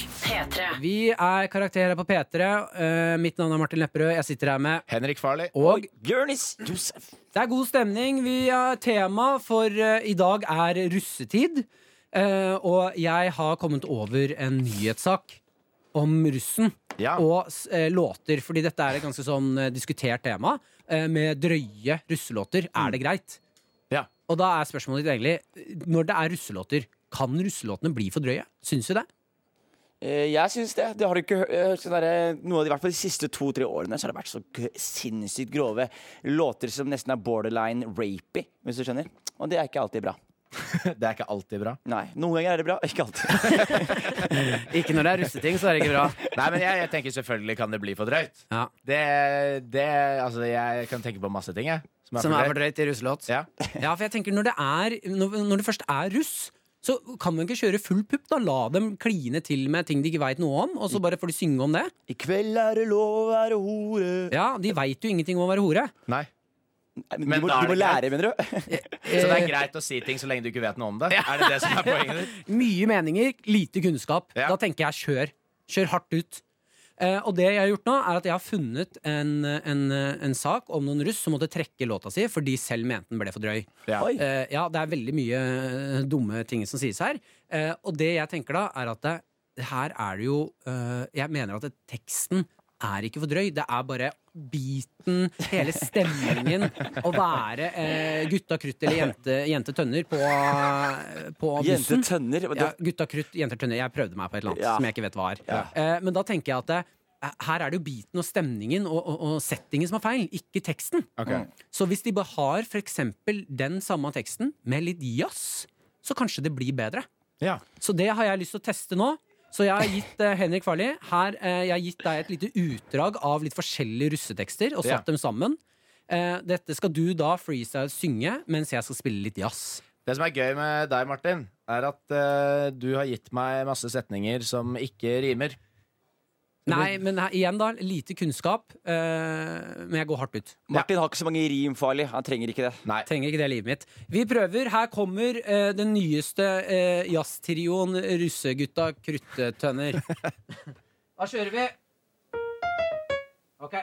[SPEAKER 2] Vi er karakterer på P3. Eh, mitt navn er Martin Lepperød. Jeg sitter her med
[SPEAKER 6] Henrik Farley
[SPEAKER 2] og
[SPEAKER 3] Jonis Josef.
[SPEAKER 2] Det er god stemning. Vi har tema for eh, i dag er russetid. Eh, og jeg har kommet over en nyhetssak om russen og s- eh, låter. Fordi dette er et ganske sånn eh, diskutert tema. eh, med drøye russelåter. Er det greit? Og da er spørsmålet ditt egentlig eh, Når det er russelåter, kan russelåtene bli for drøye? Syns du det?
[SPEAKER 3] Eh, Jeg syns det. det har du ikke hø- eh, sånn derre- noe av de, i hvert fall de siste to-tre årene så har det vært så g sinnssykt grove låter som nesten er borderline rapy, hvis du skjønner. Og det er ikke alltid bra.
[SPEAKER 6] det er ikke alltid bra.
[SPEAKER 3] Nei. Noen ganger er det bra, ikke alltid.
[SPEAKER 2] Ikke når det er russeting, så er det ikke bra.
[SPEAKER 6] Nei, men jeg, jeg tenker selvfølgelig kan det bli for drøyt. Det, det, altså, jeg kan tenke på masse ting, jeg.
[SPEAKER 2] Som er for drøyt i russelåt?
[SPEAKER 6] Ja.
[SPEAKER 2] Ja, for jeg tenker når det, er, når, når det først er russ, så kan man ikke kjøre full pupp. da La dem kline til med ting de ikke veit noe om, og så bare får de synge om det.
[SPEAKER 3] I kveld er det lov å være hore.
[SPEAKER 2] Ja, De veit jo ingenting om å være hore.
[SPEAKER 6] Nei.
[SPEAKER 3] Men
[SPEAKER 6] Men
[SPEAKER 3] du må,
[SPEAKER 6] da er
[SPEAKER 3] du må
[SPEAKER 6] det greit.
[SPEAKER 3] lære, mener du?
[SPEAKER 6] Så det er greit å si ting så lenge du ikke vet noe om det? Er det det som er poenget ditt?
[SPEAKER 2] Mye meninger, lite kunnskap. Da tenker jeg kjør. Kjør hardt ut. Eh, og det jeg har gjort nå, er at jeg har funnet en, en, en sak om noen russ som måtte trekke låta si fordi de selv mente den ble for drøy.
[SPEAKER 6] Ja. Oi.
[SPEAKER 2] Eh, ja, det er veldig mye eh, dumme ting som sies her. Eh, og det jeg tenker da, er at det, her er det jo eh, Jeg mener at det, teksten er ikke for drøy. Det er bare biten, hele stemningen, å være eh, gutta krutt eller jente, jente tønner på, eh, på bussen.
[SPEAKER 3] Jente tønner?
[SPEAKER 2] Ja, gutta krutt, jenter tønner. Jeg prøvde meg på et eller annet
[SPEAKER 3] Ja.
[SPEAKER 2] som jeg ikke vet hva er. Eh, men da tenker jeg at det, her er det jo biten og stemningen og, og, og settingen som er feil, ikke teksten.
[SPEAKER 6] Ok.
[SPEAKER 2] Så hvis de bare har for eksempel den samme teksten med litt jazz, så kanskje det blir bedre. Så det har jeg lyst til å teste nå. Så jeg har gitt eh, Henrik Farli her, eh, jeg har gitt deg et lite utdrag av litt forskjellige russetekster og
[SPEAKER 6] Ja.
[SPEAKER 2] satt dem sammen. Eh, dette skal du da freestyle synge mens jeg skal spille litt jazz.
[SPEAKER 6] Det som er gøy med deg, Martin, er at eh, du har gitt meg masse setninger som ikke rimer.
[SPEAKER 2] Nei, men her, igjen da, lite kunnskap, eh, men jeg går hardt ut.
[SPEAKER 3] Martin har ikke så mange rim, Farlig. Han trenger ikke det.
[SPEAKER 2] Trenger ikke det livet mitt. Vi prøver. Her kommer eh, den nyeste uh, jazztrioen Russegutta Kruttetønner. Da kjører vi. Ok.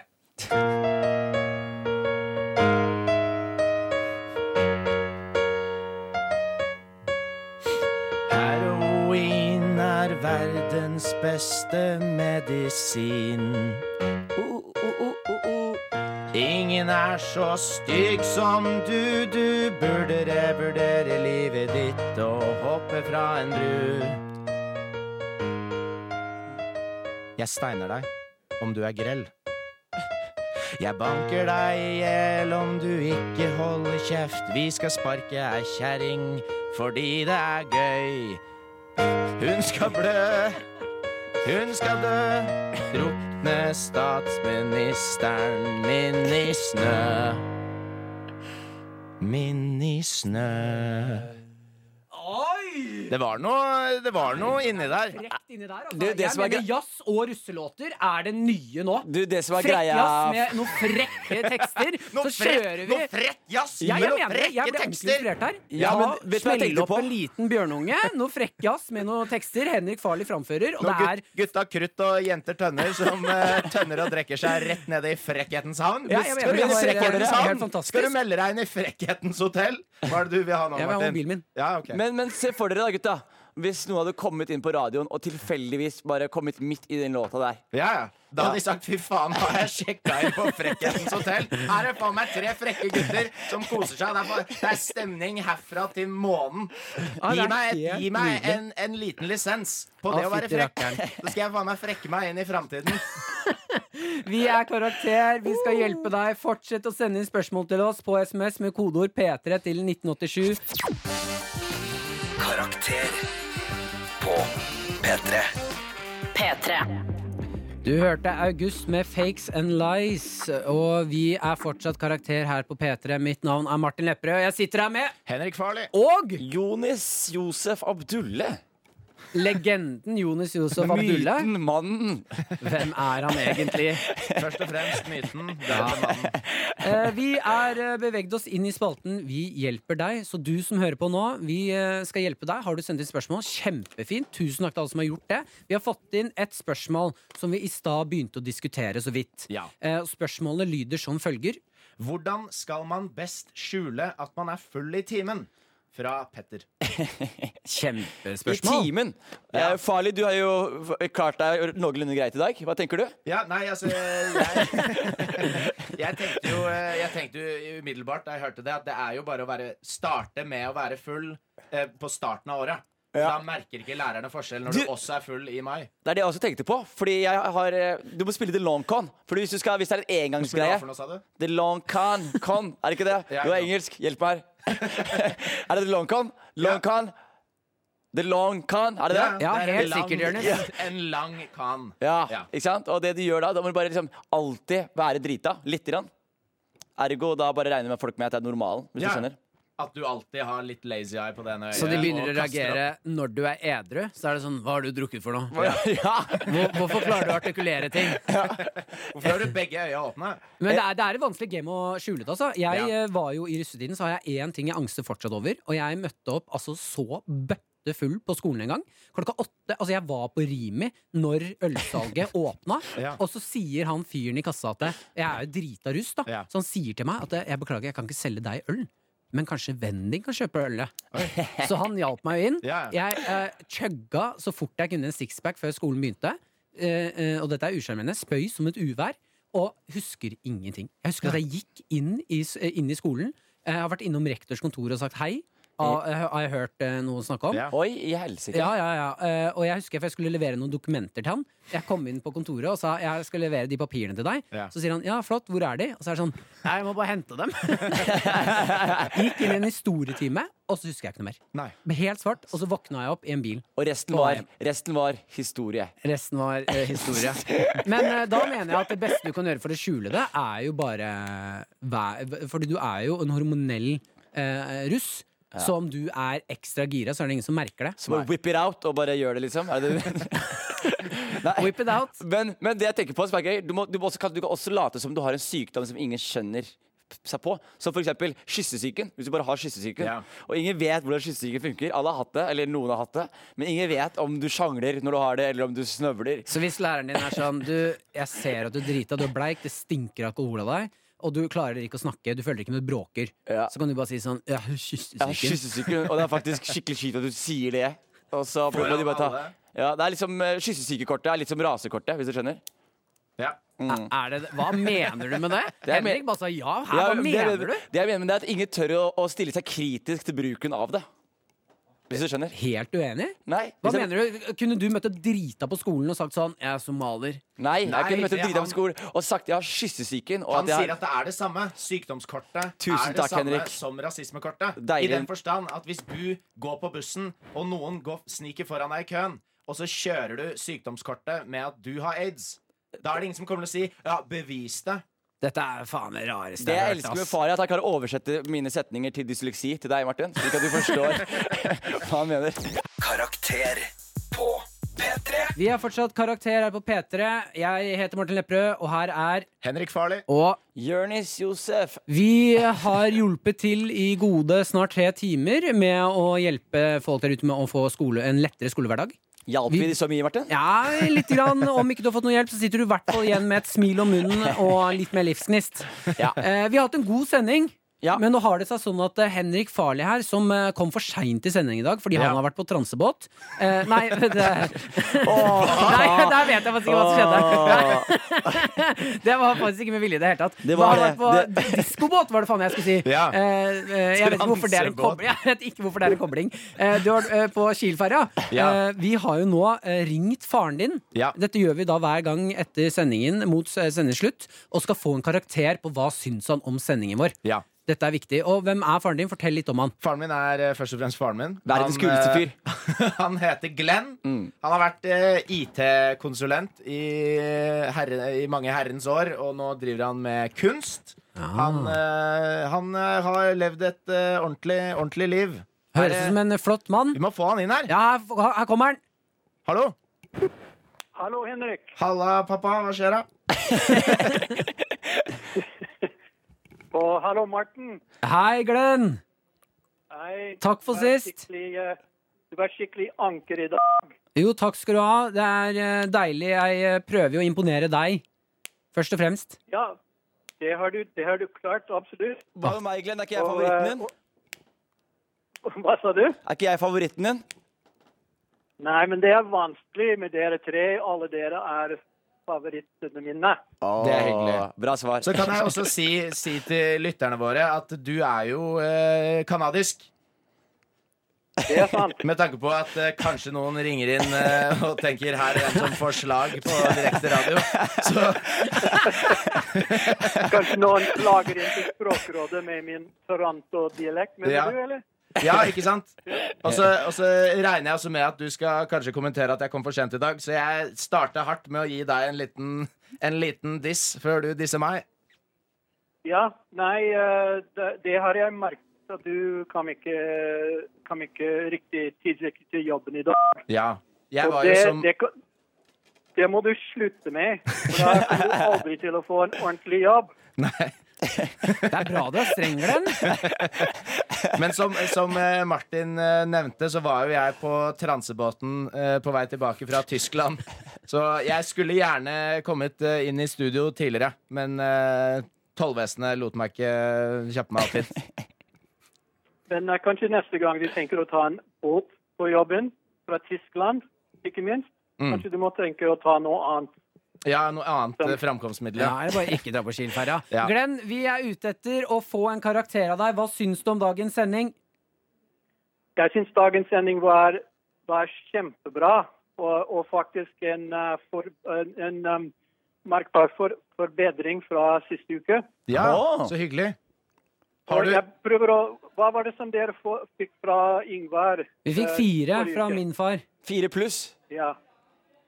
[SPEAKER 6] Heroin er verdens beste medisin. Ingen er så stygg som du. Du burde revurdere livet ditt og hoppe fra en bru. Jeg steiner deg om du er grell. Jeg banker deg i hjel om du ikke holder kjeft. Vi skal sparke ei kjerring fordi det er gøy. Hun skal blø, hun skal dø. Drukne statsministeren min i snø. Min i snø. Det var noe, det var noe inni der.
[SPEAKER 2] Frekt inni der, altså.
[SPEAKER 6] Det- det
[SPEAKER 2] jeg
[SPEAKER 6] som er
[SPEAKER 2] mener
[SPEAKER 6] gre-
[SPEAKER 2] jazz og russelåter er det nye nå.
[SPEAKER 3] som er
[SPEAKER 2] frekk
[SPEAKER 3] greia-
[SPEAKER 2] jazz med noen frekke tekster.
[SPEAKER 6] Noe
[SPEAKER 2] så
[SPEAKER 6] frekk-
[SPEAKER 2] kjører vi
[SPEAKER 6] noe frekk jazz
[SPEAKER 2] ja,
[SPEAKER 6] med
[SPEAKER 2] jeg
[SPEAKER 6] noe
[SPEAKER 2] mener det.
[SPEAKER 6] frekke
[SPEAKER 2] Jeg ble
[SPEAKER 6] tekster.
[SPEAKER 2] ordentlig inspirert her.
[SPEAKER 6] Ja, men vet du hva jeg
[SPEAKER 2] Smell
[SPEAKER 6] tenkte
[SPEAKER 2] opp
[SPEAKER 6] på?
[SPEAKER 2] en liten bjørnunge, noe frekk jazz med noen tekster Henrik Farli framfører, og
[SPEAKER 6] Nå,
[SPEAKER 2] det er
[SPEAKER 6] gut- gutta krutt og jenter tønner som eh, tønner og drekker seg rett nede i frekkhetens havn.
[SPEAKER 2] Ja, jeg mener
[SPEAKER 6] Skal du
[SPEAKER 2] det
[SPEAKER 6] inn i
[SPEAKER 2] var- det
[SPEAKER 6] frekkhetens
[SPEAKER 2] er helt
[SPEAKER 6] havn?
[SPEAKER 2] fantastisk.
[SPEAKER 6] Skal du melde deg inn i Frekkhetens hotell? Hva er det du vil ha nå,
[SPEAKER 3] Jeg vil ha
[SPEAKER 6] Martin?
[SPEAKER 3] mobilen min.
[SPEAKER 6] Ja, ok.
[SPEAKER 3] Men, men se for dere da, gutta. Hvis noen hadde kommet inn på radioen og tilfeldigvis bare kommet midt i den låta der.
[SPEAKER 6] Ja, ja. Da hadde de sagt 'fy faen, har jeg sjekka inn på Frekkhetens hotell'? Her er faen meg tre frekke gutter som koser seg. Det er, faen- det er stemning herfra til månen.
[SPEAKER 2] Ja, det
[SPEAKER 6] Gi
[SPEAKER 2] er
[SPEAKER 6] meg,
[SPEAKER 2] helt
[SPEAKER 6] gi meg
[SPEAKER 2] nydelig.
[SPEAKER 6] en, en liten lisens på
[SPEAKER 2] Å,
[SPEAKER 6] det å være
[SPEAKER 2] fytti
[SPEAKER 6] frekk.
[SPEAKER 2] rakkeren.
[SPEAKER 6] Så skal jeg faen meg frekke meg inn i framtiden.
[SPEAKER 2] Vi er Karakter. Vi skal hjelpe deg. Fortsett å sende inn spørsmål til oss på SMS med kodeord P3 til 1987.
[SPEAKER 1] Karakter på P3.
[SPEAKER 4] P3.
[SPEAKER 2] Du hørte August med Fakes and Lies, og vi er fortsatt karakter her på P3. Mitt navn er Martin Lepperød, og jeg sitter her med
[SPEAKER 6] Henrik Farli.
[SPEAKER 2] Og
[SPEAKER 3] Jonis Josef Abdulle.
[SPEAKER 2] Legenden Jonis Josef Abdulle.
[SPEAKER 3] Myten, mannen.
[SPEAKER 2] Hvem er han egentlig?
[SPEAKER 6] Først og fremst myten.
[SPEAKER 2] Ja. Eh, Vi er eh, bevegd oss inn i spalten Vi hjelper deg. Så du som hører på nå, vi eh, skal hjelpe deg. Har du sendt inn spørsmål? Kjempefint. Tusen takk til alle som har gjort det. Vi har fått inn et spørsmål som vi i stad begynte å diskutere så vidt. Eh, Spørsmålet lyder som følger.
[SPEAKER 6] Hvordan skal man best skjule at man er full i timen? Fra Petter.
[SPEAKER 2] Kjempespørsmål.
[SPEAKER 3] I timen. Eh, Farlig, du har jo f- klart deg noenlunde greit i dag. Hva tenker du?
[SPEAKER 6] Ja, nei, altså Jeg, jeg tenkte jo eh, Jeg tenkte jo umiddelbart da jeg hørte det, at det er jo bare å være, starte med å være full eh, på starten av året. Da merker ikke lærerne forskjell når du,
[SPEAKER 3] Du-
[SPEAKER 6] også er full i mai.
[SPEAKER 3] Det er det jeg også tenkte på. Fordi jeg har eh, Du må spille The Long Con. Fordi hvis, du skal, hvis det er en
[SPEAKER 6] Skulle du ha
[SPEAKER 3] engangsgreie
[SPEAKER 6] for noe, sa du?
[SPEAKER 3] The Long Con. Con, er det ikke det? Du er engelsk. Hjelp meg her. er det The Long Con? Long Con? The Long Con, er det det?
[SPEAKER 6] det er en lang- En lang kan.
[SPEAKER 3] Ja, ikke sant? Og det du gjør da, da må du bare liksom alltid være drita, lite grann. Ergo da bare regner med folk med at det er normalen, hvis
[SPEAKER 6] Ja.
[SPEAKER 3] du skjønner.
[SPEAKER 6] At du alltid har litt lazy eye på det ene øyet.
[SPEAKER 2] Så de begynner å
[SPEAKER 6] og kaster
[SPEAKER 2] reagere
[SPEAKER 6] opp.
[SPEAKER 2] når du er edru? Så er det sånn Hva har du drukket for noe?
[SPEAKER 3] Ja.
[SPEAKER 2] Hvor, hvorfor klarer du å artikulere ting?
[SPEAKER 6] Hvorfor har du begge øya åpne?
[SPEAKER 2] Men det er, det er et vanskelig game å skjule det. Altså. Jeg
[SPEAKER 6] Ja.
[SPEAKER 2] eh, var jo I russetiden så har jeg én ting jeg angster fortsatt over, og jeg møtte opp altså så bøttefull på skolen en gang. Klokka åtte. Altså, jeg var på Rimi når ølsalget åpna,
[SPEAKER 13] Ja.
[SPEAKER 2] og så sier han fyren i kassa at jeg- Jeg er jo drita russ, da. Så han sier til meg at eh, jeg beklager, jeg kan ikke selge deg øl. Men kanskje vennen din kan kjøpe ølet. Så han hjalp meg jo inn. Jeg eh, chugga så fort jeg kunne en sixpack før skolen begynte. eh, eh, og dette er usjarmerende, spøy som et uvær, og husker ingenting. Jeg husker at jeg gikk inn i, s- eh, inn i skolen, jeg har vært innom rektors kontor og sagt hei. Har har jeg hørt eh, noen snakke om?
[SPEAKER 3] Ja. Oi, i helsike.
[SPEAKER 2] Ja, ja, ja. Eh, og jeg husker for jeg skulle levere noen dokumenter til han. Jeg kom inn på kontoret og sa jeg skal levere de papirene til deg.
[SPEAKER 3] Ja.
[SPEAKER 2] Så sier han ja, flott, hvor er de? Og så er det sånn «Nei, jeg må bare hente dem. Gikk inn i en historietime, og så husker jeg ikke noe mer. Ble Helt svart, og så våkna jeg opp i en bil.
[SPEAKER 3] Og resten
[SPEAKER 2] På vei
[SPEAKER 3] var,
[SPEAKER 2] hjem.
[SPEAKER 3] resten var historie.
[SPEAKER 2] Resten var eh, historie. Men eh, da mener jeg at det beste du kan gjøre for å skjule det, er jo bare væ- Fordi du er jo en hormonell eh, russ.
[SPEAKER 3] Ja.
[SPEAKER 2] Så om du er ekstra gira, så er det ingen som merker det.
[SPEAKER 3] Så bare whip it out og bare gjør det, liksom? Er det det? Nei.
[SPEAKER 2] Whip it out.
[SPEAKER 3] Men, men det jeg tenker på som er gøy, du, må, du, må også, kan- du kan også late som du har en sykdom som ingen skjønner seg på. Som for eksempel kyssesyken. Hvis du bare har kyssesyken, og ingen vet hvordan kyssesyken funker. Alle har hatt det, eller noen har hatt det, men ingen vet om du sjangler når du har det, eller om du snøvler.
[SPEAKER 2] Så hvis læreren din er sånn du, Jeg ser at du driter, du er bleik, det stinker alkohol av deg, og du klarer ikke å snakke, du føler ikke med bråker, så kan du bare si sånn Jeg har
[SPEAKER 3] Jeg har kyssesyken, og det er faktisk skikkelig kjipt at du sier det. Og så må
[SPEAKER 2] Foran
[SPEAKER 3] du bare ta
[SPEAKER 2] alle?
[SPEAKER 3] ja, det er liksom eh, Kyssesykekortet er litt som rasekortet, hvis du skjønner. Mm.
[SPEAKER 2] Er det, hva mener du med det?
[SPEAKER 3] Det er me-
[SPEAKER 2] Henrik bare sa ja. Her,
[SPEAKER 3] Ja,
[SPEAKER 2] hva
[SPEAKER 3] det
[SPEAKER 2] mener
[SPEAKER 3] jeg-
[SPEAKER 2] du?
[SPEAKER 3] Det jeg mener men det er at ingen tør å, å stille seg kritisk til bruken av det. Hvis du skjønner.
[SPEAKER 2] Helt uenig?
[SPEAKER 3] Nei.
[SPEAKER 2] Hva
[SPEAKER 3] hvis jeg-
[SPEAKER 2] mener du? Kunne du møtt opp drita på skolen og sagt sånn 'Jeg er somalier'?
[SPEAKER 3] Nei, jeg kunne møtt
[SPEAKER 2] det
[SPEAKER 3] en drita
[SPEAKER 2] han-
[SPEAKER 3] på skolen og sagt jeg har kyssesyken. Og
[SPEAKER 6] Han
[SPEAKER 3] jeg
[SPEAKER 6] sier
[SPEAKER 3] har-
[SPEAKER 6] at det er det samme. Sykdomskortet
[SPEAKER 3] Tusen
[SPEAKER 6] er det
[SPEAKER 3] takk,
[SPEAKER 6] samme
[SPEAKER 3] Henrik.
[SPEAKER 6] som rasismekortet.
[SPEAKER 3] Deilig.
[SPEAKER 6] I den forstand at hvis du går på bussen, og noen går, sniker foran deg i køen, og så kjører du sykdomskortet med at du har aids, da er det ingen som kommer til å si 'ja, bevis det'.
[SPEAKER 2] Dette er faen det rareste
[SPEAKER 3] Det
[SPEAKER 2] jeg
[SPEAKER 3] jeg
[SPEAKER 2] har hørt,
[SPEAKER 3] elsker med
[SPEAKER 2] ass.
[SPEAKER 3] far, er at han klarer å oversette mine setninger til dysleksi til deg, Martin. Slik at du forstår hva han mener.
[SPEAKER 1] Karakter på P3.
[SPEAKER 2] Vi er fortsatt karakter her på P3. Jeg heter Martin Lepperød, og her er
[SPEAKER 6] Henrik Farley.
[SPEAKER 2] Og
[SPEAKER 3] Jonis Josef.
[SPEAKER 2] Vi har hjulpet til i gode snart tre timer med å hjelpe folk der ute med å få skole, en lettere skolehverdag.
[SPEAKER 3] Hjalp vi de så mye, Martin?
[SPEAKER 2] Ja, litt grann. Om ikke du har fått noe hjelp, så sitter du i hvert fall igjen med et smil om munnen og litt mer livsgnist. Eh, Vi har hatt en god sending. Men nå har det seg sånn at eh, Henrik Farley her, som eh, kom for seint til sending i dag fordi han har vært på transebåt eh, Nei, det, nei, der vet jeg faktisk ikke hva som skjedde. det var faktisk ikke med vilje i det hele tatt.
[SPEAKER 13] Det var
[SPEAKER 2] Han
[SPEAKER 13] det.
[SPEAKER 2] har vært på Diskobåt, var det faen jeg skulle si.
[SPEAKER 13] Ja.
[SPEAKER 2] Eh, eh, jeg, vet ikke hvorfor det er en
[SPEAKER 13] Transebåt.
[SPEAKER 2] kobling. jeg vet ikke hvorfor det er en kobling. Eh, du har eh, på Kielferja.
[SPEAKER 13] Ja.
[SPEAKER 2] Eh, vi har jo nå eh, ringt faren din. Dette gjør vi da hver gang etter sendingen mot eh, sendeslutt, og skal få en karakter på hva syns han om sendingen vår. Dette er viktig. Og hvem er faren din? Fortell litt om han.
[SPEAKER 6] Faren min er eh, først og fremst faren min.
[SPEAKER 2] Verdens
[SPEAKER 6] Han,
[SPEAKER 2] kuleste
[SPEAKER 6] eh, Han heter Glenn. Han har vært eh, IT-konsulent i, herre, i mange herrens år, og nå driver han med kunst. Han, eh, han eh, har levd et eh, ordentlig, ordentlig liv.
[SPEAKER 2] Høres ut som en flott mann.
[SPEAKER 6] Vi må få han inn her.
[SPEAKER 2] Ja, her kommer han.
[SPEAKER 6] Hallo?
[SPEAKER 14] Hallo, Henrik.
[SPEAKER 6] Halla, pappa. Hva skjer, da?
[SPEAKER 14] Og hallo, Martin.
[SPEAKER 2] Hei, Glenn!
[SPEAKER 14] Hei.
[SPEAKER 2] Takk for
[SPEAKER 14] Du er
[SPEAKER 2] sist.
[SPEAKER 14] skikkelig, eh, Du var skikkelig anker i dag.
[SPEAKER 2] Jo, takk skal du ha. Det er eh, deilig. Jeg eh, prøver jo å imponere deg, først og fremst.
[SPEAKER 14] Ja, det har du, det har du klart, absolutt.
[SPEAKER 3] Hva med meg, Glenn? Er ikke jeg
[SPEAKER 14] Og,
[SPEAKER 3] favoritten din?
[SPEAKER 14] Hva sa du?
[SPEAKER 3] Er ikke jeg favoritten din?
[SPEAKER 14] Nei, men det er vanskelig med dere tre. Alle dere er favorittene mine.
[SPEAKER 6] Det er hyggelig.
[SPEAKER 3] Bra svar.
[SPEAKER 6] Så kan jeg også si, si til lytterne våre at du er jo eh, kanadisk.
[SPEAKER 14] Det er sant.
[SPEAKER 6] Med tanke på at eh, kanskje noen ringer inn eh, og tenker her er en som får slag på direkte radio. Så
[SPEAKER 14] Kanskje noen klager inn til Språkrådet med min Toronto-dialekt, mener
[SPEAKER 6] Ja.
[SPEAKER 14] du, eller?
[SPEAKER 6] Ja, ikke sant? Og så, og så regner jeg også med at du skal kanskje kommentere at jeg kom for sent i dag, så jeg starter hardt med å gi deg en liten, en liten diss før du disser meg.
[SPEAKER 14] Ja, nei, eh, det, det har jeg merket. At du kom ikke, kom ikke riktig tidsriktig til jobben i dag.
[SPEAKER 6] Ja. Jeg
[SPEAKER 14] Og
[SPEAKER 6] var jo
[SPEAKER 14] det,
[SPEAKER 6] som
[SPEAKER 14] det, kan- det må du slutte med. For da kommer du aldri til å få en ordentlig jobb.
[SPEAKER 2] Det er bra du er streng, Glenn.
[SPEAKER 6] Men som, som eh, Martin eh, nevnte, så var jo jeg på transebåten eh, på vei tilbake fra Tyskland. Så jeg skulle gjerne kommet eh, inn i studio tidligere, men eh, tollvesenet lot meg ikke kjappe meg opp hit.
[SPEAKER 14] Men eh, kanskje neste gang du tenker å ta en båt på jobben fra Tyskland, ikke minst,
[SPEAKER 6] Mm.
[SPEAKER 14] Kanskje du må tenke å ta noe annet.
[SPEAKER 6] Ja, noe annet
[SPEAKER 14] Sånn.
[SPEAKER 6] eh, framkomstmiddel.
[SPEAKER 2] Ja, eller bare ikke dra på skilferja.
[SPEAKER 6] Ja.
[SPEAKER 2] Glenn, vi er ute etter å få en karakter av deg. Hva syns du om dagens sending?
[SPEAKER 14] Jeg syns dagens sending var, var kjempebra, og, og faktisk en, eh, for, en, en um, merkbar for, forbedring fra siste uke.
[SPEAKER 6] Ja, så hyggelig.
[SPEAKER 14] Og Jeg prøver å, hva var det som dere få- fikk fra Ingvar?
[SPEAKER 2] Vi fikk
[SPEAKER 14] eh,
[SPEAKER 2] fire
[SPEAKER 14] forrige
[SPEAKER 2] fra
[SPEAKER 14] uke?
[SPEAKER 2] min far.
[SPEAKER 3] Fire pluss.
[SPEAKER 14] Ja.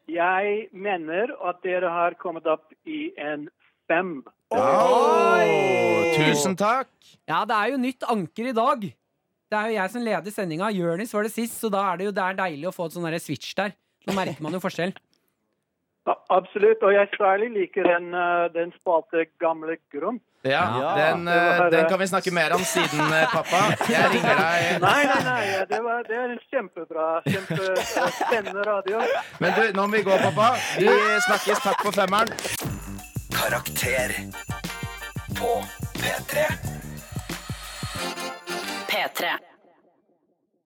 [SPEAKER 14] Jeg mener at dere har kommet opp i en fem.
[SPEAKER 6] Tusen takk.
[SPEAKER 2] Ja, det er jo nytt anker i dag. Det er jo jeg som leder sendinga. Jørnis var det sist, så da er det jo det er deilig å få et sånn derre switch der. Nå merker man jo forskjell.
[SPEAKER 14] Ja, Absolutt. Og jeg særlig liker den, eh, den spalte gamle grunn.
[SPEAKER 6] Ja,
[SPEAKER 14] Ja.
[SPEAKER 6] Den, eh, den kan vi snakke mer om siden, eh, pappa. Jeg ringer deg.
[SPEAKER 14] Nei, nei, nei. ja, Det, var, det er en kjempebra, kjempespennende radio.
[SPEAKER 6] Men du, nå må vi gå, pappa. Vi snakkes. Takk for femmeren.
[SPEAKER 1] Karakter på P3.
[SPEAKER 4] P3.